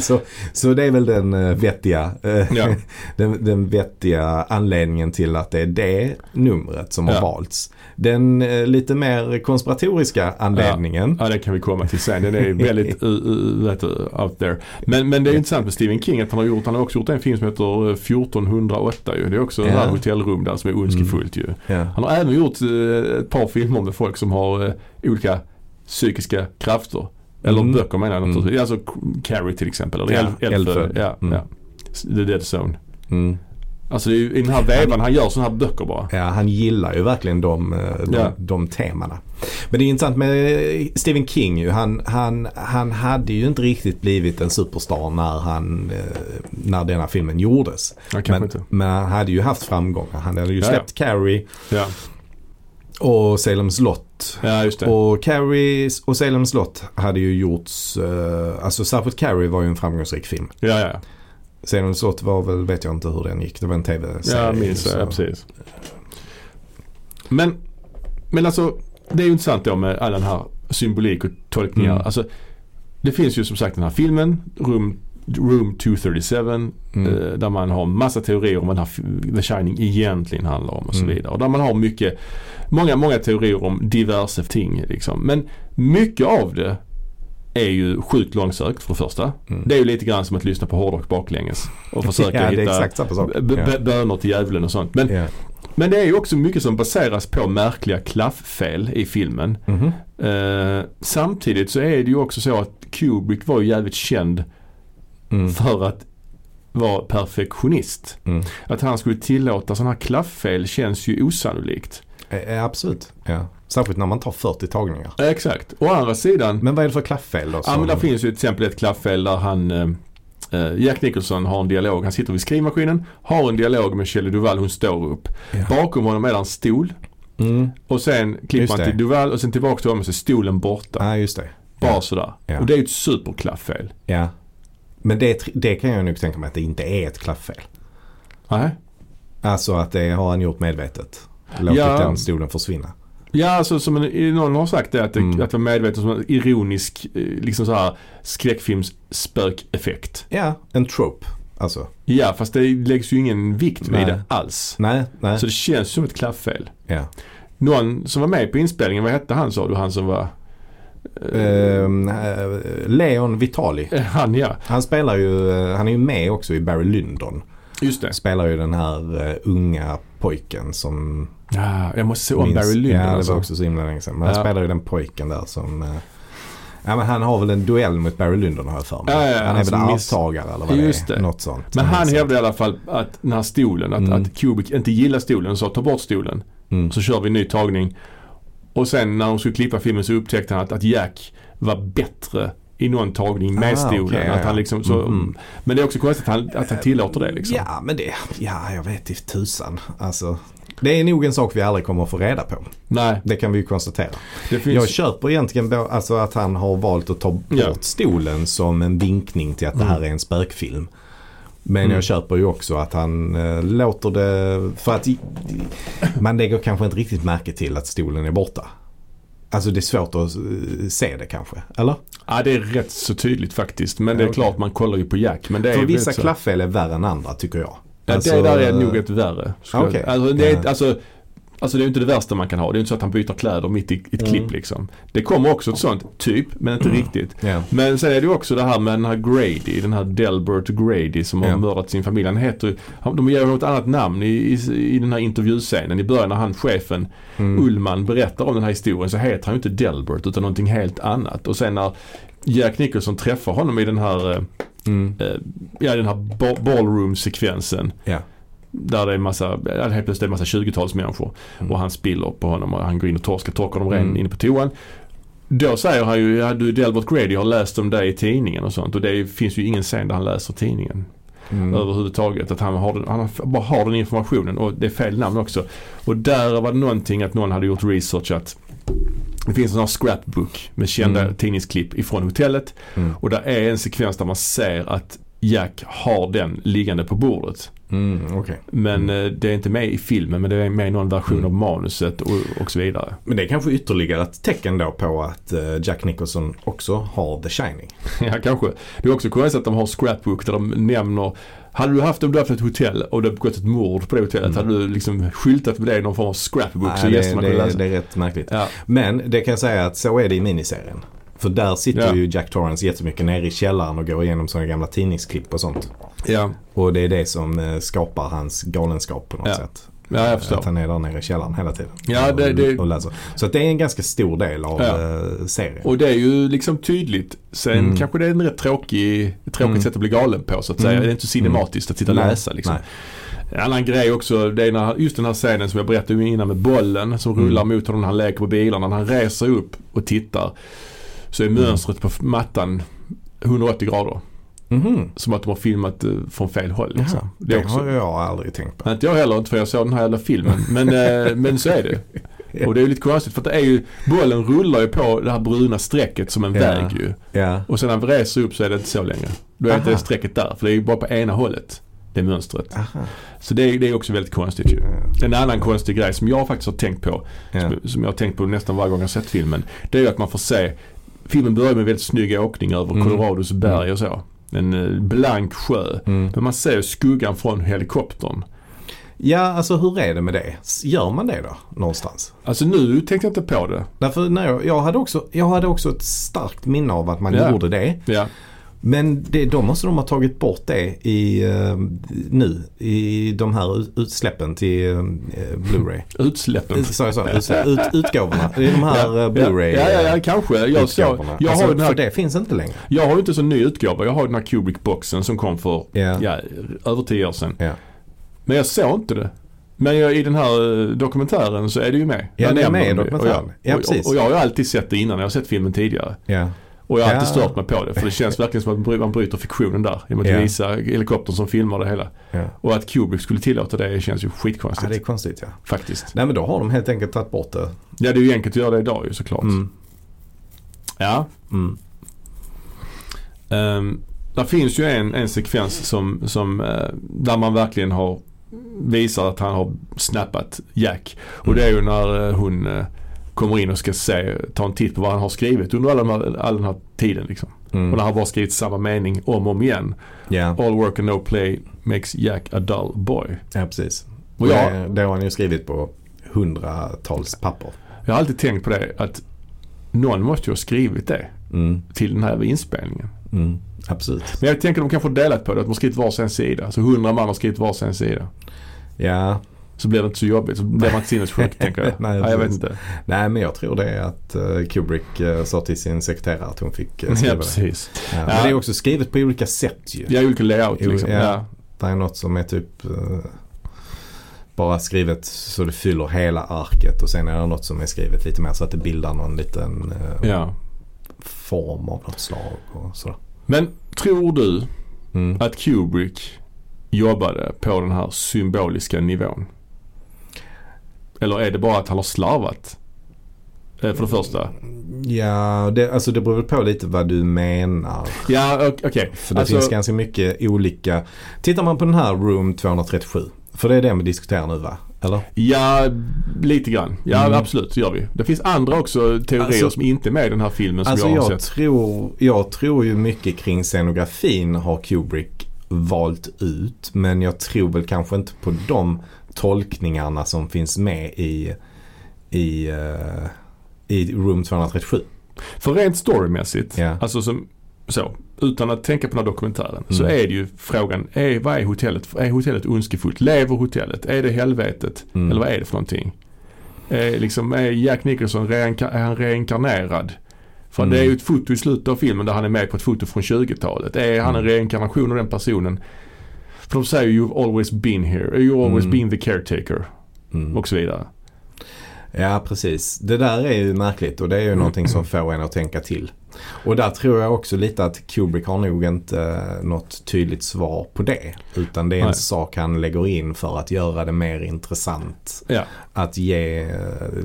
S2: så, så det är väl den eh, vettiga, eh,
S1: Ja.
S2: den, den vettiga anledningen till att det är det numret som
S1: Ja.
S2: har valts. Den eh, lite mer konspiratoriska anledningen
S1: Ja, det kan vi komma till sen. Den är väldigt uh, uh, vet du, out there. Men, men det är ju intressant med Stephen King att han har, gjort, han har också gjort en film som heter eh, 1408 ju. Det är också
S2: Ja. Mm.
S1: ett här hotellrum där som är ondskefullt ju.
S2: Ja.
S1: Han har även gjort eh, ett par filmer med folk som har eh, olika psykiska krafter. Eller
S2: Mm.
S1: böcker menar jag naturligtvis. Alltså K- Carrie till exempel. Eller
S2: Ja,
S1: Elf- Elfödd.
S2: Elfödd.
S1: Ja,
S2: Mm.
S1: ja. S- The Dead Zone.
S2: Mm.
S1: Alltså det är ju i den här vevan han gör sådana här böcker bara.
S2: Ja, han gillar ju verkligen de, eh, de,
S1: Ja.
S2: de temana. Men det är intressant med eh, Stephen King ju. Han, han, han hade ju inte riktigt blivit en superstar när, han, eh, när denna filmen gjordes.
S1: Ja, kanske
S2: Men,
S1: inte.
S2: men han hade ju haft framgångar. Han hade ju
S1: Ja, ja.
S2: släppt Carrie
S1: Ja,
S2: och Salem slott.
S1: ja just det.
S2: Och Carrie och Salem slott hade ju gjorts, eh, alltså särskilt Carrie var ju en framgångsrik film.
S1: Ja, ja, ja.
S2: Salem slott var väl, vet jag inte hur den gick, det var en tv-serie.
S1: Ja, jag minns
S2: så-
S1: det. Ja, precis. Men, men alltså, det är ju intressant då med all den här symbolik och tolkningar.
S2: Mm.
S1: Alltså, det finns ju som sagt den här filmen, Room, Room 237,
S2: Mm.
S1: eh, där man har massa teorier om vad den här fi- The Shining egentligen handlar om och så
S2: Mm.
S1: vidare. Och där man har mycket, många, många teorier om diverse ting liksom. Men mycket av det är ju sjukt långsökt för det första.
S2: Mm.
S1: Det är ju lite grann som att lyssna på hårdrock baklänges och försöka
S2: ja, det
S1: hitta
S2: är exakt samma sak.
S1: B- b-
S2: Ja.
S1: Böner till djävulen och sånt. Men,
S2: Ja.
S1: men det är ju också mycket som baseras på märkliga klafffel i filmen.
S2: Mhm.
S1: Eh, samtidigt så är det ju också så att Kubrick var ju jävligt känd
S2: Mm.
S1: för att vara perfektionist.
S2: Mm.
S1: Att han skulle tillåta sådana här klafffel känns ju osannolikt.
S2: Eh, eh, Absolut. Ja. Särskilt när man tar 40 tagningar.
S1: Eh, Exakt. Å andra sidan,
S2: Men vad är det för klafffel då?
S1: ja, men
S2: som-
S1: där finns ju till exempel ett klafffel där han eh, eh, Jack Nicholson har en dialog. Han sitter vid skrivmaskinen, har en dialog med Shelley Duvall. Hon står upp. Bakom honom är det en stol.
S2: Mm.
S1: Och sen klipper
S2: Just
S1: man
S2: det.
S1: till Duvall och sen tillbaka till honom så är stolen borta.
S2: Ja, just det.
S1: Bara
S2: Ja.
S1: sådär.
S2: Ja.
S1: Och det är ju ett superklafffel.
S2: Ja. Men det, tr- det kan jag nog tänka mig att det inte är ett klafffel.
S1: Nej.
S2: Alltså att det har han gjort medvetet. Låtit
S1: Ja.
S2: den stolen försvinna.
S1: Ja, alltså som en, någon har sagt det, att det,
S2: Mm.
S1: att det var medveten som en ironisk eh, liksom så här, skräckfilms-spökeffekt.
S2: Ja, en trope. Alltså,
S1: Ja, fast det läggs ju ingen vikt
S2: Nej.
S1: vid det alls.
S2: nej, nej.
S1: Så det känns som ett klafffel.
S2: Ja.
S1: Någon som var med på inspelningen, vad hette han sa du? Han som var...
S2: Ehm, eh, Leon Vitali.
S1: Eh, Han ja,
S2: Han spelar ju, eh, han är ju med också i Barry Lyndon.
S1: just det.
S2: Spelar ju den här eh, unga pojken som
S1: Ja, jag måste se om Barry
S2: Ja,
S1: Lyndon
S2: det var
S1: alltså.
S2: också så himla länge sedan. Men
S1: Ja.
S2: han spelar ju den pojken där som... eh, Ja, men han har väl en duell mot Barry Lyndon har jag för mig.
S1: Ja, ja, ja,
S2: han är
S1: han
S2: väl
S1: som miss-
S2: arvtagare eller vad
S1: Just
S2: det är.
S1: det.
S2: Något sånt.
S1: Men han
S2: är...
S1: hävdade i alla fall att den här stolen, att,
S2: Mm.
S1: att Kubrick inte gillar stolen och sa ta bort stolen.
S2: Mm.
S1: Så kör vi en ny tagning. Och sen när de skulle klippa filmen så upptäckte han att, att Jack var bättre i någon tagning med
S2: Ah,
S1: stolen.
S2: okej, ja,
S1: att han
S2: ja.
S1: liksom, så,
S2: Mm.
S1: Men det är också konstigt att han, att han tillåter det liksom.
S2: Ja, men det... Ja, jag vet inte tusan. Alltså, det är nog en sak vi aldrig kommer att få reda på.
S1: Nej,
S2: Det kan vi ju konstatera.
S1: det finns...
S2: Jag köper egentligen bo- alltså att han har valt att ta bort
S1: Ja. Mm.
S2: stolen som en vinkning till att det här är en spökfilm. Men jag köper ju också att han eh, låter det... För att i- man lägger kanske inte riktigt märke till att stolen är borta. Alltså det är svårt att eh, se det kanske, eller?
S1: ja, det är rätt så tydligt faktiskt. Men det är
S2: Ja, okej.
S1: klart man kollar ju på Jack. Men det är
S2: För vissa
S1: väl så-
S2: klafffel är värre än andra tycker jag.
S1: Ja, det
S2: Alltså,
S1: där är nog ett värre. skulle jag-
S2: okej.
S1: Alltså, det är,
S2: Ja.
S1: alltså, alltså det är ju inte det värsta man kan ha. Det är ju inte så att han byter kläder mitt i i ett
S2: Mm.
S1: klipp liksom. Det kommer också ett sånt, typ, men inte riktigt.
S2: eh, Ja.
S1: Men sen är det ju också det här med den här Grady, den här Delbert Grady som har
S2: Ja.
S1: mördat sin familj. Han heter ju- han- de ger honom ett annat namn i, i, i den här intervjuscenen. I början när han, chefen
S2: Mm,
S1: Ullman berättar om den här historien så heter han ju inte Delbert utan någonting helt annat. Och sen när Jack Nicholson träffar honom i den här, eh,
S2: Mm.
S1: eh, ja, den här ba- ballroom-sekvensen.
S2: Ja.
S1: Där det är massa, ja, helt plötsligt är det massa 20-talsmänniskor.
S2: Mm.
S1: Och han spiller på honom och han går in och torskar, torkar dem ren
S2: Mm.
S1: inne på toan. Då säger han ju, ja du Delbert Grady, jag har läst om dig i tidningen och sånt. Och det är- finns ju ingen scen där han läser tidningen.
S2: Mm.
S1: Överhuvudtaget. Att han, har, den- han har- bara har den informationen och det är fel namn också. Och där var det någonting att någon hade gjort research att det finns en sån här scrapbook med kända
S2: Mm.
S1: tidningsklipp ifrån hotellet.
S2: Mm.
S1: Och där är en sekvens där man ser att Jack har den liggande på bordet.
S2: Mm, Okej.
S1: Men eh, det är inte med i filmen men det är med i någon version
S2: Mm.
S1: av manuset och, och så vidare.
S2: Men det är kanske ytterligare ett tecken då på att eh, Jack Nicholson också har The Shining.
S1: ja, kanske. Det är också konstigt att de har scrapbook där de nämner hade du haft om du haft ett hotell och det begått ett mord på det hotellet,
S2: Mm.
S1: hade du liksom skyltat med det i någon form av scrapbook så
S2: Nej,
S1: gästerna
S2: det,
S1: kunde
S2: det,
S1: läsa?
S2: det är rätt märkligt.
S1: Ja.
S2: Men det kan jag säga att så är det i miniserien. För där sitter
S1: Ja.
S2: ju Jack Torrance jättemycket nere i källaren och går igenom sådana gamla tidningsklipp och sånt.
S1: Ja.
S2: Och det är det som eh, skapar hans galenskap på något
S1: Ja.
S2: sätt.
S1: ja, jag
S2: Att
S1: förstår.
S2: han är där nere i källaren hela tiden.
S1: Ja, det-
S2: och,
S1: det-
S2: och läser. Så att det är en ganska stor del av
S1: Ja.
S2: eh, serien.
S1: Och det är ju liksom tydligt. Sen
S2: Mm.
S1: kanske det är en rätt tråkig, ett tråkigt
S2: Mm.
S1: sätt att bli galen på så att säga.
S2: Mm.
S1: Det är inte så cinematiskt att sitta och
S2: Nej,
S1: läsa liksom.
S2: nej.
S1: En annan grej också, det är när, just den här scenen som jag berättade om innan med bollen
S2: Mm.
S1: som rullar mot honom när han leker på bilarna. När han reser upp och tittar så
S2: Mm.
S1: är mönstret på mattan 180 grader.
S2: Mhm.
S1: Som att de har filmat eh, från fel håll. Liksom.
S2: Jaha,
S1: Det
S2: det
S1: är också.
S2: har jag aldrig tänkt på.
S1: Nej, Inte jag heller, inte för jag såg den här jävla filmen. Men, eh, men så är det. Och det är ju lite konstigt för att det är ju, bollen rullar ju på det här bruna strecket som en
S2: Ja.
S1: väg ju.
S2: Ja.
S1: Och sen när vi reser upp så är det inte så längre. Då är inte
S2: Aha.
S1: det strecket där, för det är ju bara på ena hållet. Det mönstret.
S2: Aha.
S1: Så det är, det är också väldigt konstigt ju. En annan konstig grej som jag faktiskt har tänkt på,
S2: Ja.
S1: som, som jag har tänkt på nästan varje gång jag har sett filmen. Det är ju att man får se, filmen börjar med en väldigt snygg åkning över
S2: Mm.
S1: Colorados berg och så. En eh, blank sjö.
S2: Mm.
S1: Men man ser ju skuggan från helikoptern.
S2: Ja, alltså hur är det med det? S- Gör man det då någonstans?
S1: Alltså nu tänkte jag inte på det.
S2: Därför när jag, jag, hade också, jag hade också ett starkt minne av att man
S1: Ja.
S2: gjorde det.
S1: Ja,
S2: Men det, då måste de ha tagit bort det i, eh, nu i de här ut- utsläppen till eh, Blu-ray.
S1: utsläppen.
S2: Sa jag så? Utsläpp- Ut, utgåvorna. I de här eh, Blu-ray.
S1: Ja, ja, ja, kanske. Jag, så, jag,
S2: utgåvorna.
S1: har
S2: alltså,
S1: den här
S2: För det finns inte längre.
S1: Jag har ju inte så ny utgåva. Jag har ju den här Kubrick-boxen som kom för
S2: Ja.
S1: ja, över tio år sedan.
S2: Ja.
S1: Men jag såg inte det. Men jag, i den här eh, dokumentären så är det ju med.
S2: Ja,
S1: Där
S2: det är
S1: nämner
S2: med i
S1: de det.
S2: dokumentären.
S1: Och
S2: Ja,
S1: jag, och,
S2: precis.
S1: och jag har ju alltid sett det innan. Jag har sett filmen tidigare.
S2: Ja.
S1: Och jag har
S2: Ja.
S1: alltid stört mig på det. För det känns verkligen som att man bry- man bryter fiktionen där. I och med att
S2: Ja.
S1: visa helikoptern som filmar det hela.
S2: Ja.
S1: Och att Kubrick skulle tillåta det känns ju
S2: ja,
S1: skitkonstigt.
S2: det är konstigt ja.
S1: Faktiskt.
S2: Nej men då har de helt enkelt tagit bort det.
S1: Ja, det är ju enkelt att göra det idag ju såklart. Ja.
S2: Mm.
S1: Um, där finns ju en, en sekvens som, som, eh, där man verkligen har visar att han har snappat Jack. Och det är ju när eh, hon eh, kommer in och ska se, ta en titt på vad han har skrivit under all den här, all den här tiden. Liksom.
S2: Mm.
S1: Och när han bara skrivit samma mening om och om igen.
S2: Ja.
S1: All work and no play makes Jack a dull boy.
S2: ja, precis.
S1: Och jag-
S2: Det, det har han ju skrivit på hundratals papper.
S1: Jag har alltid tänkt på det att någon måste ju ha skrivit det
S2: Mm.
S1: till den här inspelningen.
S2: Mm. Absolut.
S1: Men jag tänker att de kanske har delat på det, att de har skrivit varsin sida. Så hundra man har skrivit varsin sida.
S2: Ja.
S1: Så blir det inte så jobbigt. Så blir man inte sinnessjuk tänker jag.
S2: Nej,
S1: Nej, jag vet
S2: precis.
S1: inte.
S2: Nej men jag tror det är att eh, Kubrick eh, sa till sin sekreterare att hon fick eh,
S1: Ja,
S2: skriva det.
S1: precis.
S2: Ja. Men det är också skrivet på olika sätt ju.
S1: Ja, olika layout
S2: Jo,
S1: liksom.
S2: ja.
S1: Ja.
S2: Det är något som är typ eh, bara skrivet så det fyller hela arket och sen är det något som är skrivet lite mer så att det bildar någon liten eh,
S1: Ja.
S2: form av något slag och sådär.
S1: Men tror du
S2: Mm.
S1: att Kubrick jobbade på den här symboliska nivån? Eller är det bara att han har slarvat? Eh, För det första.
S2: Ja, det, alltså det beror väl på lite vad du menar.
S1: Ja, ok- okej.
S2: För det
S1: Alltså-
S2: finns ganska mycket olika. Tittar man på den här Room 237. För det är den vi diskuterar nu va? Eller?
S1: Ja, lite grann. Ja,
S2: Mm.
S1: absolut. det gör vi. Det finns andra också teorier
S2: Alltså-
S1: som inte är med i den här filmen som
S2: Alltså
S1: jag har
S2: jag
S1: sett.
S2: tror, jag tror ju mycket kring scenografin har Kubrick valt ut. Men jag tror väl kanske inte på de tolkningarna som finns med i, i, eh, i Room 237.
S1: För rent storymässigt,
S2: Ja.
S1: alltså som så, utan att tänka på den här dokumentären, så
S2: Mm.
S1: är det ju frågan, är, vad är hotellet? Är hotellet ondskefullt? Lever hotellet? Är det helvetet?
S2: Mm.
S1: Eller vad är det för någonting? Är, liksom, är Jack Nicholson reinka- är han reinkarnerad? För
S2: Mm.
S1: det är ju ett foto i slutet av filmen där han är med på ett foto från 20-talet. Är han en
S2: Mm.
S1: reinkarnation av den personen? För de säger ju you've always been here, you've always
S2: Mm.
S1: been the caretaker
S2: Mm.
S1: och så vidare.
S2: Ja precis. Det där är ju märkligt och det är
S1: Mm.
S2: ju någonting som får en att tänka till. Och där tror jag också lite att Kubrick har nog inte eh, något tydligt svar på det. Utan det är en
S1: Nej.
S2: sak han lägger in för att göra det mer intressant.
S1: Ja,
S2: Att ge, eh,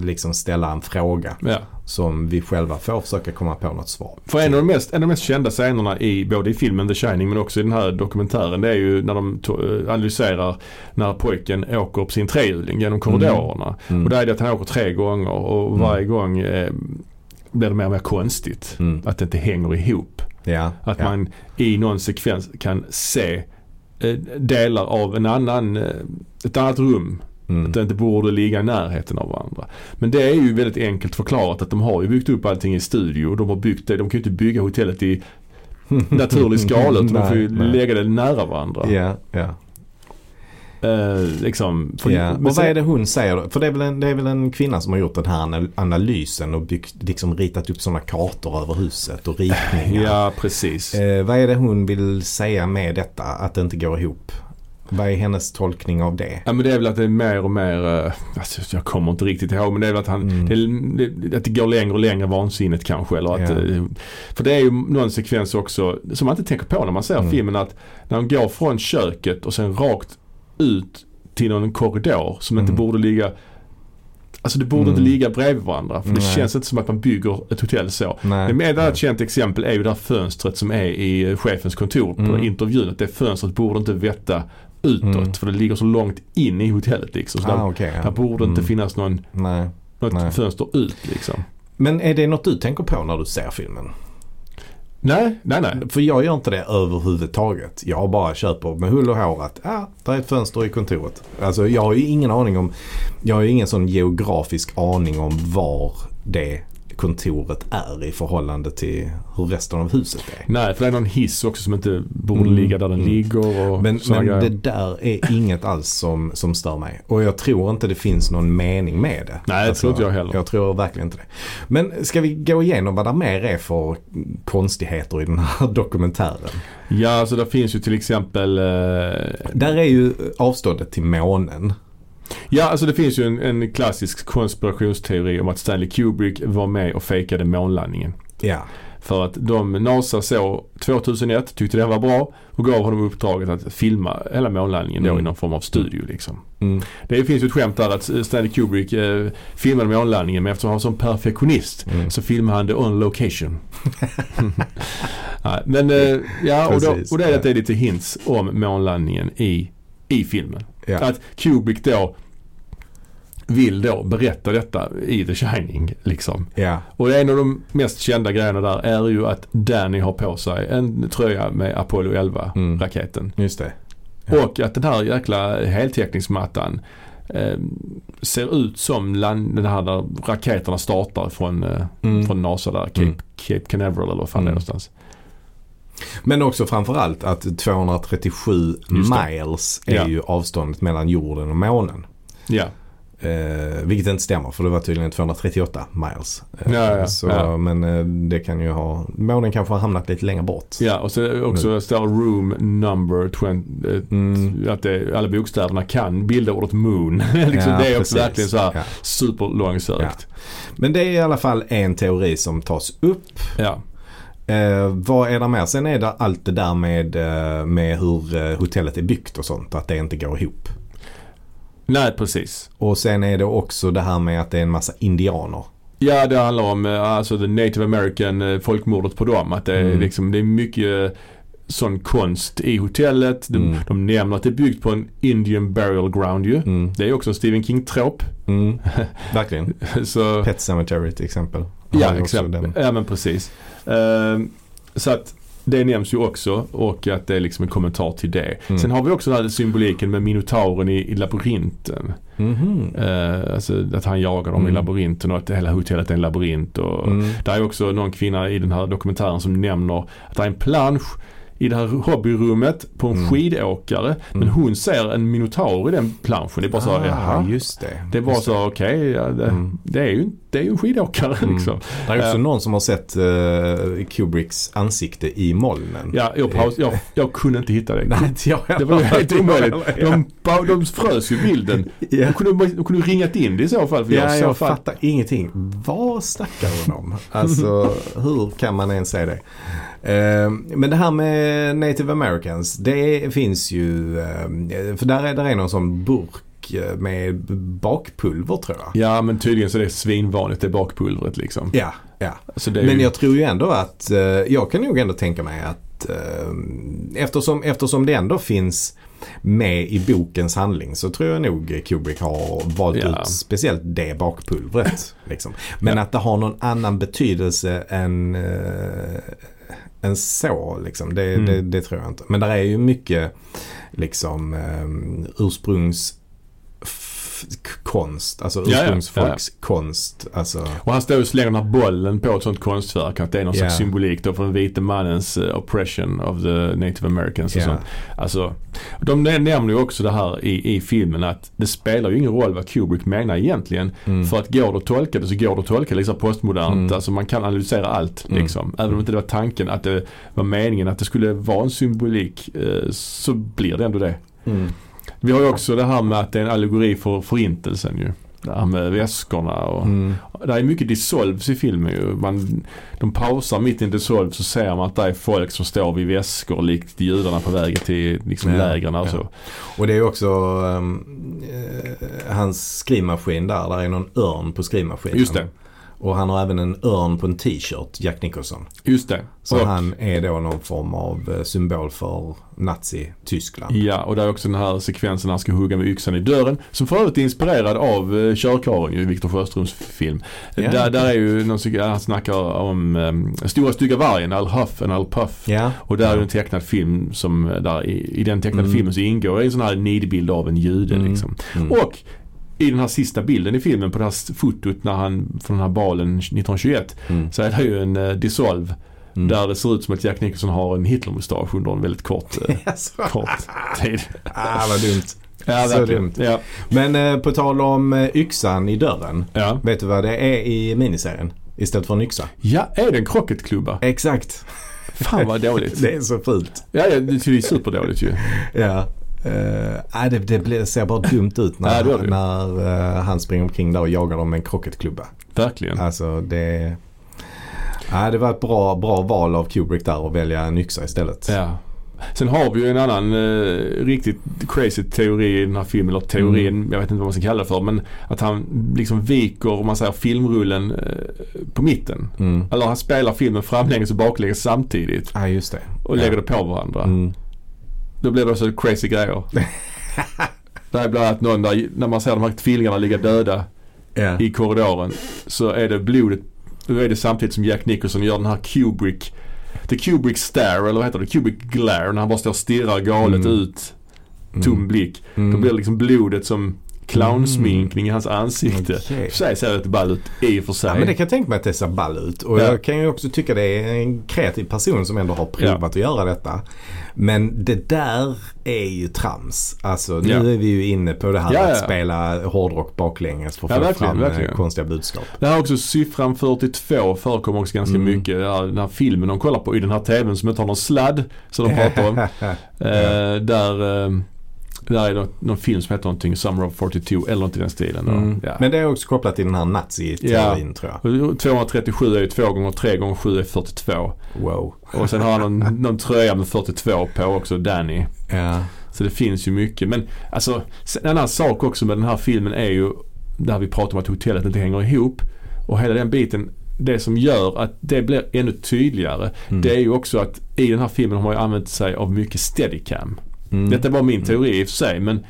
S2: liksom ställa en fråga
S1: ja.
S2: som vi själva får försöka komma på något svar på.
S1: För en av, de mest, en av de mest kända scenerna i både i filmen The Shining men också i den här dokumentären det är ju när de to- eh, analyserar när pojken åker på sin trehjuling genom korridorerna.
S2: Mm.
S1: Och där är det att han åker tre gånger och
S2: Mm.
S1: varje gång eh, blir det mer och mer konstigt.
S2: Mm.
S1: Att det inte hänger ihop.
S2: Ja,
S1: Att
S2: ja.
S1: man i någon sekvens kan se eh, delar av en annan, eh, ett annat rum.
S2: Mm.
S1: Att det inte borde ligga i närheten av varandra. Men det är ju väldigt enkelt förklarat att de har ju byggt upp allting i studio. och De har byggt det, de kan ju inte bygga hotellet i naturlig skala utan de får ju
S2: Nej, nej.
S1: lägga det nära varandra.
S2: Ja, ja.
S1: Eh, liksom, för-
S2: ja.
S1: men
S2: Och
S1: sen-
S2: vad är det hon säger då? För det är, väl en, det är väl en kvinna som har gjort den här anal- analysen och byggt, liksom ritat upp sådana kartor över huset och ritningar.
S1: Ja, precis.
S2: Eh, vad är det hon vill säga med detta? Att det inte går ihop? Vad är hennes tolkning av det?
S1: Ja men det är väl att det är mer och mer, eh, alltså, jag kommer inte riktigt ihåg men det är väl att han,
S2: Mm.
S1: det, det, att det går längre och längre vansinnet kanske. Eller att,
S2: Ja.
S1: eh, För det är ju någon sekvens också som man inte tänker på när man ser
S2: Mm.
S1: filmen att när de går från köket och sen rakt ut till någon korridor som inte
S2: Mm.
S1: borde ligga Alltså det borde
S2: Mm.
S1: inte ligga bredvid varandra för det
S2: Nej.
S1: känns inte som att man bygger ett hotell så.
S2: Nej.
S1: Men ett annat känt exempel är ju det här fönstret som är i eh, chefens kontor på
S2: Mm.
S1: intervjun. Att det fönstret borde inte vetta utåt
S2: Mm.
S1: för det ligger så långt in i hotellet liksom. Så
S2: Ah,
S1: där,
S2: okej, ja.
S1: där borde inte
S2: Mm.
S1: finnas någon,
S2: Nej.
S1: något
S2: Nej.
S1: fönster ut liksom.
S2: Men är det något du tänker på när du ser filmen?
S1: Nej, nej, nej.
S2: För jag gör inte det överhuvudtaget. Jag bara köper med hull och hår att ah, där är ett fönster i kontoret. Alltså jag har ju ingen aning om, jag har ju ingen sån geografisk aning om var det kontoret är i förhållande till hur resten av huset är.
S1: Nej, för det är någon hiss också som inte borde
S2: Mm.
S1: ligga där den
S2: Mm.
S1: ligger och
S2: Men,
S1: såna
S2: men det
S1: grejer.
S2: där är inget alls som, som stör mig. Och jag tror inte det finns någon mening med det. Alltså,
S1: Nej, det tror inte jag heller.
S2: Jag tror verkligen inte det. Men ska vi gå igenom vad det mer är för konstigheter i den här dokumentären?
S1: Ja, så där finns ju till exempel eh,
S2: Där är ju avståndet till månen.
S1: Ja, alltså det finns ju en, en klassisk konspirationsteori om att Stanley Kubrick var med och fejkade månlandningen.
S2: Ja.
S1: För att de, NASA såg 2001, tyckte den var bra och gav honom uppdraget att filma hela månlandningen då
S2: Mm.
S1: i någon form av studio liksom.
S2: Mm.
S1: Det finns ju ett skämt där att Stanley Kubrick eh, filmade månlandningen men eftersom han var sån perfektionist
S2: Mm.
S1: så filmade han det on location. Nej, men eh, ja, och, då,
S2: Precis,
S1: och det är
S2: ja.
S1: att det är lite hints om månlandningen i, i filmen.
S2: Ja.
S1: Att Kubrick då vill då berätta detta i The Shining liksom.
S2: Ja,
S1: Och en av de mest kända grejerna där är ju att Danny har på sig en tröja med Apollo 11
S2: Mm.
S1: raketen.
S2: just det.
S1: Och att den här jäkla heltäckningsmattan eh, ser ut som land, den här där raketerna startar från, eh,
S2: Mm.
S1: från NASA där, Cape,
S2: Mm.
S1: Cape Canaveral eller vad fan det är
S2: Mm.
S1: någonstans.
S2: Men också framförallt att 237
S1: Just det.
S2: miles är
S1: Ja.
S2: ju avståndet mellan jorden och månen.
S1: Ja,
S2: Eh, vilket inte stämmer för det var tydligen 238 miles. Eh,
S1: Ja, ja,
S2: så,
S1: ja.
S2: Men eh, det kan ju ha, månen kanske har hamnat lite längre bort.
S1: ja och så också står room number 20, eh,
S2: Mm.
S1: att det, alla bokstäverna kan bilda ordet moon. liksom,
S2: Ja,
S1: det är också
S2: precis.
S1: verkligen så här
S2: Ja.
S1: superlångsökt.
S2: Men det är i alla fall en teori som tas upp.
S1: Ja.
S2: Eh, vad är det mer? Sen är det allt det där med, eh, med hur eh, hotellet är byggt och sånt. Att det inte går ihop.
S1: Nej, precis.
S2: Och sen är det också det här med att det är en massa indianer.
S1: Ja, det handlar om eh, alltså the native american, eh, folkmordet på dem. Att det, är
S2: Mm.
S1: liksom, det är mycket eh, sån konst i hotellet. De,
S2: Mm.
S1: de nämner att det är byggt på en Indian burial ground ju.
S2: Mm.
S1: Det är också en Stephen King-trop.
S2: Mm. Verkligen.
S1: Så,
S2: Pet Cemetery till exempel.
S1: ja,
S2: Har ju också
S1: exempel.
S2: den.
S1: ja, men precis. Ehm, så att det nämns ju också och att det är liksom en kommentar till det.
S2: Mm.
S1: Sen har vi också den här symboliken med minotauren i, i labyrinten.
S2: Mhm.
S1: Eh, alltså att han jagar dem i
S2: Mm.
S1: labyrinten och att hela hotellet är en labyrint. Och,
S2: Mm.
S1: Det är också någon kvinna i den här dokumentären som nämner att det är en plansch i det här hobbyrummet på en
S2: Mm.
S1: skidåkare. Men hon ser en minotaur i den planschen. Det är bara så här, jaha.
S2: Ah, just det.
S1: Det är bara
S2: Just
S1: så, okej, ja, det,
S2: Mm.
S1: det, är ju, det är ju en skidåkare liksom.
S2: Det är också
S1: Eh.
S2: någon som har sett eh, Kubricks ansikte i molnen.
S1: Ja, jag, paus, jag, jag kunde inte hitta det.
S2: Nej, inte jag
S1: Det var ju helt omöjligt.
S2: Ja.
S1: De, ba- de frös ju bilden. De
S2: Ja.
S1: kunde, de kunde ringat in det i så fall. För
S2: Ja,
S1: jag,
S2: jag
S1: jag så fall,
S2: fattar ingenting. Vad snackar hon om? Alltså, hur kan man ens säga det? Eh, Men det här med native americans, det finns ju, eh, för där är det någon sån burk eh, med bakpulver tror jag.
S1: ja, men tydligen så är det svinvanligt det bakpulvret liksom.
S2: Ja, ja.
S1: Så det är
S2: Men
S1: ju,
S2: jag tror ju ändå att, eh, jag kan nog ändå tänka mig att eh, eftersom, eftersom det ändå finns med i bokens handling så tror jag nog Kubrick har valt
S1: Ja.
S2: ut speciellt det bakpulvret. liksom. Men att det har någon annan betydelse än, eh, än så, liksom, det,
S1: Mm.
S2: det, det tror jag inte. Men där är ju mycket liksom, eh, ursprungskonst, alltså
S1: ja.
S2: ursprungsfolks konst. Alltså,
S1: Och han står och slänger den här bollen på ett sånt konstverk. Att det är någon
S2: Ja.
S1: slags symbolik då för den vite mannens eh, oppression of the native americans och
S2: Ja.
S1: sånt. Alltså, de nä- nämner ju också det här i, i filmen att det spelar ju ingen roll vad Kubrick menar egentligen.
S2: Mm.
S1: För att går det att tolka det så går det att tolka det liksom postmodernt.
S2: Mm.
S1: Alltså man kan analysera allt
S2: Mm.
S1: liksom. Även om inte det var tanken att det var meningen att det skulle vara en symbolik eh, så blir det ändå det.
S2: Mm.
S1: Vi har ju också det här med att det är en allegori för förintelsen ju. Det här med väskorna och
S2: Mm.
S1: det är mycket dissolves i filmen ju. Man, de pausar mitt i en dissolve så ser man att det är folk som står vid väskor likt judarna på väg till liksom,
S2: Ja,
S1: lägren och
S2: ja.
S1: så.
S2: Och det är också ehm, eh, hans skrivmaskin där. Där är någon örn på skrivmaskinen.
S1: Just det,
S2: Och han har även en örn på en t-shirt, Jack Nicholson.
S1: just det.
S2: Så
S1: och,
S2: han är då någon form av eh, symbol för Nazi-Tyskland.
S1: Ja, och det är också den här sekvensen när han ska hugga med yxan i dörren. Som för övrigt är inspirerad av uh, Körkaren ju, Viktor Sjöströms film.
S2: Ja.
S1: Där, där är ju någon, sek- han snackar om um, Stora stygga vargen, Al Huff and Al Puff.
S2: Ja.
S1: Och där är ju en tecknad film som, eh, där i, i den tecknade
S2: Mm.
S1: filmen så ingår en sån här nidbild av en jude
S2: Mm.
S1: liksom.
S2: Mm.
S1: Och i den här sista bilden i filmen på det här fotot när han, från den här balen 1921
S2: Mm.
S1: så är det ju en eh, dissolve
S2: Mm.
S1: där det ser ut som att Jack Nicholson har en Hitlermustasch under en väldigt kort, eh,
S2: Alltså,
S1: kort tid.
S2: ah, vad dumt.
S1: Ja,
S2: Så
S1: verkligen.
S2: dumt.
S1: Ja,
S2: Men eh, på tal om eh, yxan i dörren.
S1: ja.
S2: Vet du vad det är i miniserien? Istället för en yxa.
S1: ja, är det en krocketklubba?
S2: Exakt.
S1: Fan vad dåligt.
S2: Det är så fult.
S1: Ja, ja, det är ju superdåligt ju.
S2: Ja. Eh, nej, det, det blir- ser bara dumt ut
S1: Ja,
S2: när,
S1: det gör det.
S2: när eh, han springer omkring där och jagar dem med en krocketklubba.
S1: Verkligen.
S2: Alltså det... Nej, det var ett bra, bra val av Kubrick där att välja en yxa istället.
S1: Ja. Sen har vi ju en annan eh, riktigt crazy teori i den här filmen, eller teorin,
S2: Mm.
S1: jag vet inte vad man ska kalla det för, men att han liksom viker, om man säger filmrullen, eh, på mitten.
S2: Mm.
S1: Eller han spelar filmen framlänges och baklänges samtidigt
S2: Ja, just det.
S1: och lägger det på varandra.
S2: Mm.
S1: Då blir det också crazy grejer. det här är bland annat någon där, när man ser de här tvillingarna ligga döda
S2: Ja.
S1: i korridoren så är det blodet, då är det samtidigt som Jack Nicholson gör den här Kubrick, the Kubrick stare eller vad heter det, Kubrick glare när han bara står och stirrar galet
S2: Mm.
S1: ut, tom blick. Då
S2: Mm.
S1: blir det liksom blodet som clownsminkning i hans ansikte.
S2: Okej.
S1: I och För sig ser det ball ut i och för sig.
S2: Ja, men det kan jag tänka mig att det ser ball ut. Och
S1: Ja.
S2: jag kan ju också tycka det är en kreativ person som ändå har provat
S1: Ja.
S2: att göra detta. Men det där är ju trams. Alltså nu
S1: Ja.
S2: är vi ju inne på det här
S1: Ja, ja,
S2: att
S1: ja.
S2: spela hårdrock baklänges för att
S1: Ja,
S2: få
S1: verkligen,
S2: fram
S1: verkligen.
S2: eh, konstiga budskap.
S1: Det här är också siffran 42 förekommer också ganska
S2: Mm.
S1: mycket. Det här- Den här filmen de kollar på i den här TVn som inte har någon sladd som de pratar om. Mm. Eh, där, eh, där är det någon film som heter någonting Summer of 42 eller något i den stilen.
S2: Mm.
S1: Ja.
S2: Men det är också kopplat till den här nazi-teorin tror jag.
S1: Och 237 är ju 2 gånger 3 gånger 7 är 42.
S2: Wow.
S1: Och sen har han någon, någon tröja med 42 på också, Danny.
S2: Ja.
S1: Så det finns ju mycket. Men alltså, sen en annan sak också med den här filmen är ju där vi pratar om att hotellet inte hänger ihop. Och hela den biten, det som gör att det blir ännu tydligare.
S2: Mm.
S1: Det är ju också att i den här filmen har man ju använt sig av mycket steadicam.
S2: Mm.
S1: Detta var min teori i och för sig men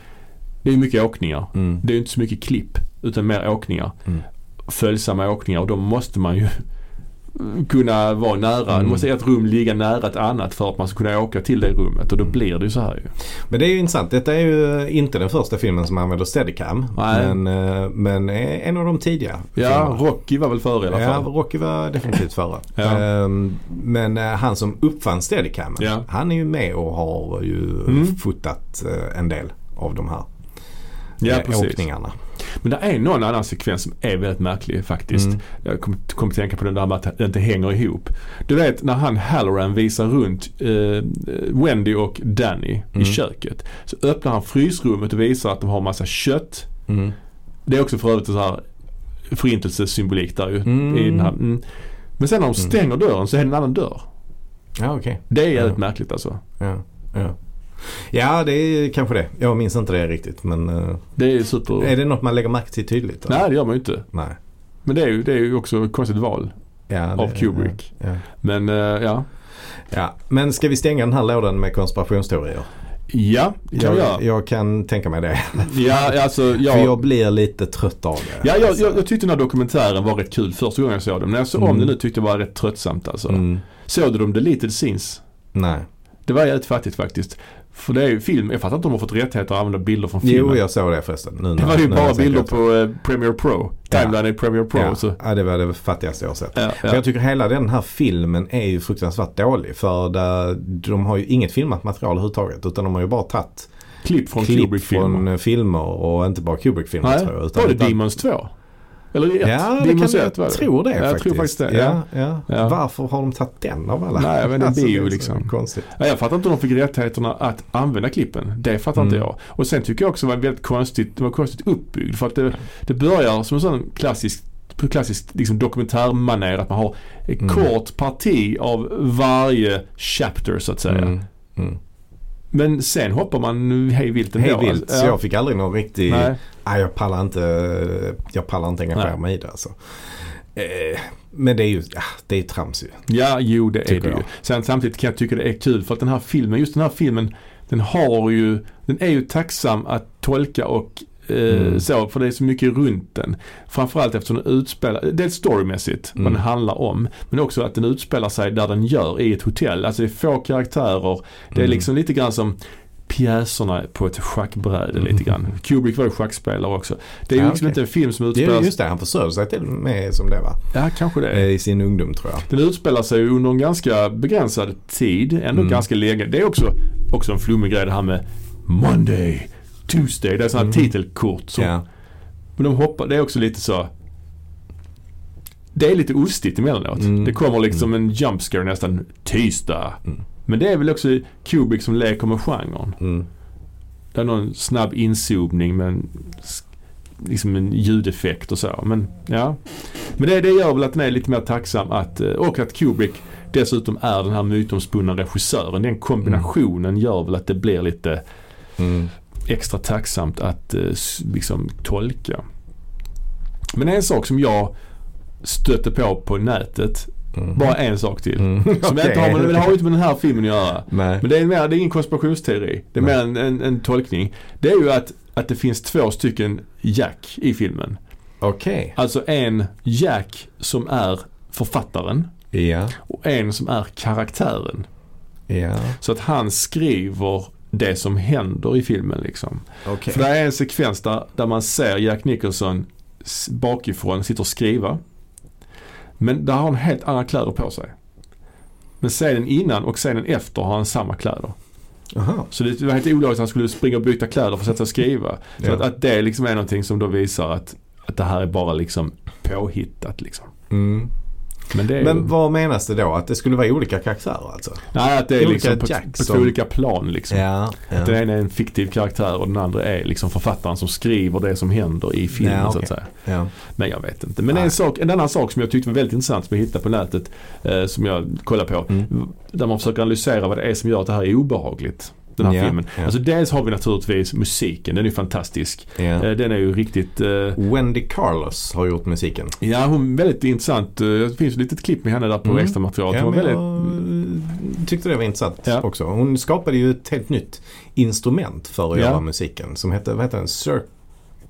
S1: det är ju mycket åkningar.
S2: Mm.
S1: Det är ju inte så mycket klipp utan mer åkningar.
S2: Mm.
S1: Följsamma åkningar och då måste man ju kunna vara nära.
S2: Mm.
S1: Det måste ett rum ligga nära ett annat för att man ska kunna åka till det rummet och
S2: Mm.
S1: då blir det ju så här ju.
S2: Men det är ju intressant. Detta är ju inte den första filmen som använder steadicam.
S1: Nej.
S2: Men, eh, men är en av de tidiga.
S1: Ja, Rocky var väl före i alla
S2: Ja,
S1: fall.
S2: Rocky var definitivt före.
S1: Ja.
S2: Ehm, men eh, han som uppfann Steadicamen,
S1: Ja.
S2: han är ju med och har ju
S1: Mm.
S2: fotat eh, en del av de här
S1: Ja,
S2: eh,
S1: precis.
S2: åkningarna.
S1: Men det är någon annan sekvens som är väldigt märklig faktiskt.
S2: Mm.
S1: Jag kom, kom att tänka på den där med att det inte hänger ihop. Du vet när han Halloran visar runt eh, Wendy och Danny
S2: Mm.
S1: i köket. Så öppnar han frysrummet och visar att de har massa kött.
S2: Mm.
S1: Det är också för övrigt en sån här förintelsesymbolik där ju.
S2: Mm.
S1: I den här, mm. Men sen när de stänger dörren så är det en annan dörr.
S2: Ja, okej.
S1: Det är jävligt
S2: Ja.
S1: märkligt alltså.
S2: Ja, ja. ja, det är kanske det. Jag minns inte det riktigt. Men eh,
S1: Det är super...
S2: är det något man lägger märke till tydligt? då?
S1: Nej det gör man ju inte.
S2: Nej.
S1: Men det är ju, det är ju också ett konstigt val
S2: Ja,
S1: av
S2: det-
S1: Kubrick.
S2: Ja.
S1: Men eh, ja.
S2: Ja. Men ska vi stänga den här lådan med konspirationsteorier?
S1: Ja, kan vi göra.
S2: jag, jag kan tänka mig det.
S1: Ja, alltså
S2: För
S1: jag...
S2: jag blir lite trött av det.
S1: Ja, jag,
S2: Alltså.
S1: jag, jag tyckte den här dokumentären var rätt kul första gången jag såg den. Men när jag såg om
S2: Mm.
S1: den nu tyckte jag det var rätt tröttsamt alltså.
S2: Mm.
S1: Såg du de deleted scenes?
S2: Nej.
S1: Det var jävligt fattigt faktiskt. För det är ju film, jag fattar inte om de har fått rättigheter att använda bilder från filmen.
S2: Jo, jag såg det förresten. Nu,
S1: det var ju
S2: nu
S1: bara
S2: jag tänker
S1: bilder
S2: efter.
S1: på eh, Premiere Pro. Timeline i Premiere Pro.
S2: Ja.
S1: Så, ja,
S2: ja, det var det fattigaste jag har sett.
S1: ja.
S2: För jag tycker hela den här filmen är ju fruktansvärt dålig. För där, de har ju inget filmat material överhuvudtaget. Utan de har ju bara tagit
S1: Klipp från
S2: klipp
S1: Kubrick-filmer.
S2: från eh, filmer och inte bara Kubrick-filmer
S1: Nej,
S2: tror jag. Utan,
S1: var det
S2: utan,
S1: Demons 2? Eller 1?
S2: Ja, det
S1: Demons
S2: kan, jag
S1: ett var det.
S2: tror det
S1: Ja,
S2: faktiskt.
S1: Jag tror faktiskt det. Ja.
S2: Ja, ja.
S1: Ja.
S2: Varför har de tagit den av alla?
S1: Nej, jag vet inte,
S2: Alltså,
S1: bio
S2: det är så
S1: liksom.
S2: Konstigt.
S1: Ja, jag fattar inte hur de fick rättigheterna att använda klippen. Det fattar inte
S2: Mm.
S1: jag. Och sen tycker jag också det var väldigt konstigt, det var konstigt uppbyggd. För att det, det börjar som en sån klassisk på klassisk liksom, dokumentärmanér att man har ett
S2: Mm.
S1: kort parti av varje chapter så att säga.
S2: Mm. Mm.
S1: Men sen hoppar man hej vilt ändå.
S2: Hej vilt,
S1: Alltså,
S2: så
S1: ja.
S2: jag fick aldrig någon riktig...
S1: Nej.
S2: Nej, jag pallar inte, jag pallar inte engagera
S1: Nej.
S2: mig i det alltså. Eh, Men det är ju, ja, det är ju trams ju.
S1: Ja, jo det är
S2: Tycker
S1: det ju.
S2: jag.
S1: Sen samtidigt kan jag tycka det är kul för att den här filmen, just den här filmen, den har ju, den är ju tacksam att tolka och eh,
S2: Mm.
S1: så, för det är så mycket runt den. Framförallt eftersom den utspelar, dels storymässigt,
S2: Mm.
S1: vad den handlar om, men också att den utspelar sig där den gör, i ett hotell. Alltså det är få karaktärer, det är
S2: Mm.
S1: liksom lite grann som pjäserna på ett schackbräde lite grann. Kubrick var ju schackspelare också. Det är ju
S2: Ja,
S1: liksom
S2: okej.
S1: inte en film som
S2: Det är
S1: utspelar
S2: ju just det, han försörjde sig till och med som det va?
S1: Ja, kanske det.
S2: Eh, I sin ungdom tror jag.
S1: Den utspelar sig under en ganska begränsad tid, ändå
S2: Mm.
S1: ganska länge. Det är också, också en flummig grej det här med Monday, Tuesday. Det är sådana här titelkort. Som,
S2: Mm. Ja.
S1: Men de hoppar, det är också lite så... Det är lite ostigt emellanåt.
S2: Mm.
S1: Det kommer liksom en jump scare nästan tisdag.
S2: Mm.
S1: Men det är väl också Kubrick som leker med genren.
S2: Mm.
S1: Det är någon snabb inzoomning med en sk- liksom en ljudeffekt och så. Men ja. Men det, det gör väl att den är lite mer tacksam att, eh, och att Kubrick dessutom är den här mytomspunna regissören. Den kombinationen gör väl att det blir lite
S2: Mm.
S1: extra tacksamt att eh, s- liksom tolka. Men en sak som jag stötte på på nätet,
S2: Mm.
S1: bara en sak till.
S2: Mm.
S1: Som
S2: Okej.
S1: inte har, med- men det har ju inte med den här filmen att göra.
S2: Nej.
S1: Men det är, mer, det är ingen konspirationsteori. Det är mer en, en, en tolkning. Det är ju att, att det finns två stycken Jack i filmen.
S2: Okej.
S1: Alltså en Jack som är författaren
S2: Ja.
S1: och en som är karaktären.
S2: Ja.
S1: Så att han skriver det som händer i filmen liksom.
S2: Okej.
S1: För det är en sekvens där, där man ser Jack Nicholson s- bakifrån sitter och skriva. Men där har han helt andra kläder på sig. Men scenen innan och scenen efter har han samma kläder.
S2: Jaha.
S1: Så det var helt olagligt att han skulle springa och byta kläder för att sätta sig och skriva. Så
S2: Ja.
S1: att, att det liksom är någonting som då visar att, att det här är bara liksom påhittat liksom.
S2: Mm.
S1: Men det är ju,
S2: Men vad menas det då? Att det skulle vara olika karaktärer alltså?
S1: Nej, att det är
S2: olika
S1: liksom på,
S2: Jack
S1: på två
S2: som-
S1: olika plan liksom.
S2: Ja.
S1: Att den ena är en fiktiv karaktär och den andra är liksom författaren som skriver det som händer i filmen
S2: Ja,
S1: så
S2: okej.
S1: att säga.
S2: ja.
S1: Men jag vet inte. Men
S2: Nej.
S1: en, sak, en annan sak som jag tyckte var väldigt intressant som jag hittade på nätet eh, som jag kollade på.
S2: Mm.
S1: Där man försöker analysera vad det är som gör att det här är obehagligt. Den här
S2: Ja,
S1: filmen.
S2: ja.
S1: Alltså dels har vi naturligtvis musiken, den är ju fantastisk.
S2: Ja.
S1: Eh, Den är ju riktigt eh,
S2: Wendy Carlos har gjort musiken.
S1: Ja, hon är väldigt intressant. Eh, Det finns ett litet klipp med henne där på
S2: Mm.
S1: extra material. hon
S2: men
S1: var väldigt,
S2: Jag tyckte det var intressant
S1: Ja.
S2: också. Hon skapade ju ett helt nytt instrument för att
S1: Ja.
S2: göra musiken som hette, vad hette den? Circon?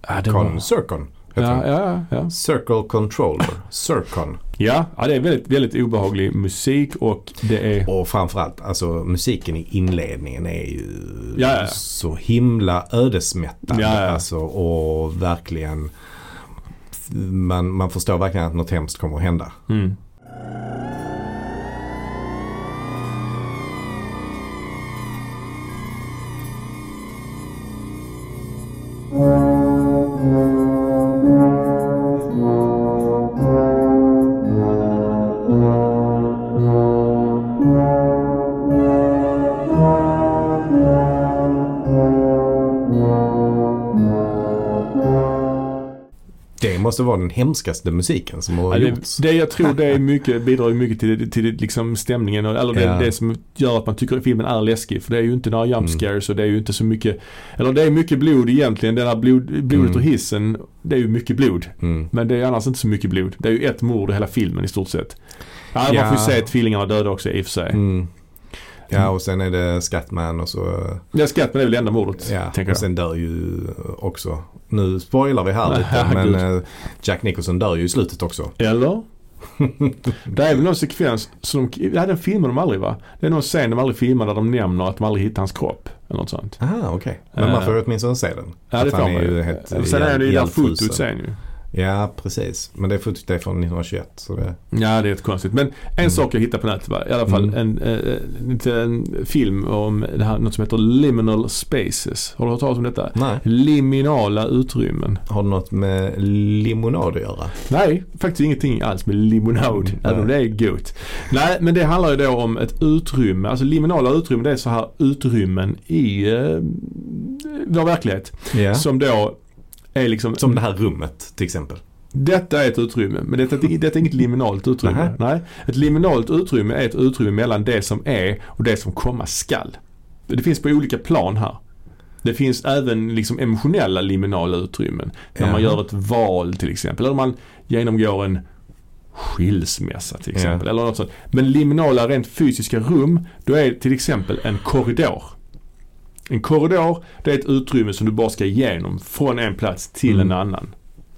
S1: ja, det var,
S2: Circon? Heter
S1: ja,
S2: den.
S1: ja, ja.
S2: Circle Controller. Circon.
S1: Ja, ja, det är väldigt, väldigt obehaglig musik och det är...
S2: Och framförallt, alltså musiken i inledningen är ju
S1: Ja, ja.
S2: så himla ödesmättad.
S1: Ja, ja.
S2: Alltså, och verkligen, man, man förstår verkligen att något hemskt kommer att hända.
S1: Mm.
S2: Det måste vara den hemskaste musiken som har
S1: Ja, det,
S2: gjorts.
S1: det jag tror det är mycket, bidrar ju mycket till, till liksom stämningen och- eller det,
S2: Ja. Mm.
S1: det som gör att man tycker att filmen är läskig. För det är ju inte några jump scares och det är ju inte så mycket, eller det är mycket blod egentligen. Det där blod, blodet
S2: Mm.
S1: ur hissen, det är ju mycket blod.
S2: Mm.
S1: Men det är annars inte så mycket blod. Det är ju ett mord i hela filmen i stort sett. Ja, Man
S2: Ja.
S1: får ju se att tvillingarna är döda också i och för sig.
S2: Mm. Ja,
S1: Mm.
S2: och sen är det Scatman och så...
S1: Ja, skatt, men det är väl enda mordet,
S2: Ja,
S1: tänker
S2: och
S1: jag.
S2: sen dör ju också... Nu spoilar vi här
S1: Nej,
S2: lite, men
S1: herregud.
S2: eh, Jack Nicholson dör ju i slutet också.
S1: Eller? det är väl någon sekvens som de, ja den filmar de aldrig va? Det är någon scen de aldrig filmar där de nämner att de aldrig hittar hans kropp. Eller något sånt.
S2: Ah, okej. Men man
S1: Eh.
S2: får ju åtminstone se den.
S1: Ja det
S2: För att
S1: får
S2: han
S1: man ju.
S2: helt
S1: Sen är det ju
S2: ihjäl-
S1: där fotot
S2: ihjälfrusen.
S1: sen ju.
S2: Ja, precis. Men det fotot är från 1921. Så det...
S1: Ja det är ett konstigt. Men en
S2: Mm.
S1: sak jag hittade på nätet va? I alla fall en, eh, lite en film om det här, något som heter Liminal Spaces. Har du hört talas om detta?
S2: Nej.
S1: Liminala utrymmen.
S2: Har det något med limonad att göra?
S1: Nej, faktiskt ingenting alls med limonad, även om det är gott. Nej, men det handlar ju då om ett utrymme. Alltså liminala utrymmen, det är så här utrymmen i eh, vår verklighet.
S2: Ja. Som,
S1: Som då är liksom...
S2: det här rummet till exempel.
S1: Detta är ett utrymme, men detta, detta är inget liminalt utrymme.
S2: Nähä.
S1: Nej. Ett liminalt utrymme är ett utrymme mellan det som är och det som komma skall. Det finns på olika plan här. Det finns även liksom emotionella liminala utrymmen. När man
S2: Ja.
S1: gör ett val till exempel. Eller man genomgår en skilsmässa till exempel. Eller något sånt. Men liminala rent fysiska rum, då är till exempel en korridor. En korridor, det är ett utrymme som du bara ska igenom från en plats till en annan.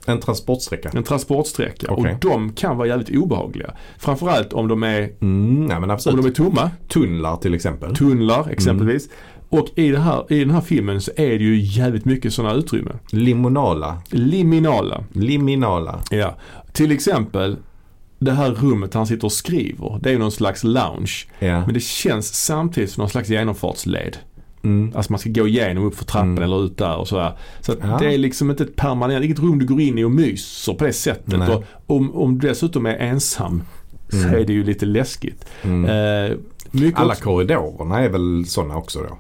S2: En transportsträcka.
S1: En transportsträcka.
S2: Okej.
S1: Och de kan vara jävligt obehagliga. Framförallt om de är,
S2: Mm, ja, men
S1: om
S2: absolut.
S1: de är tomma.
S2: Tunnlar till exempel.
S1: Tunnlar exempelvis. Och i, det här, i den här filmen så är det ju jävligt mycket sådana utrymmen.
S2: Limonala.
S1: Liminala.
S2: Liminala.
S1: Ja. Till exempel det här rummet han sitter och skriver. Det är ju någon slags lounge.
S2: Ja.
S1: Men det känns samtidigt som någon slags genomfartsled.
S2: Mm.
S1: Alltså man ska gå igenom upp för trappan
S2: Mm.
S1: eller ut där och sådär. Så att
S2: Ja.
S1: det är liksom inte ett permanent, inget rum du går in i och myser på det sättet.
S2: Nej.
S1: Och om, om du dessutom är ensam så är det ju lite läskigt.
S2: Mm.
S1: Eh, mycket
S2: Alla
S1: också,
S2: korridorerna är väl sådana också då?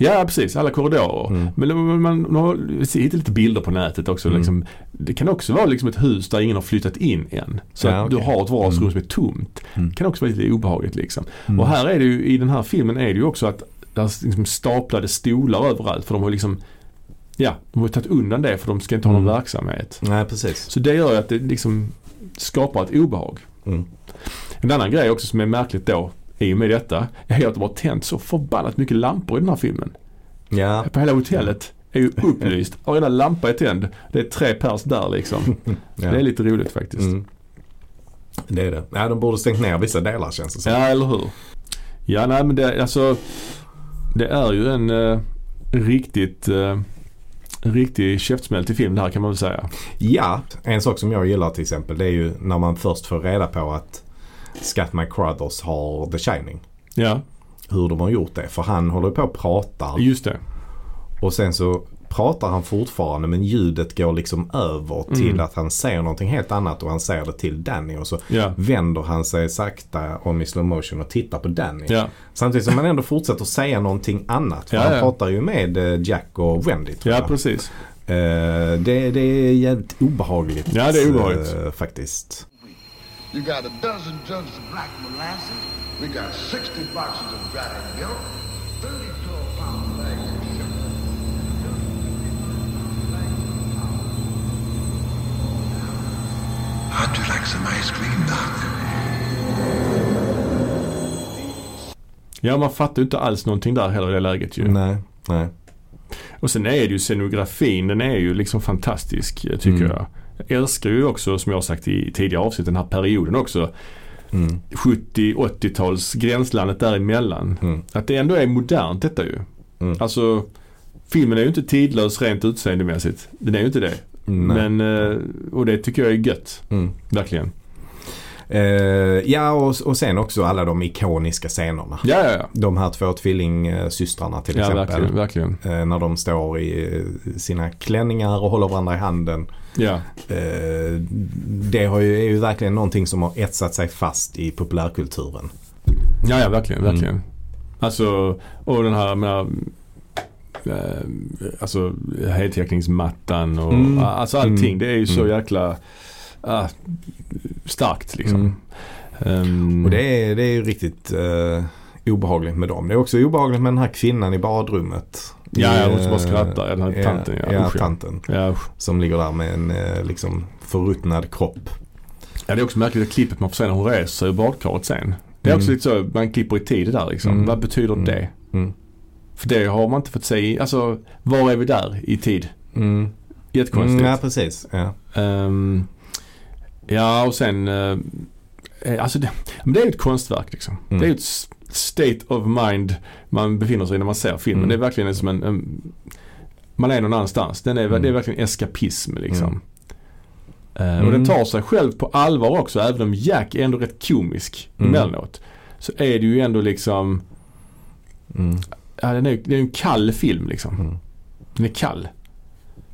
S1: Ja, precis. Alla korridorer.
S2: Mm.
S1: Men man, man, man har se- hittat lite bilder på nätet också. Liksom, det kan också vara liksom ett hus där ingen har flyttat in än. Så
S2: Ja,
S1: att
S2: okej. Mm.
S1: du har ett vardagsrum som är tomt. Det kan också vara lite obehagligt liksom. Och här är det ju, i den här filmen är det ju också att där är liksom staplade stolar överallt. För de har liksom, ja, de har tagit undan det för de ska inte ha någon
S2: Mm.
S1: verksamhet.
S2: Nej, precis.
S1: Så det gör ju att det liksom skapar ett obehag.
S2: Mm.
S1: En annan grej också som är märkligt då i och med detta är att de har tänt så förbannat mycket lampor i den här filmen.
S2: Ja,
S1: På hela hotellet är ju upplyst. Varenda lampa är tänd. Det är tre pers där liksom.
S2: ja.
S1: Det är lite roligt faktiskt.
S2: Mm. Det är det. Ja, de borde stängt ner vissa delar känns det som.
S1: Ja, eller hur? Ja, nej men det, alltså. Det är ju en eh, riktigt eh, en riktig käftsmäll till film det här kan man väl säga.
S2: Ja, en sak som jag gillar till exempel det är ju när man först får reda på att Scott McCruthers har The Shining.
S1: Ja,
S2: Hur de har gjort det. För han håller på och pratar
S1: just det.
S2: och sen så pratar han fortfarande men ljudet går liksom över till
S1: Mm.
S2: att han säger någonting helt annat och han säger det till Danny och så
S1: Ja.
S2: vänder han sig sakta om i slow motion och tittar på Danny.
S1: Ja,
S2: Samtidigt som han ändå fortsätter säga någonting annat. För
S1: Ja,
S2: han
S1: ja.
S2: pratar ju med eh, Jack och Wendy tror
S1: ja
S2: jag.
S1: precis.
S2: Eh, det, det är jävligt obehagligt.
S1: Ja, det är obehagligt.
S2: eh, faktiskt.
S5: You got a dozen jugs of black molasses. We got 60 boxes of dried milk. 30 12-pound bags of sugar. How'd you like some ice cream, Doc?
S1: Ja, man fattar ju inte alls någonting där heller i det läget ju.
S2: Nej, nej.
S1: Och sen är det ju scenografin, den är ju liksom fantastisk eh, tycker jag. Jag älskar ju också, som jag har sagt i tidigare avsnitt, den här perioden också.
S2: Mm,
S1: 70-80-tals gränslandet däremellan.
S2: Mm.
S1: Att det ändå är modernt detta ju. Alltså, filmen är ju inte tidlös rent utseendemässigt. Den är ju inte det.
S2: Mm, Nej.
S1: Men, eh, och det tycker jag är gött.
S2: Mm.
S1: Verkligen.
S2: Eh, ja, och, och sen också alla de ikoniska scenerna.
S1: Ja, ja, ja.
S2: De här två tvillingsystrarna till
S1: Ja,
S2: exempel.
S1: verkligen. verkligen.
S2: Eh, när de står i eh, sina klänningar och håller varandra i handen.
S1: Ja.
S2: Eh, det har ju, är ju verkligen någonting som har etsat sig fast i populärkulturen.
S1: Ja, ja verkligen,
S2: Mm.
S1: verkligen. Alltså, och den här, jag menar, eh, alltså heltäckningsmattan och
S2: Mm.
S1: alltså allting.
S2: Mm.
S1: Det är ju så
S2: Mm.
S1: jäkla ah, starkt liksom. Ehm,
S2: Mm. Och det är, det är ju riktigt eh, obehagligt med dem. Det är också obehagligt med den här kvinnan i badrummet.
S1: Ja,
S2: I,
S1: jag måste bara
S2: eh,
S1: skratta. Den här tanten, ja.
S2: ja,
S1: Usch, ja.
S2: tanten.
S1: Ja, usch.
S2: Som ligger där med en eh, liksom förruttnad kropp.
S1: ja, det är också märkligt det klippet man får se när hon reser sig ur badkaret sen. Det är också
S2: Mm.
S1: lite så, man klipper i tid där liksom.
S2: Mm.
S1: Vad betyder
S2: Mm.
S1: det?
S2: Mm.
S1: För det har man inte fått se i, alltså var är vi där i tid?
S2: Mm.
S1: Jättekonstigt.
S2: ja, precis. Ja.
S1: Ehm, ja, och sen... eh, eh, alltså det, men det är ju ett konstverk liksom.
S2: Mm.
S1: Det är ju ett s- state of mind man befinner sig i när man ser filmen.
S2: Mm.
S1: Det är verkligen som en... en man är någon annanstans. Den är,
S2: Mm.
S1: Det är verkligen eskapism liksom.
S2: Mm.
S1: Eh, och
S2: Mm.
S1: den tar sig själv på allvar också. Även om Jack är ändå rätt komisk
S2: Mm.
S1: emellanåt. Så är det ju ändå liksom...
S2: Mm.
S1: Ja, den är, det är en kall film liksom.
S2: Mm.
S1: Den är kall.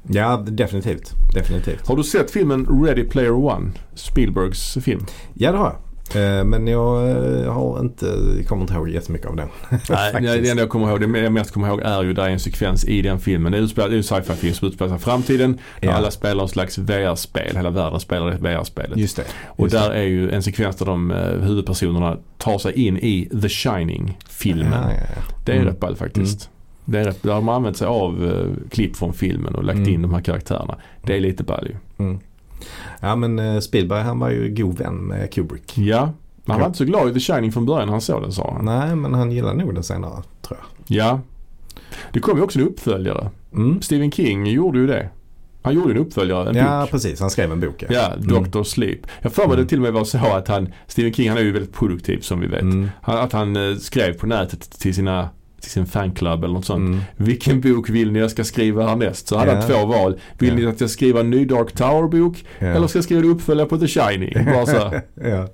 S2: ja, definitivt. Definitivt.
S1: Har du sett filmen Ready Player One? Spielbergs film?
S2: Ja, det har jag. Eh, Men jag eh, har inte, kommer inte ihåg jättemycket av den.
S1: Nej,
S2: Faktiskt.
S1: det det enda jag kommer ihåg, det jag mest kommer ihåg är ju där är en sekvens i den filmen. Det är utspelar- det är ju en sci-fi film som utspelar sig i framtiden. Där
S2: Ja.
S1: alla spelar en slags VR-spel. Hela världen spelar det VR-spelet.
S2: Just det.
S1: och
S2: just
S1: där är ju en sekvens där de eh, huvudpersonerna tar sig in i The Shining-filmen.
S2: Ja, ja, ja.
S1: Det är
S2: Mm.
S1: rätt ballt faktiskt. Det är rätt, där har man använt sig av eh, klipp från filmen och lagt
S2: Mm.
S1: in de här karaktärerna. Det är lite ball ju.
S2: ja, men eh, Spielberg han var ju god vän med Kubrick.
S1: Ja. Men han
S2: Ja.
S1: var inte så glad i The Shining från början när han såg den sa han.
S2: Nej, men han gillade nog den senare tror jag.
S1: Ja. Det kom ju också en uppföljare.
S2: Mm.
S1: Stephen King gjorde ju det. Han gjorde en uppföljare, en
S2: Ja,
S1: bok.
S2: precis. Mm. Han skrev en bok. Ja. Mm.
S1: Ja, Dr. Sleep. Jag för mig det till och med var så att han, Stephen King han är ju väldigt produktiv som vi vet.
S2: Mm.
S1: Han, att han eh, skrev på nätet till sina till sin fanclub eller något sånt.
S2: Mm.
S1: Vilken bok vill ni jag ska skriva härnäst? Så hade
S2: Ja.
S1: han två val. Vill
S2: Ja.
S1: ni att jag skriver en ny Dark Tower-bok?
S2: Ja.
S1: Eller ska jag skriva en uppföljare på The Shining? Bara så här.
S2: Ja.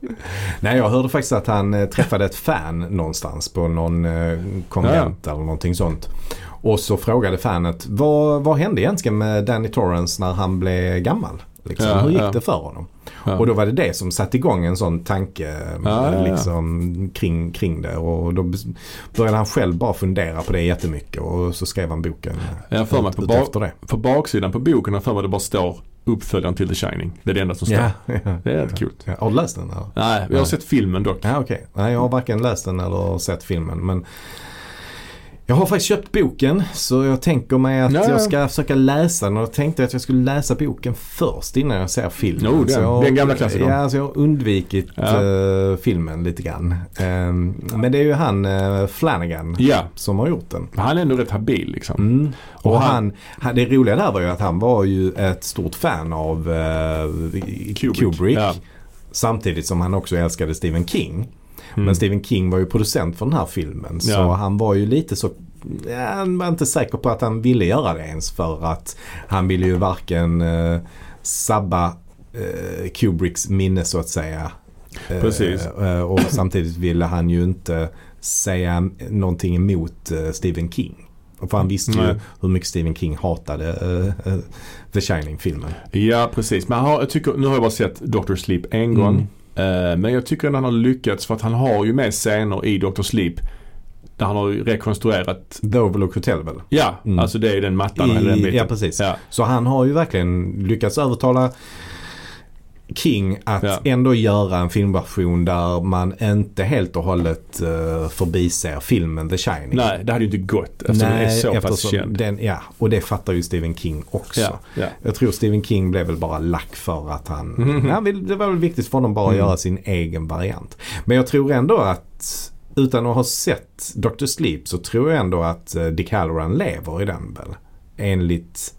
S2: Nej, jag hörde faktiskt att han eh, träffade ett fan någonstans på någon eh, konvent eller någonting sånt. Och så frågade fanet vad, vad hände egentligen med Danny Torrance när han blev gammal? Liksom.
S1: Ja,
S2: Hur gick
S1: ja.
S2: det för honom?
S1: Ja.
S2: Och då var det det som satte igång en sån tanke
S1: Ja, ja, ja.
S2: liksom, kring, kring det. Och då bes- började han själv bara fundera på det jättemycket och så skrev han boken
S1: Jag har för mig
S2: ut,
S1: på,
S2: ut
S1: ba-
S2: efter det.
S1: på baksidan på boken har jag för mig det bara står uppföljaren till The Shining. Det är det enda som står.
S2: Ja, ja.
S1: Det är rätt kul.
S2: Ja, Har du läst den? Eller?
S1: Nej, jag har
S2: Nej.
S1: sett filmen dock.
S2: Ja, okej. Nej, jag har varken läst den eller sett filmen. Men jag har faktiskt köpt boken så jag tänker mig att
S1: Ja, ja.
S2: jag ska försöka läsa den. Och jag tänkte att jag skulle läsa boken först innan jag ser filmen.
S1: Jo, Oh, den-
S2: Så jag,
S1: den gamla klassikern.
S2: Ja, så jag har undvikit
S1: Ja.
S2: eh, filmen lite grann. Ehm, men det är ju han eh, Flanagan
S1: Ja,
S2: som har gjort den.
S1: han är ändå rätt habil liksom.
S2: Mm. Och
S1: Och han-
S2: han, han, det roliga där var ju att han var ju ett stort fan av eh, Kubrick.
S1: Ja.
S2: Samtidigt som han också älskade Stephen King. Men Stephen King var ju producent för den här filmen. Så
S1: Mm. Ja.
S2: han var ju lite så... ja, Han var inte säker på att han ville göra det ens. För att han ville ju varken eh, sabba eh, Kubricks minne så att säga. Eh,
S1: Precis.
S2: eh, och samtidigt ville han ju inte säga någonting emot eh, Stephen King. För han visste ju
S1: Nej.
S2: hur mycket Stephen King hatade eh, eh, The Shining-filmen.
S1: Ja, precis. Men han har, jag tycker, nu har jag bara sett Dr. Sleep en gång.
S2: Mm.
S1: Eh, men jag tycker att han har lyckats för att han har ju med scener i Dr. Sleep där han har ju rekonstruerat.
S2: The Overlook Hotel väl?
S1: Ja,
S2: Mm.
S1: alltså det är ju den mattan. eller den
S2: I,
S1: biten.
S2: ja, precis.
S1: Ja.
S2: Så han har ju verkligen lyckats övertala King att
S1: Ja.
S2: ändå göra en filmversion där man inte helt och hållet eh, förbiser filmen The Shining.
S1: Nej, det hade ju inte gått eftersom den är så pass
S2: eftersom
S1: känd.
S2: Den, ja, och det fattar ju Stephen King också.
S1: Ja, ja.
S2: Jag tror Stephen King blev väl bara lack för att han...
S1: Mhm.
S2: han vill, det var väl viktigt för honom bara
S1: Mm.
S2: att göra sin egen variant. Men jag tror ändå att utan att ha sett Dr. Sleep så tror jag ändå att eh, Dick Halloran lever i den väl? Enligt...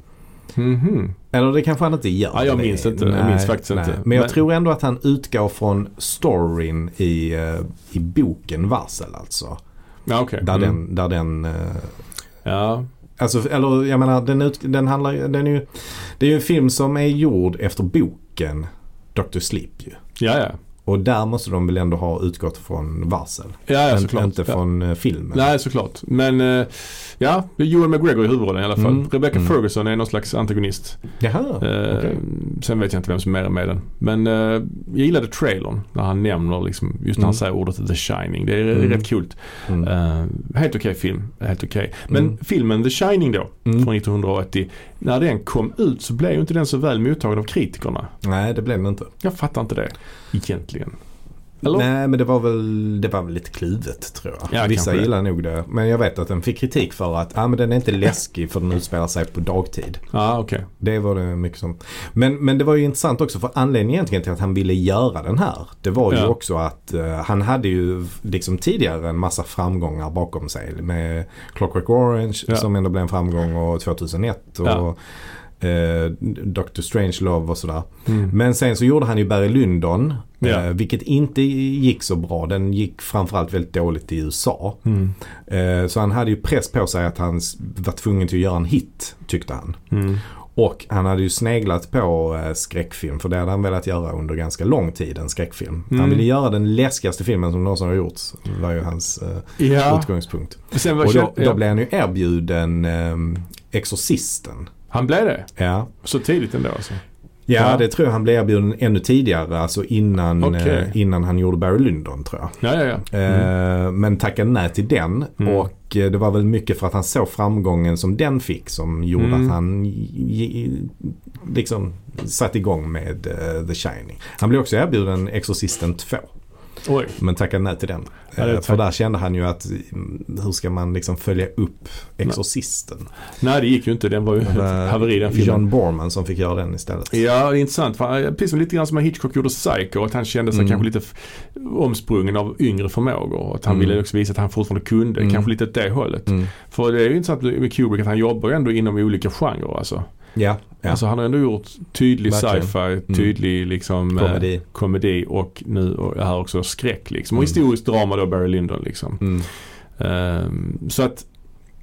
S1: Mhm.
S2: Eller det kanske han inte gör.
S1: Ja, jag
S2: Det-
S1: minns inte. Jag minns faktiskt inte.
S2: Men jag
S1: Men-
S2: tror ändå att han utgår från storyn i, eh, i boken Varsel alltså.
S1: Ja, okej.
S2: Där
S1: Mm.
S2: den, där den eh,
S1: Ja,
S2: Alltså, eller jag menar, den, ut, den handlar ju- den är ju, det är ju en film som är gjord efter boken Dr. Sleep ju.
S1: ja, ja.
S2: Och där måste de väl ändå ha utgått från varsel.
S1: Ja, ja
S2: Men
S1: såklart.
S2: Inte
S1: ja.
S2: från eh, filmen.
S1: Nej, såklart. Men eh, ja, det är Joel McGregor i huvudrollen i alla fall.
S2: Mm.
S1: Rebecca
S2: Mm.
S1: Ferguson är någon slags antagonist.
S2: Jaha,
S1: Eh,
S2: okej.
S1: Sen vet jag inte vem som är med i den. Men eh, jag gillade trailern när han nämner liksom, just när han
S2: Mm.
S1: säger ordet The Shining. Det är det är
S2: Mm.
S1: rätt kul.
S2: Mm.
S1: Eh, helt okej film. Helt okej. Men
S2: Mm.
S1: filmen The Shining då,
S2: Mm.
S1: från 1980. När den kom ut så blev ju inte den så väl mottagen av kritikerna.
S2: Nej, det blev det inte.
S1: Jag fattar inte det egentligen. Eller?
S2: Nej, men det var väl, det var väl lite kluvet tror jag.
S1: Ja, kanske
S2: Vissa
S1: det.
S2: gillar nog det. Men jag vet att den fick kritik för att ah, men den är inte läskig för den utspelar sig på dagtid.
S1: Ja, Ah, okej.
S2: Det var det mycket som. Men, men det var ju intressant också för anledningen egentligen till att han ville göra den här. Det var ju
S1: Ja.
S2: också att eh, han hade ju liksom tidigare en massa framgångar bakom sig. Med Clockwork Orange
S1: Ja.
S2: som ändå blev en framgång och 2001 och eh, Dr. Strangelove och sådär.
S1: Mm.
S2: Men sen så gjorde han ju Barry Lyndon.
S1: Ja.
S2: Eh, vilket inte gick så bra. Den gick framförallt väldigt dåligt i USA.
S1: Mm.
S2: Eh, så han hade ju press på sig att han s- var tvungen till att göra en hit tyckte han.
S1: Mm.
S2: Och han hade ju sneglat på eh, skräckfilm för det hade han velat göra under ganska lång tid, en skräckfilm.
S1: Mm.
S2: Han ville göra den läskigaste filmen som någonsin har gjorts. Det var ju hans eh,
S1: Ja.
S2: utgångspunkt.
S1: Sen var
S2: Och då, då
S1: ja.
S2: blev han ju erbjuden ehm, Exorcisten.
S1: Han blev det?
S2: Ja.
S1: Så tidigt ändå alltså?
S2: Ja,
S1: Ja.
S2: det tror jag han blev erbjuden ännu tidigare. Alltså innan,
S1: Okej.
S2: eh, innan han gjorde Barry Lyndon tror jag.
S1: Ja, ja, ja.
S2: Eh, Men tackade nej till den.
S1: Mm.
S2: Och eh, det var väl mycket för att han såg framgången som den fick som gjorde
S1: Mm.
S2: att han gi- liksom satte igång med eh, The Shining. Han blev också erbjuden Exorcisten 2.
S1: Oj.
S2: Men tackade nej till den.
S1: Ja, det
S2: Eh,
S1: tack-
S2: för där kände han ju att mm, hur ska man liksom följa upp Exorcisten?
S1: Nej, det gick ju inte. Den var ju
S2: Det var
S1: ett haveri den filmen.
S2: John Borman som fick göra den istället.
S1: Ja, det är intressant. För, eh, precis som lite grann som Hitchcock gjorde Psycho, att han kände sig
S2: Mm.
S1: kanske lite f- omsprungen av yngre förmågor. Och Att han
S2: Mm.
S1: ville också visa att han fortfarande kunde,
S2: Mm.
S1: kanske lite åt det hållet.
S2: Mm.
S1: För det är ju intressant med Kubrick att han jobbar ju ändå inom olika genrer alltså.
S2: Ja, ja.
S1: Alltså han har ändå gjort tydlig
S2: Verkligen. Mm.
S1: sci-fi, tydlig liksom eh,
S2: Komedi.
S1: komedi och nu och här också skräck liksom. Och historiskt drama då, Barry Lyndon liksom.
S2: Mm.
S1: Ehm, så att,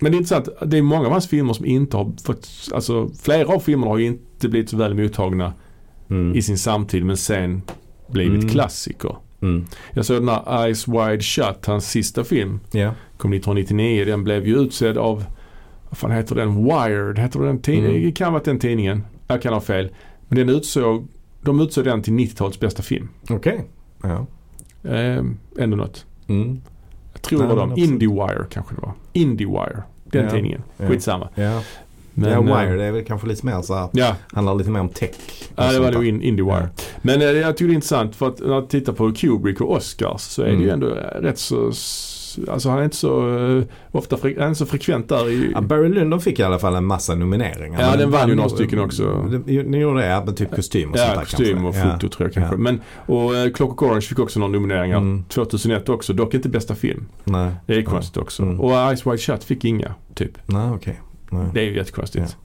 S1: men det är intressant, det är många av hans filmer som inte har fått, alltså flera av filmerna har ju inte blivit så väl mottagna
S2: Mm.
S1: i sin samtid men sen blivit
S2: Mm.
S1: klassiker.
S2: Mm.
S1: Jag såg den här Eyes Wide Shut, hans sista film,
S2: Ja.
S1: kom 1999. Den blev ju utsedd av, vad fan heter den, Wired, heter den tidningen?
S2: Mm.
S1: Det kan ha varit den tidningen. Jag kan ha fel. Men den utsåg, de utsåg den till 90-talets bästa film.
S2: Okej. Ja.
S1: Eh, ändå något.
S2: Mm.
S1: Jag tror
S2: Nej,
S1: det var
S2: men
S1: de.
S2: absolut.
S1: Indiewire kanske det var. Indiewire. Den
S2: Ja,
S1: tidningen.
S2: ja.
S1: Skitsamma.
S2: Ja.
S1: Men,
S2: ja,
S1: eh,
S2: Wire det är väl kanske lite mer så här,
S1: Ja,
S2: handlar lite mer om tech. och
S1: ja det
S2: sånt
S1: var
S2: där.
S1: nog in, Indiewire. Men eh, jag tycker det är intressant för att när jag tittar på Kubrick och Oscars så är det ju
S2: Mm.
S1: ändå eh, rätt så s- Alltså han är inte så eh, ofta fre- han är inte så frekvent där i...
S2: Ja, Barry Lyndon fick i alla fall en massa nomineringar.
S1: Ja,
S2: Men
S1: den vann ju
S2: han-
S1: några stycken också.
S2: Den den gjorde det, ja, men typ kostym och sånt
S1: Ja,
S2: där
S1: kostym och
S2: kanske.
S1: foto tror jag kanske.
S2: Ja.
S1: Men, och eh, Clockwork Orange fick också några nomineringar.
S2: Mm.
S1: 2001 också, dock inte bästa film.
S2: Nej,
S1: Det är konstigt också.
S2: Mm.
S1: Och Ice Wide Shut fick inga, typ.
S2: nej okej. Nej.
S1: Det är ju jättekonstigt.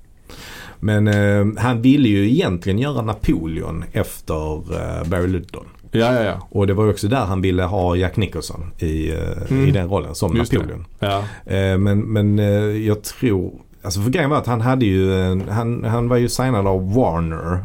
S2: Men eh, han ville ju egentligen göra Napoleon efter eh, Barry Lyndon.
S1: Ja, ja, ja.
S2: Och det var ju också där han ville ha Jack Nicholson i, eh,
S1: Mm.
S2: i den rollen som
S1: Just det.
S2: Napoleon.
S1: ja.
S2: Eh, men men eh, jag tror, alltså för grejen var att han hade ju, en, han, han var ju signad av Warner.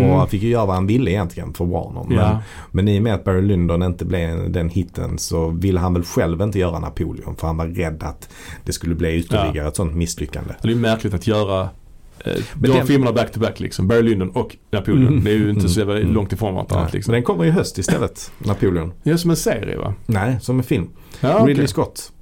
S2: Och han fick ju göra vad han ville egentligen för Warner.
S1: Mm.
S2: Men,
S1: Ja.
S2: men i och med att Barry Lyndon inte blev den hitten så ville han väl själv inte göra Napoleon. För han var rädd att det skulle bli ytterligare ett sånt misslyckande.
S1: Det är ju märkligt att göra eh,
S2: Men
S1: de
S2: den-
S1: filmerna back to back liksom. Barry Lyndon och Napoleon. Det är ju inte så jävla långt ifrån varandra.
S2: Mm. Nej. Men
S1: Liksom.
S2: den kommer i höst istället, Napoleon. Ah,
S1: Det är som en serie va?
S2: Nej, som en film.
S1: Ja, okej.
S2: Ridley Scott.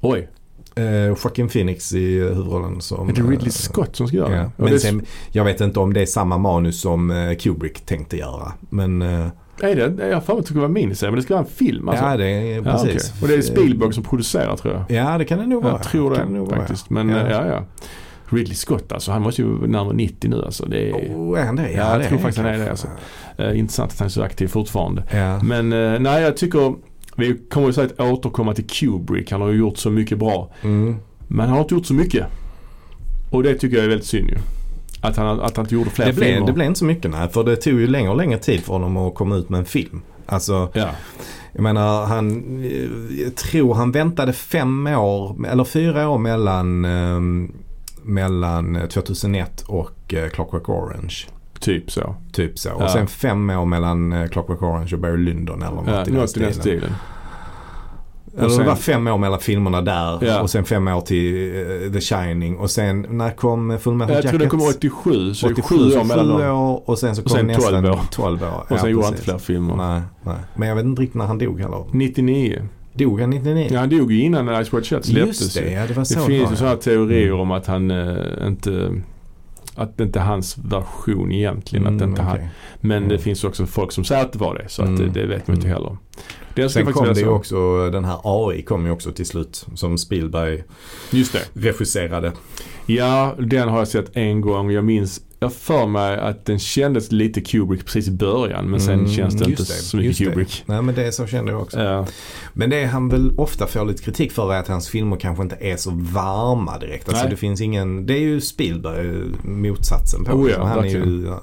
S1: Oj,
S2: Eh, Joaquin Phoenix
S1: eh,
S2: i huvudrollen som...
S1: är det Ridley
S2: eh,
S1: Scott som ska göra
S2: Ja.
S1: det? Och
S2: Men
S1: det är-
S2: sen, jag vet inte om det är samma manus som eh, Kubrick tänkte göra. Men eh,
S1: Är det? Jag har för mig att det skulle vara en miniserie, men det ska vara en film alltså.
S2: ja, det är
S1: Ja, okej.
S2: precis.
S1: Och det är Spielberg som producerar tror jag.
S2: Ja, det kan det nog vara.
S1: Jag tror
S2: kan
S1: det
S2: nog vara.
S1: faktiskt. Men eh,
S2: Ja.
S1: ja. ja, ja. Ridley Scott alltså, han måste ju närmare 90 nu alltså. Det är
S2: Oh, är han det?
S1: Ja, jag
S2: det
S1: tror faktiskt han är det,
S2: kanske.
S1: eh, intressant att han är så aktiv fortfarande.
S2: Ja.
S1: Men eh, nej, jag tycker vi kommer ju säkert återkomma till Kubrick. Han har ju gjort så mycket bra.
S2: Mm.
S1: Men han har inte gjort så mycket. Och det tycker jag är väldigt synd ju. Att han, att han inte gjorde fler
S2: Det,
S1: filmer.
S2: blev, det blev inte så mycket nej, för det tog ju längre och längre tid för honom att komma ut med en film. Alltså,
S1: Ja.
S2: jag menar, han, eh, jag tror han väntade fem år, eller fyra år mellan, eh, mellan 2001 och eh, Clockwork Orange.
S1: Typ så.
S2: Typ så.
S1: Ja.
S2: Och sen fem år mellan eh, Clockwork Orange och Barry Lyndon eller något
S1: Ja,
S2: i den
S1: något i den
S2: stilen.
S1: stilen.
S2: Eller
S1: Och
S2: det
S1: sen-
S2: var fem år mellan filmerna där
S1: Ja.
S2: och sen fem år till eh, The Shining och sen när kom eh, Full Metal
S1: Jag
S2: Jacket?
S1: tror den kom 87, så
S2: 87,
S1: det är sju år
S2: så
S1: mellan
S2: sju
S1: dem.
S2: år och sen så
S1: Och
S2: kom
S1: sen
S2: nästan
S1: 12 år.
S2: 12 år.
S1: Och sen
S2: Ja,
S1: gjorde han inte
S2: precis.
S1: fler filmer.
S2: Nej, nej. Men jag vet inte riktigt när han dog heller.
S1: 99.
S2: Dog han 99?
S1: Ja, han dog ju innan Ice White Shut släpptes
S2: Just
S1: ju.
S2: det, ja det Mm. var så
S1: Det finns
S2: var,
S1: ju
S2: ja.
S1: sådana teorier om att han eh, inte att det inte är hans version egentligen. att det
S2: Mm,
S1: inte han,
S2: okej.
S1: men det
S2: Mm.
S1: finns också folk som säger att det var det. Så att
S2: Mm.
S1: det, det vet man inte heller. Den ska
S2: Sen
S1: jag
S2: kom
S1: faktiskt
S2: det
S1: läsa.
S2: ju också, den här AI kom ju också till slut som Spielberg
S1: Just det.
S2: regisserade.
S1: Ja, den har jag sett en gång. Jag minns, jag för mig att den kändes lite Kubrick precis i början. Men sen
S2: Mm,
S1: känns det
S2: just
S1: inte så mycket
S2: just det.
S1: Kubrick.
S2: Nej men det är så kände jag också.
S1: Eh,
S2: Men det han väl ofta får lite kritik för är att hans filmer kanske inte är så varma direkt. Alltså
S1: Nej.
S2: det finns ingen, det är ju Spielberg eh, motsatsen på.
S1: Oh ja,
S2: Liksom. han är
S1: verkligen.
S2: ju ja,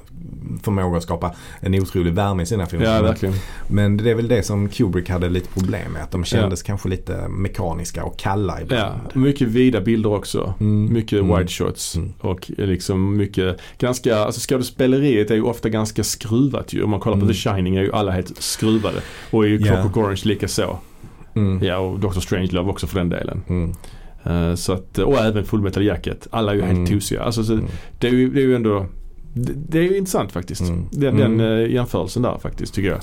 S2: förmåga att skapa en otrolig värme i sina filmer.
S1: ja,
S2: Men-
S1: verkligen.
S2: Men det är väl det som Kubrick hade lite problem med. Att de kändes kanske lite mekaniska och kalla
S1: Ja,
S2: ibland.
S1: mycket vida bilder också.
S2: Mm.
S1: Mycket
S2: Mm.
S1: wide shots.
S2: Mm.
S1: Och liksom mycket, ganska, alltså skådespeleriet är ju ofta ganska skruvat ju. Om man kollar på
S2: Mm.
S1: The Shining är ju alla helt skruvade. Och är ju
S2: Ja.
S1: Clockwork Orange lika så.
S2: Mm.
S1: Ja, och Dr. Strangelove också för den delen.
S2: Mm.
S1: Eh, så att, och även Full Metal Jacket. Alla är ju
S2: Mm.
S1: helt tosiga. Alltså, så,
S2: Mm.
S1: det, är ju, det är ju ändå det, det är ju intressant faktiskt.
S2: Mm.
S1: Den, den
S2: Mm.
S1: eh, jämförelsen där faktiskt tycker jag.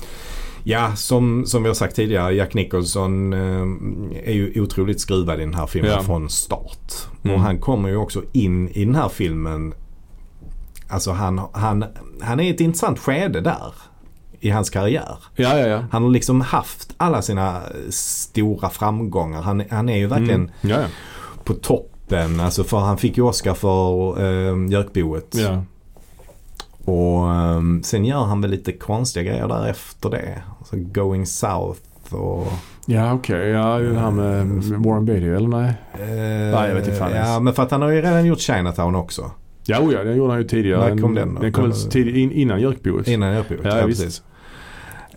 S2: Ja, som, som vi har sagt tidigare, Jack Nicholson eh, är ju otroligt skruvad i den här filmen
S1: Ja.
S2: från start.
S1: Mm.
S2: Och han kommer ju också in i den här filmen. Alltså han, han, han är i ett intressant skede där i hans karriär.
S1: Ja, ja, ja.
S2: Han har liksom haft alla sina stora framgångar. Han, han är ju verkligen
S1: Mm. Ja, ja.
S2: på toppen. Alltså för han fick ju Oscar för eh, Jökboet.
S1: ja.
S2: Och ehm, sen gör han väl lite konstiga grejer där efter det. Alltså going south och...
S1: Ja okej, ja ju det här med Warren Beatty eller nej?
S2: eh,
S1: Nej, jag vet inte fan
S2: Ja,
S1: ens.
S2: men för att han har ju redan gjort Chinatown också.
S1: Ja, oh ja, den gjorde han ju tidigare.
S2: När kom den då?
S1: Den kom väl
S2: Den-
S1: tid, in, innan Jökboet.
S2: Innan Jökboet.
S1: Ja, visst.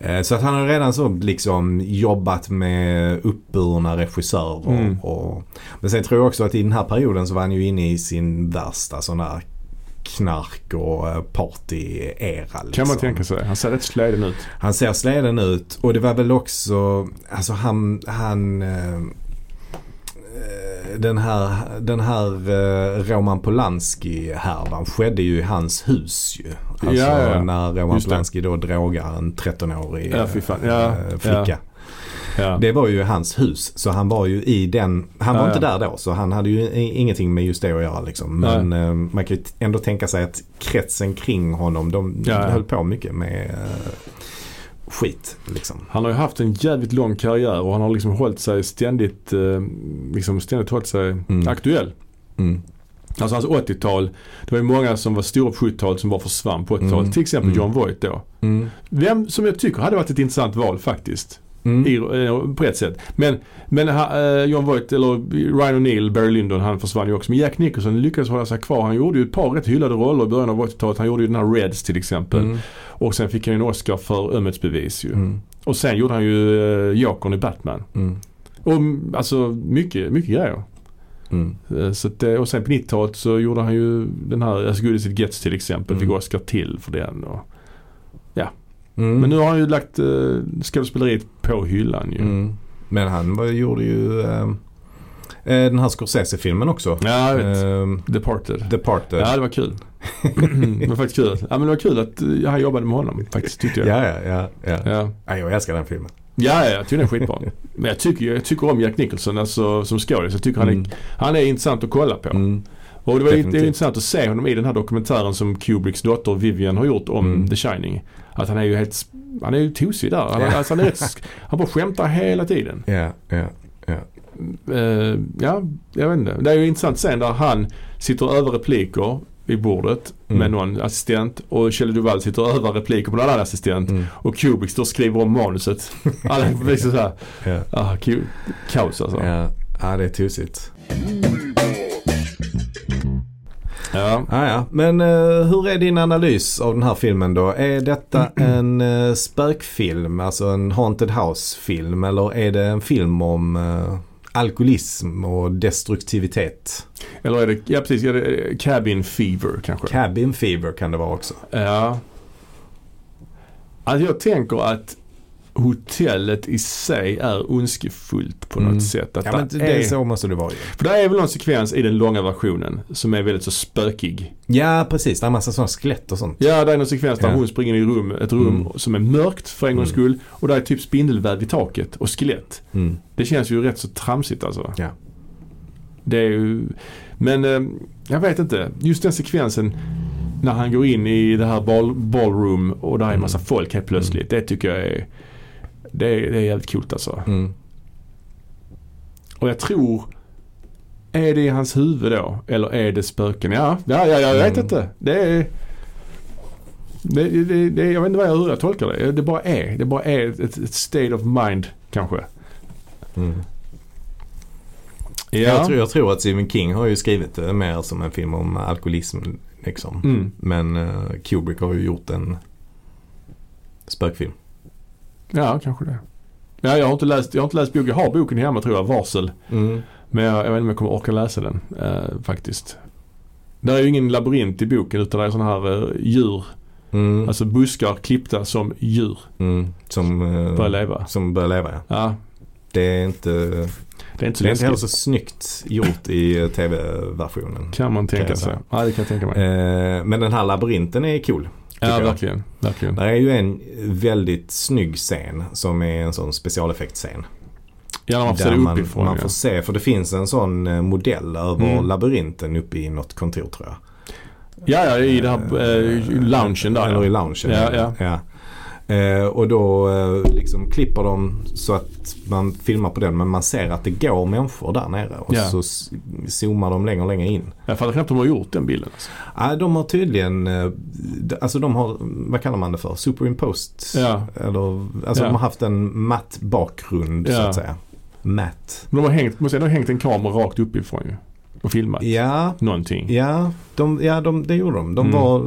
S2: Eh, Så att han har redan så liksom jobbat med uppburna regissörer.
S1: Mm.
S2: Och, men sen tror jag också att i den här perioden så var han ju inne i sin värsta sån här knark och eh, party-era. Liksom.
S1: Kan man tänka sig. Han ser rätt släden ut.
S2: Han ser släden ut och det var väl också, alltså han, han eh, eh, den här, den här eh, Roman Polanski-härvan skedde ju i hans hus ju. Alltså
S1: Ja, ja, ja.
S2: när Roman
S1: Just det.
S2: Polanski då drogar en 13-årig
S1: Ja, fy fan.
S2: eh,
S1: Ja,
S2: flicka.
S1: ja. Ja.
S2: Det var ju hans hus så han var ju i den. Han var
S1: Ja,
S2: inte
S1: ja.
S2: där då så han hade ju i- ingenting med just det att göra liksom. Men eh, man kan ju t- ändå tänka sig att kretsen kring honom de
S1: Ja, ja.
S2: höll på mycket med eh, skit liksom.
S1: Han har ju haft en jävligt lång karriär och han har liksom hållit sig ständigt, eh, liksom ständigt hållit sig
S2: Mm.
S1: aktuell.
S2: Mm.
S1: Alltså hans 80-tal, det var ju många som var stora på 70-talet som var för svamp på 80-talet.
S2: Mm.
S1: Till exempel
S2: Mm.
S1: John Voight då.
S2: Mm.
S1: Vem som jag tycker hade varit ett intressant val faktiskt.
S2: Mm.
S1: I, eh, på ett sätt. Men, men ha, eh, John Voight, eller Ryan O'Neill, Barry Lyndon, han försvann ju också. Men Jack Nicholson lyckades hålla sig kvar. Han gjorde ju ett par rätt hyllade roller i början av 80-talet. Han gjorde ju den här Reds till exempel.
S2: Mm.
S1: Och sen fick han ju en Oscar för Ömhetsbevis ju.
S2: Mm.
S1: Och sen gjorde han ju eh, Jokern i Batman.
S2: Mm.
S1: Och mm, alltså mycket, mycket grejer.
S2: Mm.
S1: Eh, Så att, eh, och sen på 90-talet så gjorde han ju den här alltså, As good as it gets till exempel.
S2: Mm.
S1: Fick Oscar till för den. Och,
S2: Mm.
S1: Men nu har han ju lagt eh, skådespeleriet på hyllan ju.
S2: Mm. Men han var, gjorde ju eh, eh, den här Scorsese-filmen också.
S1: Ja, jag vet.
S2: Eh,
S1: Departed.
S2: Departed.
S1: Ja, det var kul. Mm, det var faktiskt kul. Ja, men det var kul att eh, han jobbade med honom faktiskt tyckte jag.
S2: ja, ja, ja. ja.
S1: Ja.
S2: Nej, jag älskar den filmen.
S1: Ja, ja, jag tycker den är skitbra. Men jag tycker, jag tycker om Jack Nicholson alltså, som skådis. Jag tycker han,
S2: Mm.
S1: är, han är intressant att kolla på.
S2: Mm.
S1: Och det var ju- det är
S2: Definitivt.
S1: ju intressant att se honom i den här dokumentären som Kubricks dotter Vivian har gjort om
S2: Mm.
S1: The Shining. Att han är ju helt, sp- han är ju tosig där. Han, alltså, han, är rätt, sk- han bara skämtar hela tiden.
S2: Ja, ja.
S1: Eh, ja, jag vet inte. Det är ju en intressant scen där han sitter över repliker i bordet
S2: Mm.
S1: med någon assistent och Kjell Duvall sitter över repliker på någon annan assistent.
S2: Mm.
S1: Och Kubrick står och skriver om manuset. Alla liksom såhär,
S2: Ja.
S1: ah, ku- kaos alltså.
S2: Ja. ja, det är tusigt.
S1: Ja.
S2: Ja, ja. Men eh, hur är din analys av den här filmen då? Är detta en eh, spökfilm, alltså en haunted house-film? Eller är det en film om eh, alkoholism och destruktivitet?
S1: Eller är det, ja precis, är det eh, cabin fever kanske?
S2: Cabin fever kan det vara också.
S1: Ja. Alltså jag tänker att hotellet i sig är ondskefullt på något
S2: Mm.
S1: sätt. Att
S2: Ja, men
S1: det
S2: det
S1: är,
S2: är så måste det vara ju.
S1: För det är väl någon sekvens i den långa versionen som är väldigt så spökig.
S2: Ja, precis. Det är en massa sådana skelett och sånt.
S1: Ja, det är någon sekvens där
S2: Ja.
S1: hon springer in i rum, ett rum
S2: Mm.
S1: som är mörkt för en gångs
S2: Mm.
S1: skull. Och där är typ spindelväv i taket och skelett. Det känns ju rätt så tramsigt alltså.
S2: Ja.
S1: Det är ju... Men eh, jag vet inte. Just den sekvensen när han går in i det här ball, ballroom och där är en
S2: Mm.
S1: massa folk helt plötsligt. Det tycker jag är... Det är, det är jävligt coolt alltså.
S2: Mm.
S1: Och jag tror... Är det i hans huvud då? Eller är det spöken? Ja, ja, ja jag vet
S2: Mm.
S1: inte. Det är... Det, det, det, jag vet inte vad jag, hur jag tolkar det. Det bara är. Det bara är ett, ett state of mind kanske.
S2: Mm. Jag, tror, jag tror att Stephen King har ju skrivit det mer som en film om alkoholism. Liksom.
S1: Mm.
S2: Men eh, Kubrick har ju gjort en spökfilm.
S1: Ja, kanske det. Ja, jag, har inte läst, jag har inte läst boken. Jag har boken hemma tror jag, Varsel. Men jag, jag vet inte om jag kommer orka läsa den eh, faktiskt. Det är ju ingen labyrint i boken utan det är sådana här eh, djur.
S2: Mm.
S1: Alltså buskar klippta som djur
S2: Mm. Som, eh,
S1: börjar leva.
S2: som börjar leva ja.
S1: Ja,
S2: Det är inte,
S1: det är inte så
S2: det är inte heller
S1: läskigt.
S2: så snyggt gjort i eh, tv-versionen.
S1: Kan man
S2: kan
S1: tänka
S2: jag
S1: sig.
S2: säga.
S1: Ja, det kan jag tänka mig.
S2: Eh, men den här labyrinten är cool. tycker
S1: Ja,
S2: jag.
S1: verkligen. verkligen.
S2: Där är ju en väldigt snygg scen som är en sån specialeffektscen.
S1: Ja, när man får se
S2: Där
S1: det
S2: man,
S1: uppifrån.
S2: man
S1: ja.
S2: får se, för det finns en sån eh, modell över
S1: Mm.
S2: labyrinten uppe i något kontor tror jag.
S1: ja, ja, i den här eh, loungen där.
S2: Eller i
S1: ja.
S2: loungen.
S1: Ja, ja.
S2: Eh, och då eh, liksom klipper de så att man filmar på den men man ser att det går människor där nere. Och
S1: Ja.
S2: så s- zoomar de längre och längre in.
S1: Jag fattar knappt hur de har gjort den bilden. Alltså.
S2: Ah, de har tydligen, eh, d- alltså de har, vad kallar man det för? Superimposed?
S1: Ja.
S2: Eller, alltså
S1: Ja.
S2: de har haft en matt bakgrund så
S1: Ja.
S2: att säga. Matt.
S1: Men de har hängt, måste säga, de har hängt en kamera rakt uppifrån ju. Och filmat
S2: Ja,
S1: någonting.
S2: Ja, de, ja de, det gjorde de. de
S1: Mm.
S2: var, eh,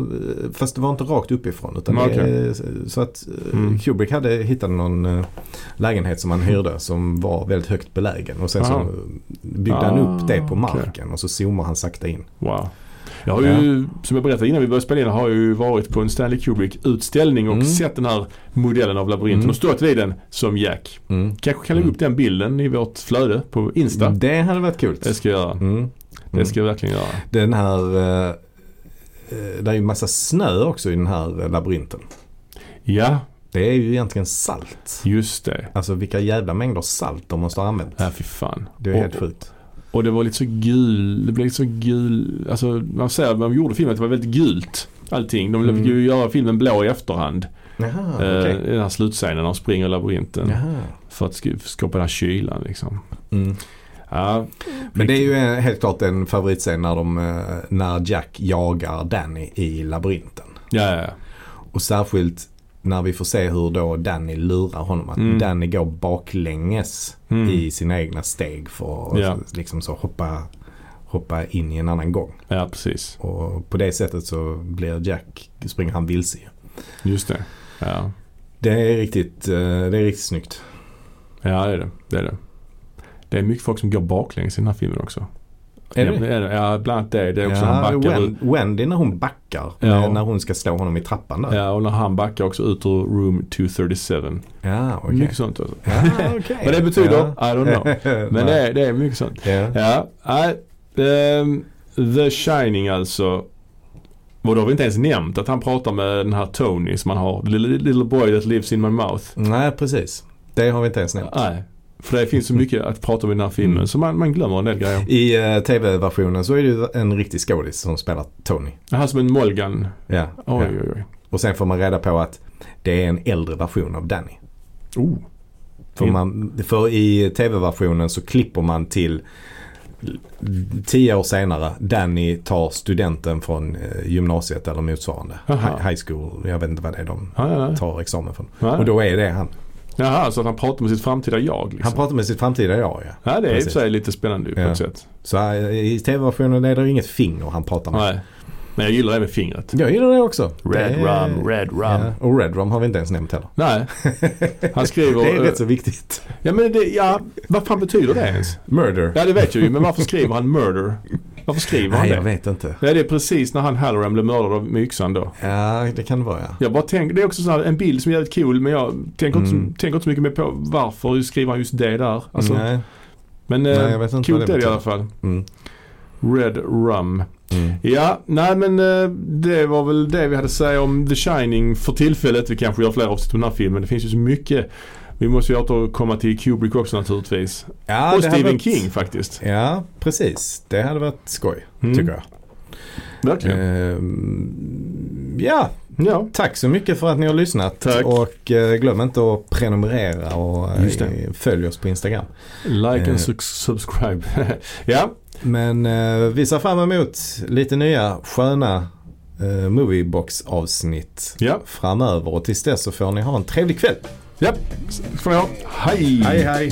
S2: fast det var inte rakt uppifrån. Utan
S1: Mm,
S2: det, eh, så att eh,
S1: Mm.
S2: Kubrick hade hittat någon eh, lägenhet som han hyrde som var väldigt högt belägen. Och sen så
S1: Aha.
S2: byggde han upp det på
S1: Ah, okej.
S2: marken och så zoomar han sakta in.
S1: Wow. Jag har ju, som jag berättade innan vi började spela in, har jag ju varit på en Stanley Kubrick-utställning
S2: Mm.
S1: och sett den här modellen av labyrinten och stått vid den som Jack.
S2: Mm.
S1: Kanske kan lägga upp den bilden i vårt flöde på Insta.
S2: Det hade varit kul.
S1: Det ska jag göra.
S2: Mm.
S1: Det ska jag verkligen göra.
S2: Den här, eh, eh, det är ju massa snö också i den här eh, labyrinten.
S1: Ja,
S2: Det är ju egentligen salt.
S1: just det.
S2: Alltså vilka jävla mängder salt de måste ha använt.
S1: Ja, fy fan.
S2: Det är
S1: Och-
S2: helt sjukt.
S1: Och det var lite så gul, det blev lite så gul, alltså man säger att man gjorde filmen att det var väldigt gult allting. De fick ju göra filmen blå i efterhand.
S2: Jaha,
S1: Eh,
S2: Mm. Ah, okej.
S1: I den här slutscenen när de springer i labyrinten.
S2: Jaha.
S1: För att sk- skapa den här kylan liksom.
S2: Mm.
S1: Ja,
S2: Men det är ju en, helt klart en favoritscen när, de, eh, när Jack jagar Danny i labyrinten.
S1: ja, ja. ja.
S2: Och särskilt när vi får se hur då Danny lurar honom. Att
S1: Mm.
S2: Danny går baklänges
S1: Mm.
S2: i sina egna steg för att
S1: Ja.
S2: liksom så hoppa, hoppa in i en annan gång.
S1: ja, precis.
S2: Och på det sättet så blir Jack, springer han vilse ju.
S1: Just det. Ja,
S2: Det är riktigt, eh, det är riktigt snyggt.
S1: ja det, är det. det är det. Det är mycket folk som går baklänges i den här filmen också.
S2: Är det?
S1: Ja, men Ja, bland annat det. Det är också han backar ut.
S2: Wen- Wendy när hon backar. eh,
S1: Ja.
S2: när- När hon ska slå honom i trappan där.
S1: Ja, och när han backar också ut ur room 237.
S2: Ja, okej.
S1: Mycket sånt alltså.
S2: Ja, okej.
S1: Vad det betyder,
S2: Ja.
S1: I don't know. Men det är, det är mycket sånt.
S2: Ja.
S1: Ja, nej. Ehm, The Shining alltså. Och då har vi inte ens nämnt att han pratar med den här Tony som han har. The little, little boy that lives in my mouth.
S2: Nej, precis. Det har vi inte ens nämnt.
S1: Nej. För det finns så
S2: Mm.
S1: mycket att prata om i den här filmen så man, man glömmer en del grejer.
S2: I eh, tv-versionen så är det ju en riktig skådis som spelar Tony.
S1: Han som en Molgan.
S2: Ja.
S1: Oj,
S2: ja.
S1: oj, oj.
S2: Och sen får man reda på att det är en äldre version av Danny.
S1: Oh.
S2: För,
S1: Mm.
S2: man, för i tv-versionen så klipper man till tio år senare. Danny tar studenten från eh, gymnasiet eller motsvarande.
S1: Aha.
S2: Hi- High school, jag vet inte vad det är de
S1: Ja, ja, ja.
S2: tar examen från.
S1: Ja.
S2: Och då är det han.
S1: Jaha, så att han pratar med sitt framtida jag
S2: Han
S1: liksom.
S2: pratar med sitt framtida jag ja.
S1: Ja, det är i och för
S2: Precis.
S1: sig lite spännande på
S2: Ja.
S1: ett sätt.
S2: Så eh, i tv-versionen är det inget finger han pratar med.
S1: Nej. Men jag gillar det med fingret.
S2: Jag gillar det också.
S1: Red
S2: det är-
S1: rum, red rum.
S2: Ja, och Red Rum har vi inte ens nämnt heller.
S1: Nej. Han skriver...
S2: Det är
S1: eh,
S2: rätt så viktigt.
S1: Ja men det, ja, vad fan betyder det ens?
S2: Murder.
S1: Ja det vet jag ju, men varför skriver han murder? Varför skriver han
S2: Nej,
S1: det?
S2: jag vet inte.
S1: Ja, det är precis när han Halloran blev mördad av med yxan då.
S2: Ja, det kan det vara ja.
S1: Jag bara tänker, det är också sån här, en bild som är jävligt cool men jag tänker, inte, tänker inte så mycket mer på varför skriver han just det där. Alltså,
S2: Mm. Nej.
S1: Men
S2: Nej,
S1: eh,
S2: jag vet inte
S1: coolt
S2: vad det
S1: är det i
S2: betyder.
S1: alla fall.
S2: Mm.
S1: Red Rum.
S2: Mm.
S1: Ja, nej men eh, det var väl det vi hade att säga om The Shining för tillfället. Vi kanske gör fler avsnitt om den här filmen. Det finns ju så mycket. Vi måste ju återkomma till Kubrick också naturligtvis.
S2: Ja,
S1: och
S2: det hade
S1: Stephen
S2: varit-
S1: King faktiskt.
S2: Ja, precis. Det hade varit skoj,
S1: Mm.
S2: tycker jag.
S1: Verkligen.
S2: Ehm, ja,
S1: Ja.
S2: tack så mycket för att ni har lyssnat.
S1: Tack.
S2: Och eh, glöm inte att prenumerera och eh,
S1: Just det.
S2: följ oss på Instagram.
S1: Like
S2: Eh.
S1: and su- subscribe. ja,
S2: Men eh, vi ser fram emot lite nya sköna eh, Moviebox-avsnitt
S1: ja,
S2: framöver. Och tills dess så får ni ha en trevlig kväll.
S1: ja. Får jag. Hej!
S2: hej!